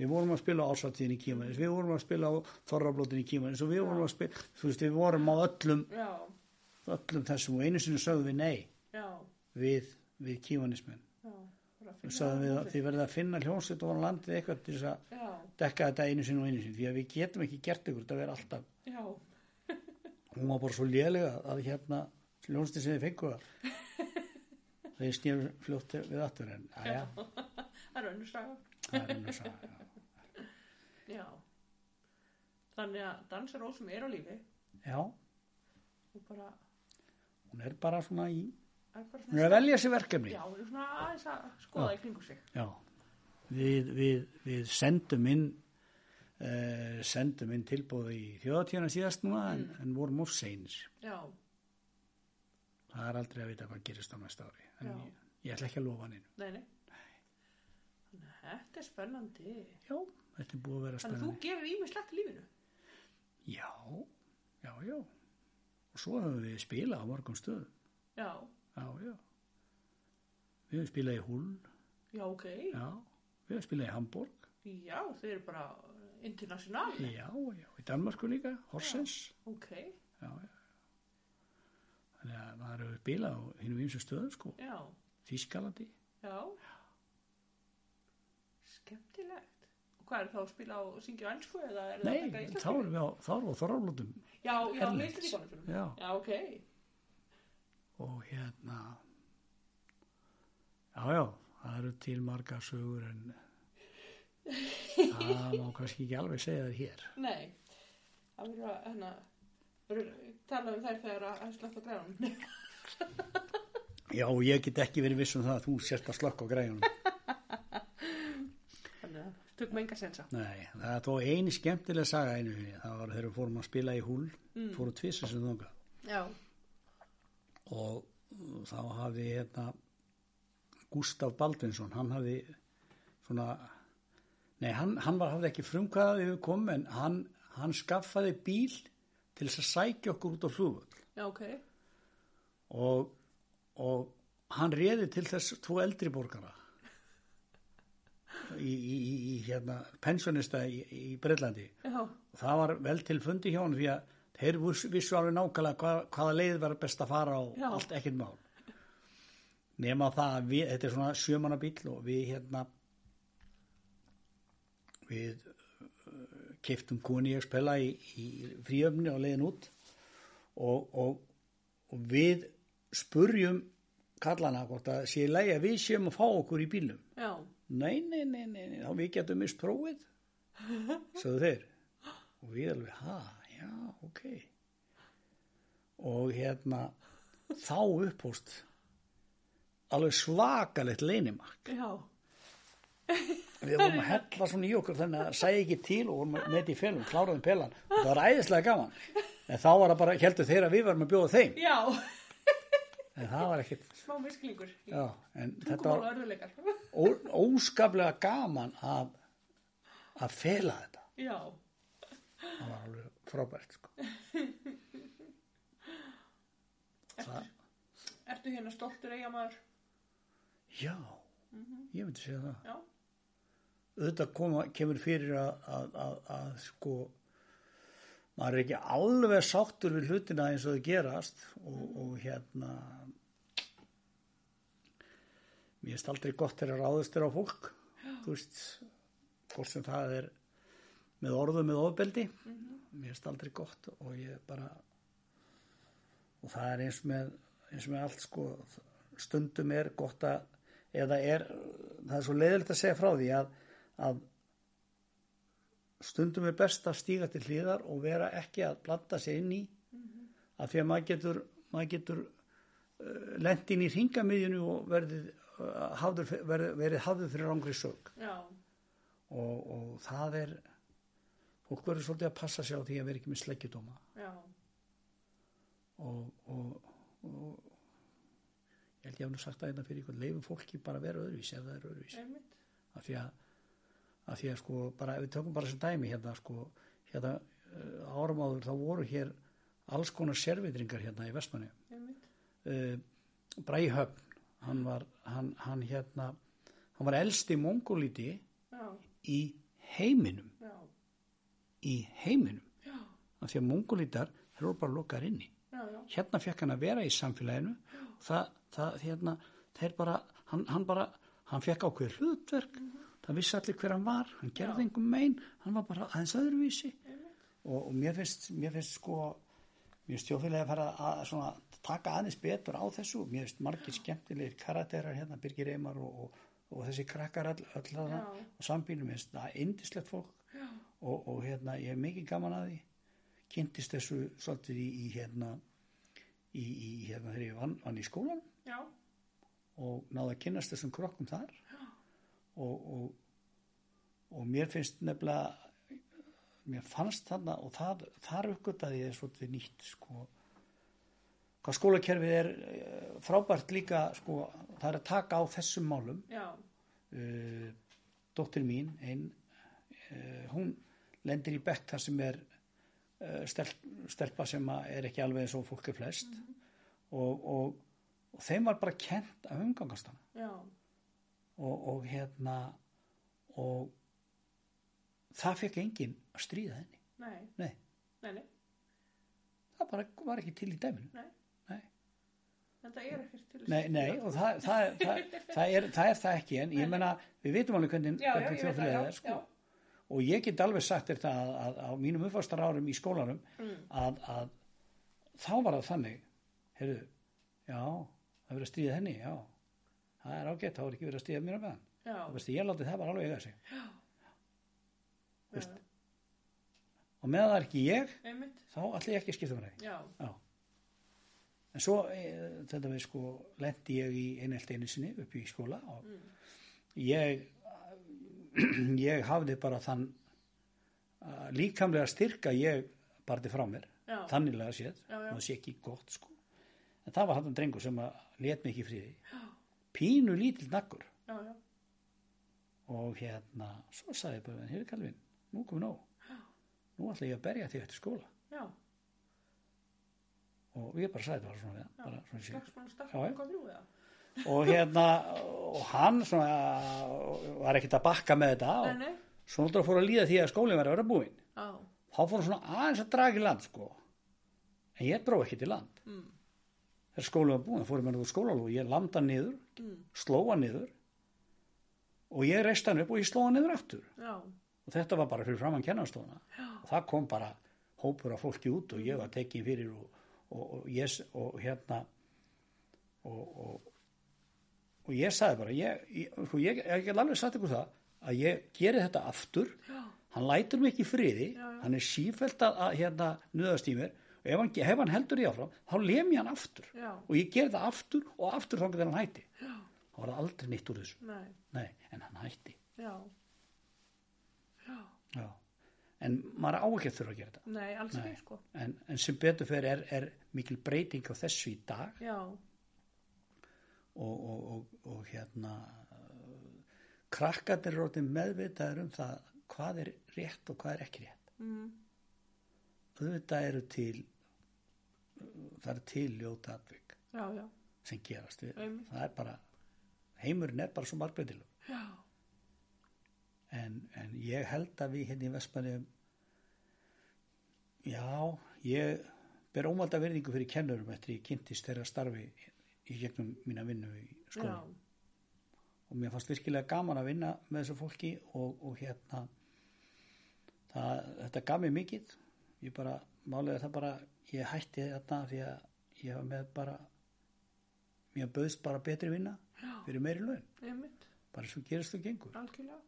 B: Við vorum að spila á ásvartíðin í Kímanis, við vorum að spila á þorrablótin í Kímanis og við vorum að spila, þú veist, við vorum á öllum,
A: já,
B: öllum þessum og einu sinni sögðum við nei
A: já,
B: við, við Kímanismenn.
A: já. bara að
B: Við
A: finna
B: sögðum við að
A: hljómsveit.
B: þið verðið að finna hljónsett og landið eitthvað til þess að
A: Já,
B: dekka þetta einu sinni og einu sinni því að við getum ekki gert ykkur, þetta verður alltaf
A: já,
B: hún var bara svo lélega að hérna hljónstinn sem þið fengu það þeir snýru fljótt við aftur en aðja,
A: það er önnur saga.
B: það er ennur sá já.
A: Já. Þannig að dansar ósum er á lífi
B: já,
A: og bara
B: hún er bara svona í
A: er bara
B: hún er að velja sér verkefni
A: Já, hún er svona aðeins að skoða í kringu sig.
B: Já. Við, við, við sendum inn uh, sendum inn tilbúð í þjóðatíðana síðast núna
A: Mm.
B: en, en vorum of seinir
A: Já,
B: það er aldrei að vita hvað gerist á næsta ári en
A: Já.
B: ég, ég ætla ekki að lofa hann inn
A: nei, nei. Þannig að þetta er spennandi.
B: já, þetta er búið að vera
A: Þannig að þú
B: spennandi
A: gerir ímislegt í lífinu.
B: já, já, já og svo höfum við spilað á morgum stöðum
A: Já,
B: Já, já. Við höfum spilað í Hull,
A: já, ok.
B: já. Við höfum spilað í Hamburg,
A: Já, þeir eru bara international.
B: já, já. Í Danmarku líka, Horsens,
A: Ok,
B: já, já. Þannig að maður hefur spilað á hinnum ímsu stöðum, sko.
A: já,
B: Þískalandi.
A: já. Skemmtilegt. Og hvað er þá að spila og syngja á ensku eða er það að
B: Nei, um
A: taka íslensku?
B: þá erum við á, þá erum við á Þorvalótum,
A: Já, já, með
B: Erlends.
A: íslensku.
B: já.
A: Já, ok.
B: Og hérna, já, já, það eru til margar sögur en það má kannski ekki alveg segja það hér.
A: Nei, það verður að hérna, verður- tala um þær þegar að að sleppa grænum.
B: Já, og ég get ekki verið viss um það að þú sérst að slökk á græjunum.
A: Þannig að tök menga sensa.
B: Nei, það er þó eini skemmtilega saga einu sinni. Það var þegar við fórum að spila í húl, mm. fórum tvisa sem þangað
A: Já,
B: og uh, þá hafði hérna Gustaf Baldvinsson, hann hafði svona, nei, hann, hann var, hafði ekki frumkvæðað þegar við komum en hann, hann skaffaði bíl til þess að sækja okkur út á flugvöld
A: já, ok.
B: og, og hann réði til þess tvo eldri borgara í, í, í, í hérna, pensjonista í, í Breitlandi
A: Já,
B: og það var vel til fundi hjá hann því að Þeir viss- vissu alveg nákvæmlega hva, hvaða leið var best að fara og
A: Já.
B: allt ekkert mál. Nefna það að við, þetta er svona sjömanna bíl og við hérna, við uh, keftum koni ég spila í, í fríöfni og leiðin út og, og, og við spurjum kallana hvort að sé í lagi að við séum að fá okkur í bílum.
A: já,
B: Nei, nei, nei, nei, nei, þá við getum mist prófið, sögðu þeir. Og við alveg, ha, já, ok. Og hérna, þá upphúst alveg svakalegt leinimark.
A: já,
B: Við vorum að hella svona í okkur þannig að það sæði ekki til og vorum með þetta í félum, kláraðum pelan. Og það var æðislega gaman. En þá var það bara, heldur þeir að við varum að bjóða þeim.
A: já,
B: En það var ekkit,
A: smá misklingur,
B: já, en þetta
A: tungumál
B: var
A: og örðuleikar,
B: ó- óskaplega gaman að, að fela þetta.
A: já,
B: það var alveg frábært sko. það,
A: ertu hérna stoltur eigamæður,
B: já ég myndi segja það
A: já,
B: auðvitað koma, kemur fyrir að, að, að, að sko maður er ekki alveg sáttur við hlutina eins og þau gerast og, og hérna mér finnst aldrei gott þegar ráðust er á fólk þú veist hvort sem það er með orðum með ofbeldi mér finnst aldrei gott og ég bara og það er eins með eins með allt sko stundum er gott að eða er, það er svo leiðilegt að segja frá því að, að stundum er best að stíga til hlýðar og vera ekki að blanda sér inn í af því að maður getur maður getur uh, lent inn í ringamiðjunu og verið uh, hafður, verið, verið hafður fyrir rangri sög
A: já,
B: og, og það er fólk verður svolítið að passa sér á því að vera ekki með sleggjudóma
A: já,
B: og, og, og ég held ég hafði nú sagt það einna fyrir ykkur, leifum fólki bara að vera öðruvísi ef það er öðruvísi
A: einmitt,
B: af því að, af því að sko bara, ef við tökum bara sem dæmi hérna sko, hérna uh, árum áður þá voru hér alls konar sérvitringar hérna í Vestmanni
A: einmitt,
B: uh, Bræi Höfn hann var, hann, hann hérna hann var elsti mongolíti
A: já,
B: í heiminum
A: já,
B: í heiminum,
A: já,
B: af því að mongolítar þeir voru bara lokaðar inni
A: já, já,
B: hérna fekk hann að vera í samfélaginu það, það hérna þeir bara, hann, hann bara hann fekk ákveð hlutverk það vissi allir hver hann var, hann gerði engum mein hann var bara aðeins öðruvísi og, og mér finnst, mér finnst sko mér finnst stjóðfélagi að fara að svona, taka aðeins betur á þessu mér finnst margir skemmtilegir karakterar hérna Birgir Eymar og, og, og þessi krakkar öll, öll þarna
A: Já.
B: og sambýnum mér finnst það indislegt fólk og, og hérna ég er mikið gaman að því kynntist þessu svolítið í, í hérna í, í hérna þegar ég vann, vann í skólan
A: já,
B: og náði að kynast þessum krokkum þar og, og, og mér finnst nefnilega mér fannst þarna og þar, þar uppgötaði ég svolítið nýtt sko hvað skólakerfið er eh, frábært líka sko það er að taka á þessum málum
A: já,
B: uh, dóttir mín ein, uh, hún lendir í bekk þar sem er uh, stelp, stelpa sem að er ekki alveg eins og fólki flest og, og, og þeim var bara kent að umgangast hana
A: já,
B: og, og hérna og það fekk enginn að stríða henni
A: nei,
B: nei,
A: nei, nei,
B: það bara var ekki til í dæminu
A: nei,
B: nei,
A: þetta er ekkert til
B: nei, nei og það, það, það, það, er, það er það ekki en ég menna við vitum alveg hvernig,
A: já, já,
B: hvernig
A: ég veit það,
B: þjóðfélagið
A: já,
B: er sko. og ég get alveg sagt þér það að, að, á mínum uppfastar árum í skólanum
A: Mm.
B: að, að þá var það þannig heyrðu, já, það er verið að stríða henni já, það er ágætt, þá er ekki verið að stríða mér með hann,
A: já, já,
B: þá veist ég láti það bara alveg eiga sig
A: já,
B: og meðan það er ekki ég,
A: einmitt,
B: þá ætla ég ekki að skipta um mér að því
A: já,
B: já en svo, e, þetta við sko lendi ég í einhelt einu sinni upp í skóla og
A: Mm.
B: ég ég hafði bara þann að líkamlega styrka ég barði frá mér
A: já,
B: þannilega séð,
A: Já, já.
B: það sé ekki gott sko. en það var hann drengur sem að let mig ekki í friði pínu lítill nakkur
A: já, já,
B: og hérna, svo sagði ég bara hér er Kalvin, nú komum nóg nú ætla ég að berja þig eftir skóla
A: já,
B: og ég bara sagði þetta bara svona við hann,
A: Já,
B: bara svona sé.
A: slagsmál og
B: Já,
A: starfsmann
B: já.
A: kom þrjú eða,
B: og hérna, og hann svona var ekkert að bakka með þetta
A: nei,
B: og
A: nei,
B: svo náttúrulega fór að líða því að skólinn var að vera búinn
A: já,
B: þá fór hann svona aðeins að draga í land sko en ég bró ekki til land
A: Mm.
B: þegar skóla var búin, fórum hann úr skólalóð ég landa hann niður,
A: Mm.
B: sló hann niður og ég reist hann upp og ég sló hann niður aftur
A: Já.
B: og þetta var bara fyrir framann kennarstofuna og það kom bara hópur af fólki út og ég var tekin fyrir og, og, og, ég, s- og hérna og, og, og ég sagði bara ég, ég, sko, ég, ég get alveg sagt ykkur það að ég geri þetta aftur
A: Já.
B: hann lætur mig ekki í friði
A: Já, já.
B: hann er sífælt að, að hérna nöðast í mér og ef hann, ef hann heldur því áfram þá lem ég hann aftur
A: Já.
B: og ég geri það aftur og aftur þá getur hann hætti já. það var aldrei neitt úr þessu
A: Nei.
B: Nei, en hann hætti
A: Já. Já.
B: já. en maður á ekki að þurfa að gera þetta
A: Nei, alls
B: Nei.
A: ekki sko.
B: en, en sem betur fyrir er, er mikil breyting á þessu í dag
A: Já.
B: og, og, og, og hérna uh, krakkarnir eru orðin meðvitaður um það hvað er rétt og hvað er ekki rétt
A: Mm.
B: auðvitað eru til uh, það eru til ljóta atvik
A: Já, já.
B: sem gerast við,
A: Einmitt.
B: það er bara heimurinn er bara svo margbreytilum
A: Já.
B: en, en ég held að við hérna í Vestmanniðum já, ég ber ómælda verðingu fyrir kennurum eftir ég kynntist þeirra starfi í gegnum mína vinnu í skóla
A: Já.
B: og mér fannst virkilega gaman að vinna með þessu fólki og, og hérna það, þetta gaf mér mikið ég bara, málega það bara ég hætti þetta því að ég var með bara mér bauðst bara betri vinna
A: Já.
B: fyrir meiri laun,
A: Einmitt.
B: bara svo gerist þú gengur
A: Algjörlega.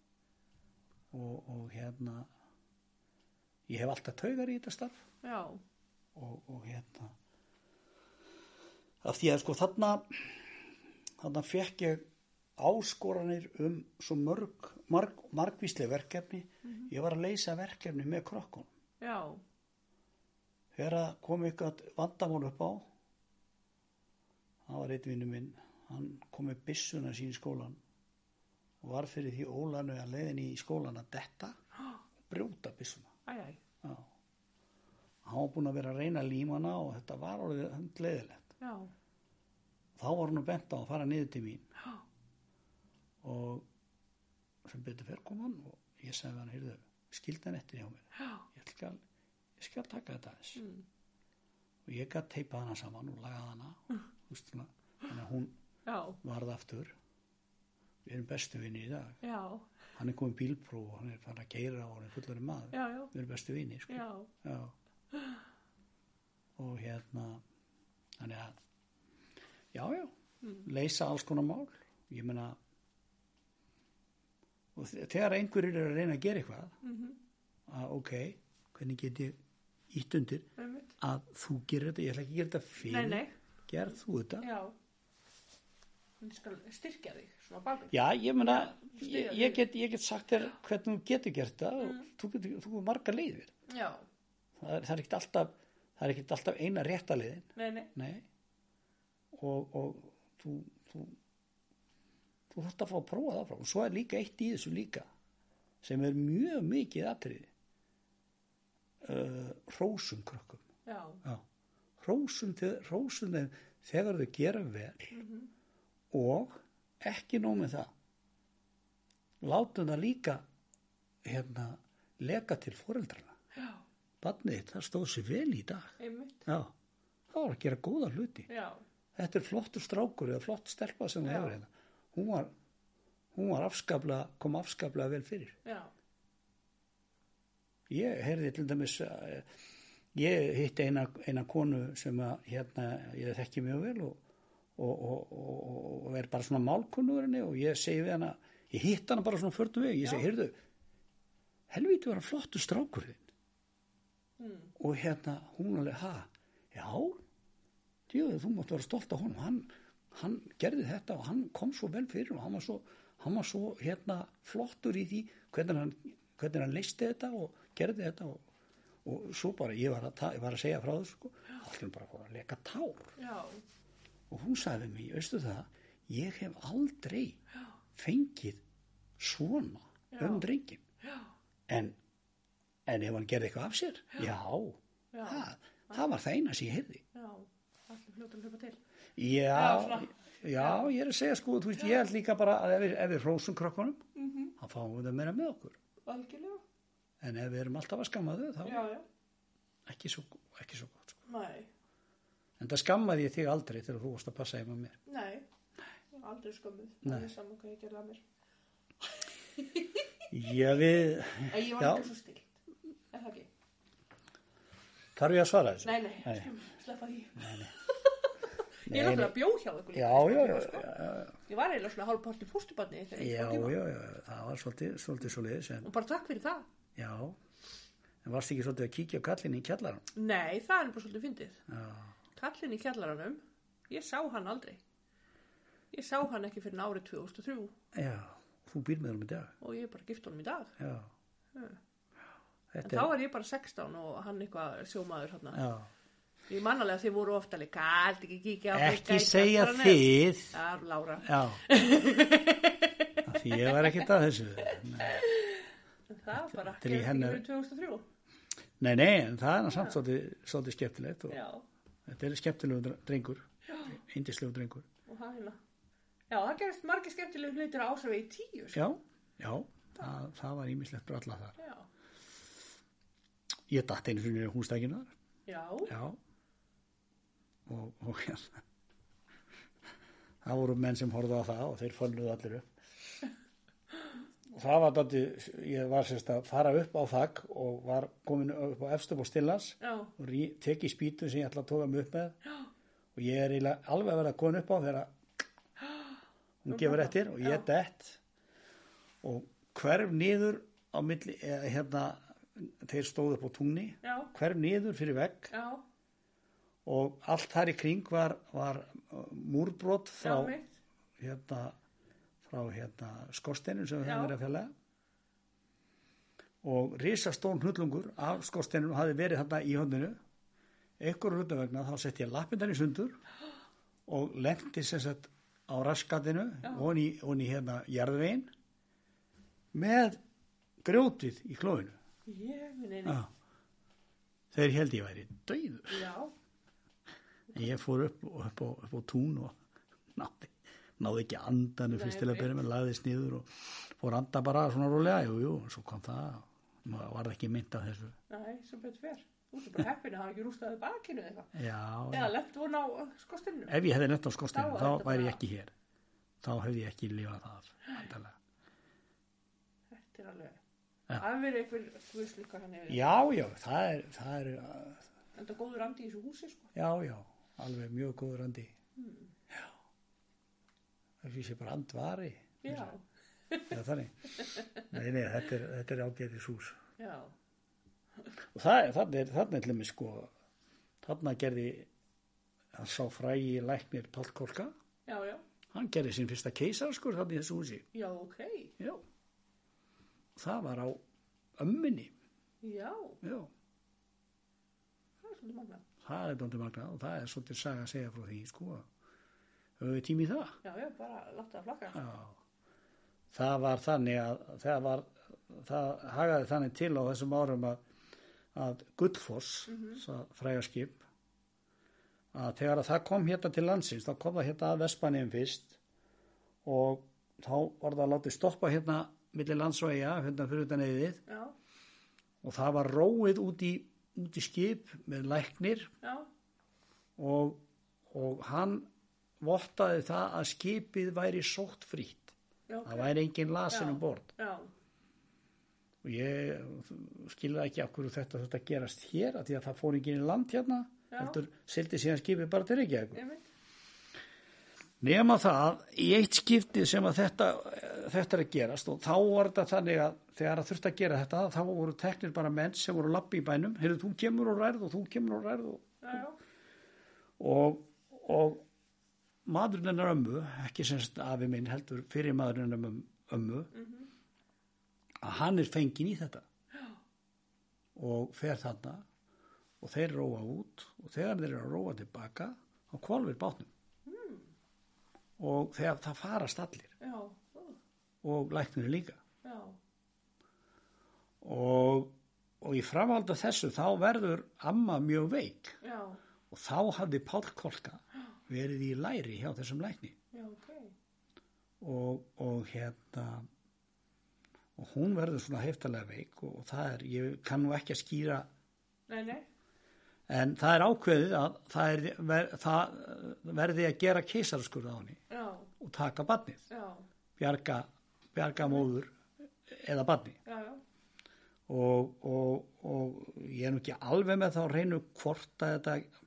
B: og, og hérna ég hef alltaf taugar í þetta starf
A: Já.
B: og, og hérna af því að sko þarna þarna fekk ég áskoranir um svo mörg, marg, margvíslega verkefni ég var að leysa verkefni með krokkun
A: Já.
B: þegar að kom eitthvað vandamál upp á það var einn vinnu minn hann kom með byssuna sín í skólan og var fyrir því ólanu að leiðin í skólan að detta og brjóta byssuna
A: Æ, æ.
B: Já. Hann var búinn að vera að reyna límana og þetta var orðið hundleiðilegt.
A: Já.
B: Þá var hann bent á að fara niður til mín
A: Já.
B: og sem betur fyrir kom hann og ég sagði við hann, heyrðu, skildi hann eftir hjá mér.
A: Já.
B: Ég skal, ég skal taka þetta aðeins.
A: Mm.
B: Og ég gætt teipað hana saman og lagað hana.
A: Mm.
B: þú veist svona, Þannig að hún
A: Já.
B: varð aftur. Við erum bestu vinni í dag.
A: Já.
B: Hann er komið bílpróf og hann er farin að geira og hann er fullari maður.
A: Já, já.
B: Við erum bestu vinni, sko.
A: Já.
B: Já. Og hérna, þannig að, já, já,
A: Mm.
B: leysa alls konar mál. Ég meina, og þe- þegar einhverjir eru að reyna að gera eitthvað,
A: Mhm.
B: að ok, hvernig get ég ítt undir
A: Einmitt.
B: að þú gerir þetta, ég ætla ekki að gera þetta
A: Nei,
B: fyrir,
A: nei.
B: gerð þú þetta?
A: Já. Hún skal styrkja þig svona bakið.
B: Já, ég meina,
A: styðja
B: ég, ég, get, ég get sagt þér hvernig þú getur gert það
A: Mm.
B: og þú getur, þú getur marga leiðir.
A: Já.
B: Það er, það er ekkit alltaf, það er ekkit alltaf eina rétta leiðin.
A: Nei, nei.
B: Nei. Og, og þú, þú, þú þarft að fá að prófa það frá. Og svo er líka eitt í þessu líka sem er mjög mikið atriði. Uh, rósum krökkum.
A: Já.
B: Já. Rósum, þe- rósum þeim þegar þau gera vel og ekki nóg með það. Látum það líka hérna leka til foreldrana.
A: Já.
B: Barnið, þitt, það stóð sér vel í dag.
A: Einmitt.
B: Já. Það var að gera góða hluti
A: Já.
B: þetta er flottur strákur eða flott stelpa sem hún
A: Já.
B: hefur hérna hún var, hún var afskapla kom afskapla vel fyrir
A: Já.
B: ég heyrði til dæmis eh, ég hitti eina, eina konu sem að hérna ég þekki mjög vel og, og, og, og, og er bara svona málkunnur henni og ég segi við hana ég hitt hana bara svona förtum vegi ég segi,
A: Já.
B: heyrðu helviti var hann flottur strákur þinn
A: Mm.
B: og hérna hún alveg, ha já, djöðu, þú mátt vera stolt af honum hann, hann gerði þetta og hann kom svo vel fyrir og hann var svo, hann var svo hérna, flottur í því hvernig hann, hvernig hann leisti þetta og gerði þetta og, og svo bara ég var að, ta- ég var að segja frá þessu sko, allir bara fór að leka tár
A: Já.
B: og hún sagði við mig, veistu það ég hef aldrei fengið svona
A: Já.
B: um drengin
A: Já.
B: en, en ef hann gerði eitthvað af sér já,
A: Já.
B: það, það var það eina sem ég heyrði
A: Já. Allir fljóta að hlupa til. Já,
B: já,
A: svona.
B: já, ég er að segja sko þú veist, ég held líka bara að ef við, ef við hrósum krökkunum
A: Mm -hmm.
B: þá fáum við það meira með okkur
A: Algjörlega.
B: en ef við erum alltaf að skamma þau þá
A: Já, já.
B: ekki svo, ekki svo gott sko.
A: Nei.
B: En það skammaði ég þig aldrei þegar þú varst að passa heima með mér.
A: Nei, aldrei skömmuð.
B: Nei.
A: Það er saman hvað ég gerði að mér.
B: Ég við,
A: En ég var
B: Já.
A: ekki svo stilt. Er það ekki?
B: þarf ég að svara þessu?
A: Nei, nei,
B: Nei.
A: nei. sleppa því.
B: Nei,
A: Ég er náttúrulega bjó hjá ykkur
B: Já,
A: líka.
B: já, já,
A: Sko.
B: já, já, já.
A: Ég var eiginlega svona hálfpart í fóstubarni. þegar ég
B: Já,
A: kom tíma.
B: já, já, það var svolítið, svolítið svo leiðis en
A: Og bara takk fyrir það.
B: já, en varst ekki svolítið að kíkja á kallin í kjallarann?
A: Nei, það er bara svolítið fyndið.
B: Já,
A: Kallinn í kjallaranum, ég sá hann aldrei. Ég sá hann ekki fyrir árið 2003
B: já, þú býr með honum í dag,
A: og ég er bara gift honum í dag.
B: já.
A: Hm. En
B: Þetta
A: þá
B: er,
A: var ég bara 16 og hann eitthvað sjómaður hann.
B: já,
A: Ég mannalega þið voru ofta líka, allt ekki kíkja á
B: ekki
A: mig,
B: segja
A: kjallaranum."
B: þið,
A: Já, Lára.
B: já, Af því ég var ekkert að þessu, nei.
A: En Það var bara
B: Til
A: ekki
B: í hennar-
A: fyrir 2003.
B: Nei, nei, en það er nú samt svolítið, svolítið skemmtilegt og
A: Já,
B: þetta er skemmtilegu dr- drengur, indislegu drengur.
A: og það hérna. Já, það gerist margir skemmtilegu hlutir á ásöfi í tíu. Sko.
B: Já, já, það, það var ímislegt bralla þar.
A: Já.
B: Ég datt einu sinni í hústækinar,
A: Já.
B: já, og, og hérna. Það voru menn sem horfðu á það og þeir fölnuðu allir upp. Og Það var dætti, ég var sérst að fara upp á þakk og var komin upp á efstum og stillans
A: Já.
B: og rí, teki spýtu sem ég ætla að tóka mig upp með og ég er eiginlega alveg að vera komin upp á þegar að hún gefur eftir og ég dett og hverf niður á milli, eða hérna þeir stóðu upp á tungni
A: Já.
B: hverf niður fyrir vegg
A: Já.
B: og allt þar í kring var, var uh, múrbrot
A: Já,
B: frá,
A: mitt.
B: hérna, frá hérna, skorsteinum sem
A: Já.
B: við hefum verið að fjalla og risastón hnullungur af skorsteinum hafi verið þarna í höndinu einhver hlutum vegna þá sett ég lappindan í sundur og lendi sem sagt á raskatinu og í, ofan í hérna jarðvegin með grjótið í klófinu
A: Ég minn einu.
B: Já. þeir held ég væri döiður
A: Já.
B: En ég fór upp, upp, á, upp á tún og náði, náði ekki andanum fyrst til að byrja með, lagðist niður og fór að anda bara svona rólega, jú, jú, og svo kom það, maður var ekki mynd af þessu.
A: Nei, sem betur fer. Þú ertu bara heppin að hafa ekki rústaði bakinu eða eitthvað.
B: Já,
A: Eða lett von á uh, skostinu.
B: ef ég hefði nett á
A: Þá
B: skorstinu,
A: var þetta
B: þá væri
A: bara-
B: ég ekki hér. Þá hefði ég ekki lifað það, af, endalega.
A: Þetta er alveg.
B: Já.
A: Það hefur verið einhver guðslíka hann yfir.
B: Já, já, það er, það er, uh,
A: En það góður andi í þessu húsi, sko.
B: já, já, alveg mjög góður andi. Já, það fyrir sér bara andvari,
A: Já.
B: eða þannig. Nei, nei, þetta er, þetta er ágætis hús.
A: Já.
B: og það er, þannig er, þannig er til mig sko þarna gerði hann sá frægi læknir Páll Kolka
A: Já, já.
B: hann gerði sín fyrsta keisaraskur þarna í þessu húsi
A: Já, ok.
B: já það var á ömminni
A: Já.
B: já,
A: Það er svolítið magnað.
B: það er dóndi magnað og það er svolítið saga að segja frá því sko höfum við tími í það
A: Já, já, bara láta það flakka.
B: já það var þannig að það var það hagaði þannig til á þessum árum að, að Gullfoss mm -hmm. frægarskip að þegar að það kom hérna til landsins þá kom það hérna að Vespanum fyrst og þá var það látið stoppa hérna milli landsvæja hérna fyrir utan eðið
A: Já,
B: og það var róið út í, út í skip með læknir
A: já,
B: og, og hann vottaði það að skipið væri sótt frýtt
A: já, ok.
B: það væri engin
A: Já.
B: lasin um borð
A: Já,
B: og ég skilði ekki af hverju þetta þetta gerast hér af því að það fór ekki inn í land hérna
A: Já.
B: heldur sildi síðan skipið bara til Reykjavík
A: ég veit.
B: nema það, í eitt skipti sem að þetta, þetta er að gerast og þá var þetta þannig að þegar það þurfti að gera þetta þá voru teknir bara menn sem voru lappi í bænum heyrðu þú kemur og rærð og þú kemur og rærð og,
A: Já, já,
B: og, og maðurinn hennar ömmu ekki sem sagt afi minn heldur fyrir maðurinn hennar ömmu
A: Mhm.
B: að hann er fengin í þetta og fer þarna og þeir róa út og þegar þeir eru að róa tilbaka þá kvolfir bátnum og þegar það farast allir
A: já, ó,
B: og læknir líka
A: já,
B: og, og í framhaldi af þessu þá verður amma mjög veik
A: já,
B: og þá hafði Páll Kolka verið í læri hjá þessum lækni
A: já, ok.
B: og, og hérna og hún verður svona heftalega veik og það er, ég kann nú ekki að skýra
A: Nei, nei,
B: En það er ákveðið að það, er, ver, það eh, verði að gera keisaraskurð á henni
A: já,
B: og taka barnið,
A: já,
B: bjarga, bjarga móður eða barni.
A: já, já.
B: Og, og, og ég er nú ekki alveg með þá reynu hvort að þetta,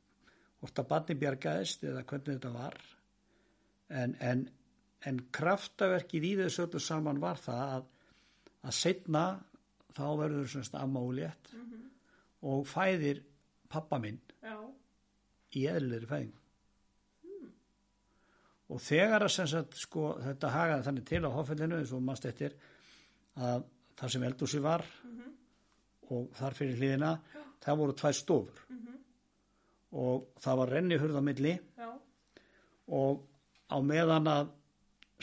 B: hvort að barni bjargaðist eða hvernig þetta var. En, en, en kraftaverkið í þessu öllu saman var það að, að setna þá verður semst amma úlétt mm og fæðir pappa minn
A: já.
B: í eðlilegri fæðingu. Og þegar að sem sagt, sko, þetta hagaði þannig til á hoffellinu eins og mannst eftir að þar sem eldúsi var og þar fyrir hliðina, það voru tvær stofur. Og það var renni hurð á milli
A: já.
B: og á meðan að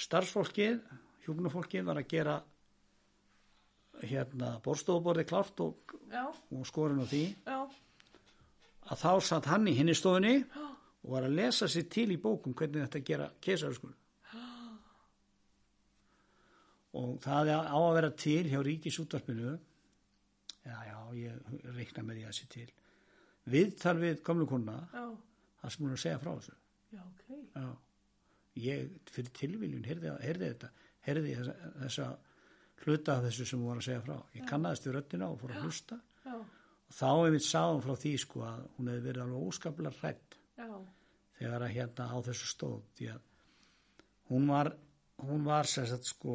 B: starfsfólkið, hjúknufólkið var að gera hérna borstofuborði klárt og,
A: já.
B: og skorinn á því
A: Já,
B: að þá satt hann í hinni stofunni og var að lesa sér til í bókum hvernig þetta gera keisaraskurð og það er á að vera til hjá ríkisútvarpinu já, já, ég reikna með því að sér til viðtal við komlu kona
A: já,
B: það sem hún er að segja frá þessu
A: já, ok.
B: já. ég fyrir tilviljun heyrði, heyrði þetta heyrði þessa, þessa hluta af þessu sem hún var að segja frá ég kannaðist við röddina og fór að hlusta
A: Já,
B: og þá einmitt sá hún frá því sko að hún hefði verið alveg óskaplega hrætt
A: já,
B: þegar að hérna á þessu stóð því að hún var hún var sem sagt sko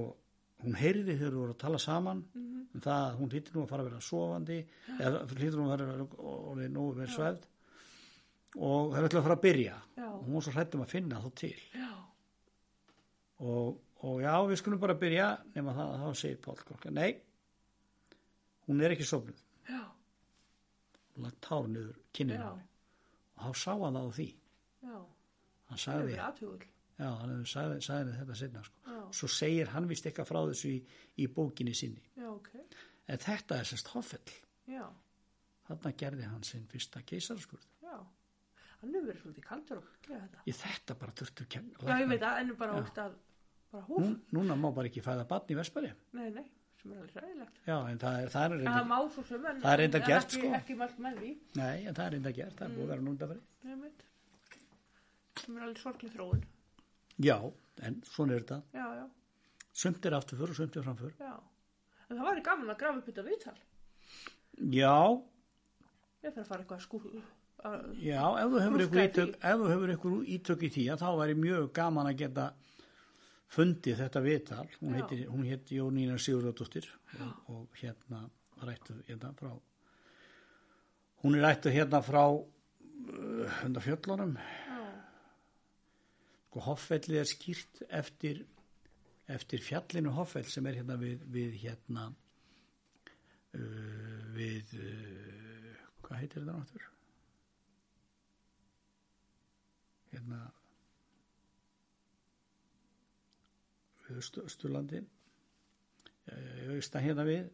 B: hún heyrði þegar þú voru að tala saman um það að hún hlýttur nú að fara að vera sofandi eða hlýttur nú að vera orðið nógu verið svefð og það er ætla að fara að byrja
A: Já.
B: og hún var svo hrætt um að finna þá til
A: já,
B: og, og já, við skulum bara byrja nema það að þá segir Páll Korka nei, hún er ekki sofnuð
A: já,
B: hún lagt tár niður kinnina á
A: já,
B: henni. og þá sá hann það á því
A: já.
B: hann
A: Það er
B: sagði
A: verið aðtugul.
B: Já, hann hefur sagði, sagði mér þetta setna sko.
A: Já.
B: Svo segir hann vist eitthvað frá þessu í, í bókinni sinni.
A: Já, ok.
B: En þetta er sérst hoffell.
A: Já,
B: Þarna gerði hann sinn fyrsta keisaraskurð.
A: já. Hann hefur verið svolítið kaldur og gera þetta.
B: Ég þetta bara þurftu að kenna.
A: Já, ég veit að ennum bara ótt að, bara húf.
B: Núna má bara ekki fæða barn í Vespari.
A: Nei, nei, sem er alveg ræðilegt.
B: Já, en það er, það er
A: En það
B: reynda,
A: má svo sem, en,
B: Það er reyndar
A: en
B: gert,
A: ekki,
B: sko.
A: ekki mælt með því.
B: nei, en það er reynda gert. Það er búið að vera núna fyrir.
A: Nei, mitt. Sem er alveg sorglega þróun.
B: Já, en svona er þetta.
A: Já, já,
B: Sumt er aftur fyrir og sumt er framfyrir.
A: já. En það væri gaman að grafa upp þetta viðtal.
B: Já,
A: Ég þarf að fara eitthvað að skúr, að,
B: Já, ef þú hefur
A: Grúska í
B: ykkur ítök, ef þú hefur ykkur ítök í því að þá væri mjög gaman að geta fundið þetta viðtal. Hún
A: Já.
B: heitir, hún heit Jónína Sigurðardóttir og, og hérna rættu hérna frá, hún er rættu hérna frá uh, hundar fjöllunum.
A: já,
B: Sko Hoffellið er skýrt eftir, eftir fjallinu Hoffell sem er hérna við, við hérna, uh, við, uh, hvað heitir þetta náttúr? Hérna, við Östurlandi, austan hérna við,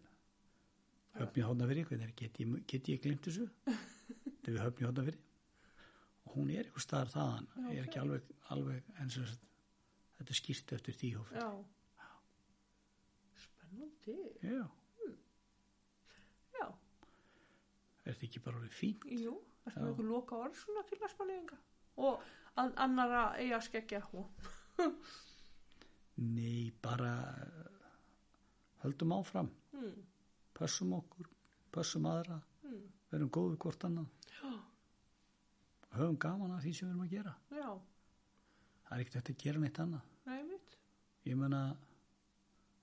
B: höfn í hóðnafyrir, hvernig er, get ég, get ég glimt þessu? Þetta er við höfn í hóðnafyrir. Og hún er eitthvað staðar þaðan, ég er ekki alveg, alveg eins og þess að þetta er skýrt eftir því hófið.
A: já. Spennandi.
B: Já,
A: Já.
B: er þetta ekki bara orðið fín?
A: Jú, ertu með einhver loka orð svona til Vestmanninga og an annara eiga skeggja og
B: Nei, bara eh, höldum áfram,
A: mm,
B: pössum okkur, pössum aðra,
A: Mm.
B: verum góðu hvort annað. Og Höfum gaman að því sem við erum að gera.
A: já,
B: Það er ekkert hægt að gera neitt annað.
A: nei mitt,
B: Ég meina,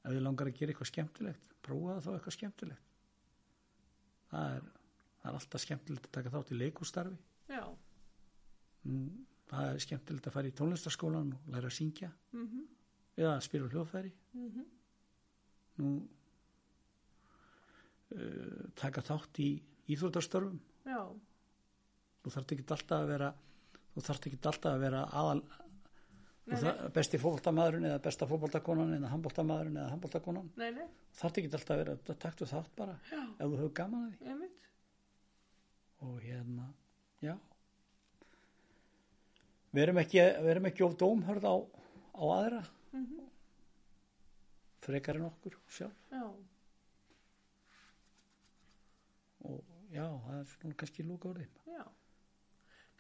B: ef þið langar að gera eitthvað skemmtilegt, prófaðu þá eitthvað skemmtilegt. Það er, það er alltaf skemmtilegt að taka þátt í leikústarfi.
A: já,
B: Nú, það er skemmtilegt að fara í tónlistaskólan og læra að syngja
A: mhm,
B: eða að spila á hljóðfæri.
A: mhm,
B: Nú, uh, taka þátt í íþróttastörfum.
A: já,
B: Þú þarft ekki alltaf að vera, þú þarft ekki alltaf að vera aðal,
A: Nei,
B: þú þarft- besti fótboltamaðurinn eða besta fótboltakonan eða handboltamaðurinn eða handboltakonan.
A: nei, nei,
B: þarf ekki alltaf að vera taktu þátt bara
A: Já.
B: ef þú hefur gaman að
A: nei mitt,
B: því og hérna, já við erum ekki við erum ekki of dómhörð á, á aðra
A: Mhm.
B: frekar en okkur sjálf
A: já,
B: og já, það er svona kannski lúka orðið.
A: Já.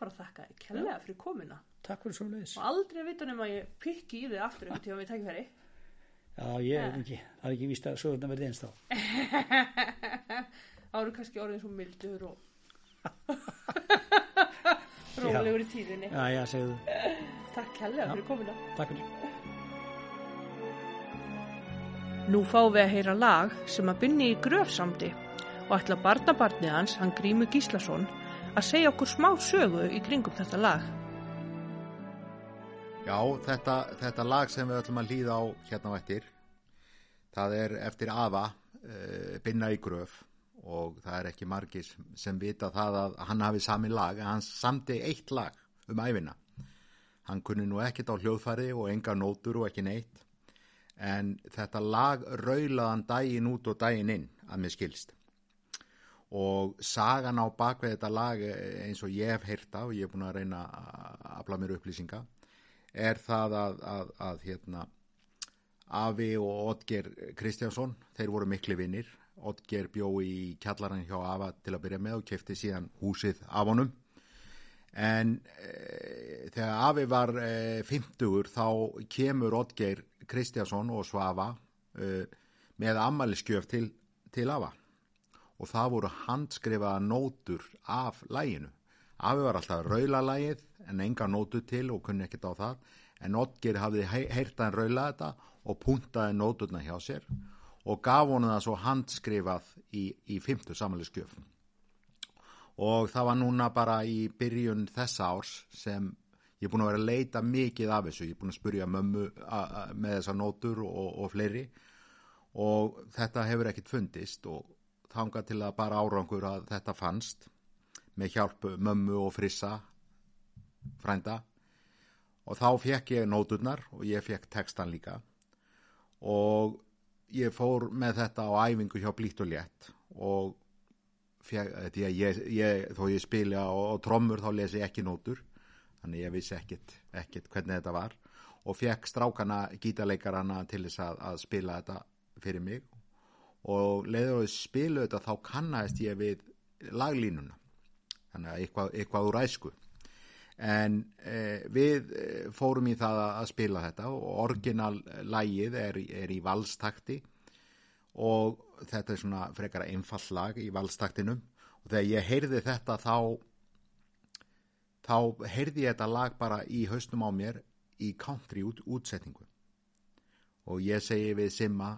A: Bara þakka þér kærlega fyrir komuna.
B: Takk fyrir svo leiðis.
A: Og aldrei að vita nema að ég pikki í þig aftur eftir tíma við tækifæri.
B: Já, ég er ekki, það er ekki víst að sögurnar verði eins þá.
A: Þá eru kannski orðin svo mildur og rólegur í tíðinni.
B: Já, já, segðu.
A: Takk kærlega
B: Já.
A: fyrir komuna.
B: Takk fyrir.
A: Nú fáum við að heyra lag sem að binni í gröfsamdi og ætla barnabarnið hans, hann Grímur Gíslason, að segja okkur smá sögu í kringum þetta lag.
C: Já, þetta, þetta lag sem við ætlum að hlýða á hérna á eftir, það er eftir afa, uh, Binna í gröf og það er ekki margir sem- sem vita það að hann hafi sami lag, en hann samdi eitt lag um æfina. Hann kunni nú ekkert á hljóðfæri og enga nótur og ekki neitt, en þetta lag raulaðan daginn út og daginn inn, að mér skilst og sagan á bakveg þetta lag eh, eins og ég hef heyrta og ég er búin að reyna að afla mér upplýsinga er það að, að, að hérna, Afi og Otger Kristjánsson, þeir voru mikli vinnir Otger bjó í kjallarann hjá Afa til að byrja með og kefti síðan húsið af honum en e, þegar Afi var e, 50 þá kemur Otger Kristjánsson og Svafa e, með ammæliskjöf til, til Afa og það voru handskrifaða nótur af læginu. Afi var alltaf að raula lægið en enga nótu til og kunni ekkert á það en Otger hafði heyrtaðan raula þetta og puntaði nóturna hjá sér og gaf honum það svo handskrifað í, í fymtu samhælisgjöf. Og það var núna bara í byrjun þessa árs sem ég er búin að vera að leita mikið af þessu. Ég er búin að spurja mömmu a, a, með þessa nótur og, og fleiri og þetta hefur ekkert fundist og þanga til að bara árangur að þetta fannst með hjálp mömmu og frissa frænda og þá fekk ég nóturnar og ég fekk textan líka og ég fór með þetta á æfingu hjá blítt og létt og fekk, eh, því að ég, ég, þó ég spila á, á trommur þá les ég ekki nótur þannig ég vissi ekkit, ekkit hvernig þetta var og fekk strákana gítarleikarana til þess að, að spila þetta fyrir mig og leiður að spila þetta þá kannaðist ég við laglínuna þannig að eitthvað, eitthvað úr æsku en eh, við eh, fórum í það að, að spila þetta og orginal lagið er, í- er í valstakti og þetta er svona frekara einfall lag í valstaktinum og þegar ég heyrði þetta þá þá heyrði ég þetta lag bara í haustum á mér í country út, útsetningu og ég segi við Simma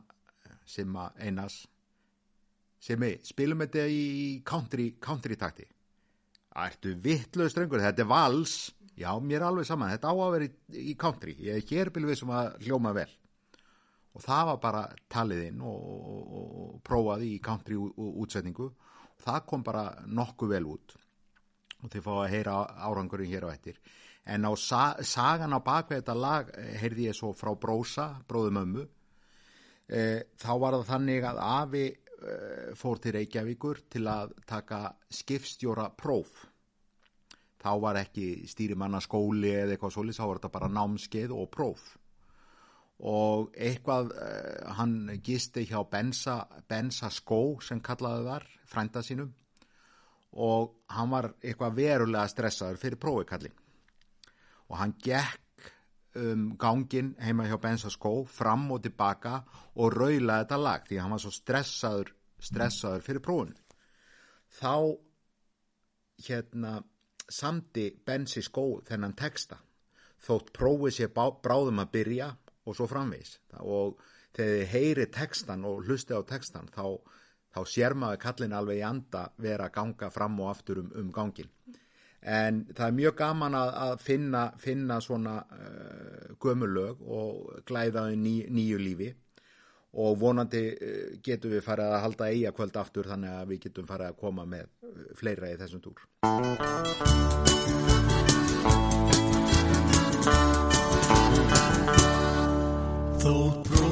C: Simma Einars Simmi, spilum þetta í country, country takti Ertu vitlaug strengur, þetta er vals Já, mér er alveg saman, þetta á að vera í, í country Ég er hér byrjuð sem að hljóma vel og það var bara talið inn og, og, og- og prófaði í country ú- ú- útsetningu það kom bara nokkuð vel út og þið fá að heyra árangurinn hér á eftir en á sa sagan á bakveg þetta lag eh, heyrði ég svo frá Brósa, bróðumömmu e, þá var það þannig að afi e, fór til Reykjavíkur til að taka skipstjóra próf þá var ekki stýrimannaskóli eða eitthvað svolis, þá var þetta bara námskeið og próf og eitthvað eh, hann gisti hjá Bensa, Bensa Skó sem kallaði þar, frænda sínum og hann var eitthvað verulega stressaður fyrir prófikallin og hann gekk um gangin heima hjá Bensa Skó fram og tilbaka og raulaði þetta lag því að hann var svo stressaður stressaður fyrir prófun þá hérna samdi Bensi Skó þennan texta þótt prófið sé bá, bráðum að byrja og svo framvegis og þegar þið heyri textan og hlusti á textan þá, þá sér maður kallin alveg í anda vera að ganga fram og aftur um, um gangin en það er mjög gaman að, að finna, finna svona uh, gömulög og glæða þau ný, nýju lífi og vonandi eh, getum við farið að halda eiga kvöld aftur þannig að við getum farið að koma með eh, fleira í þessum túr.
D: Þó próf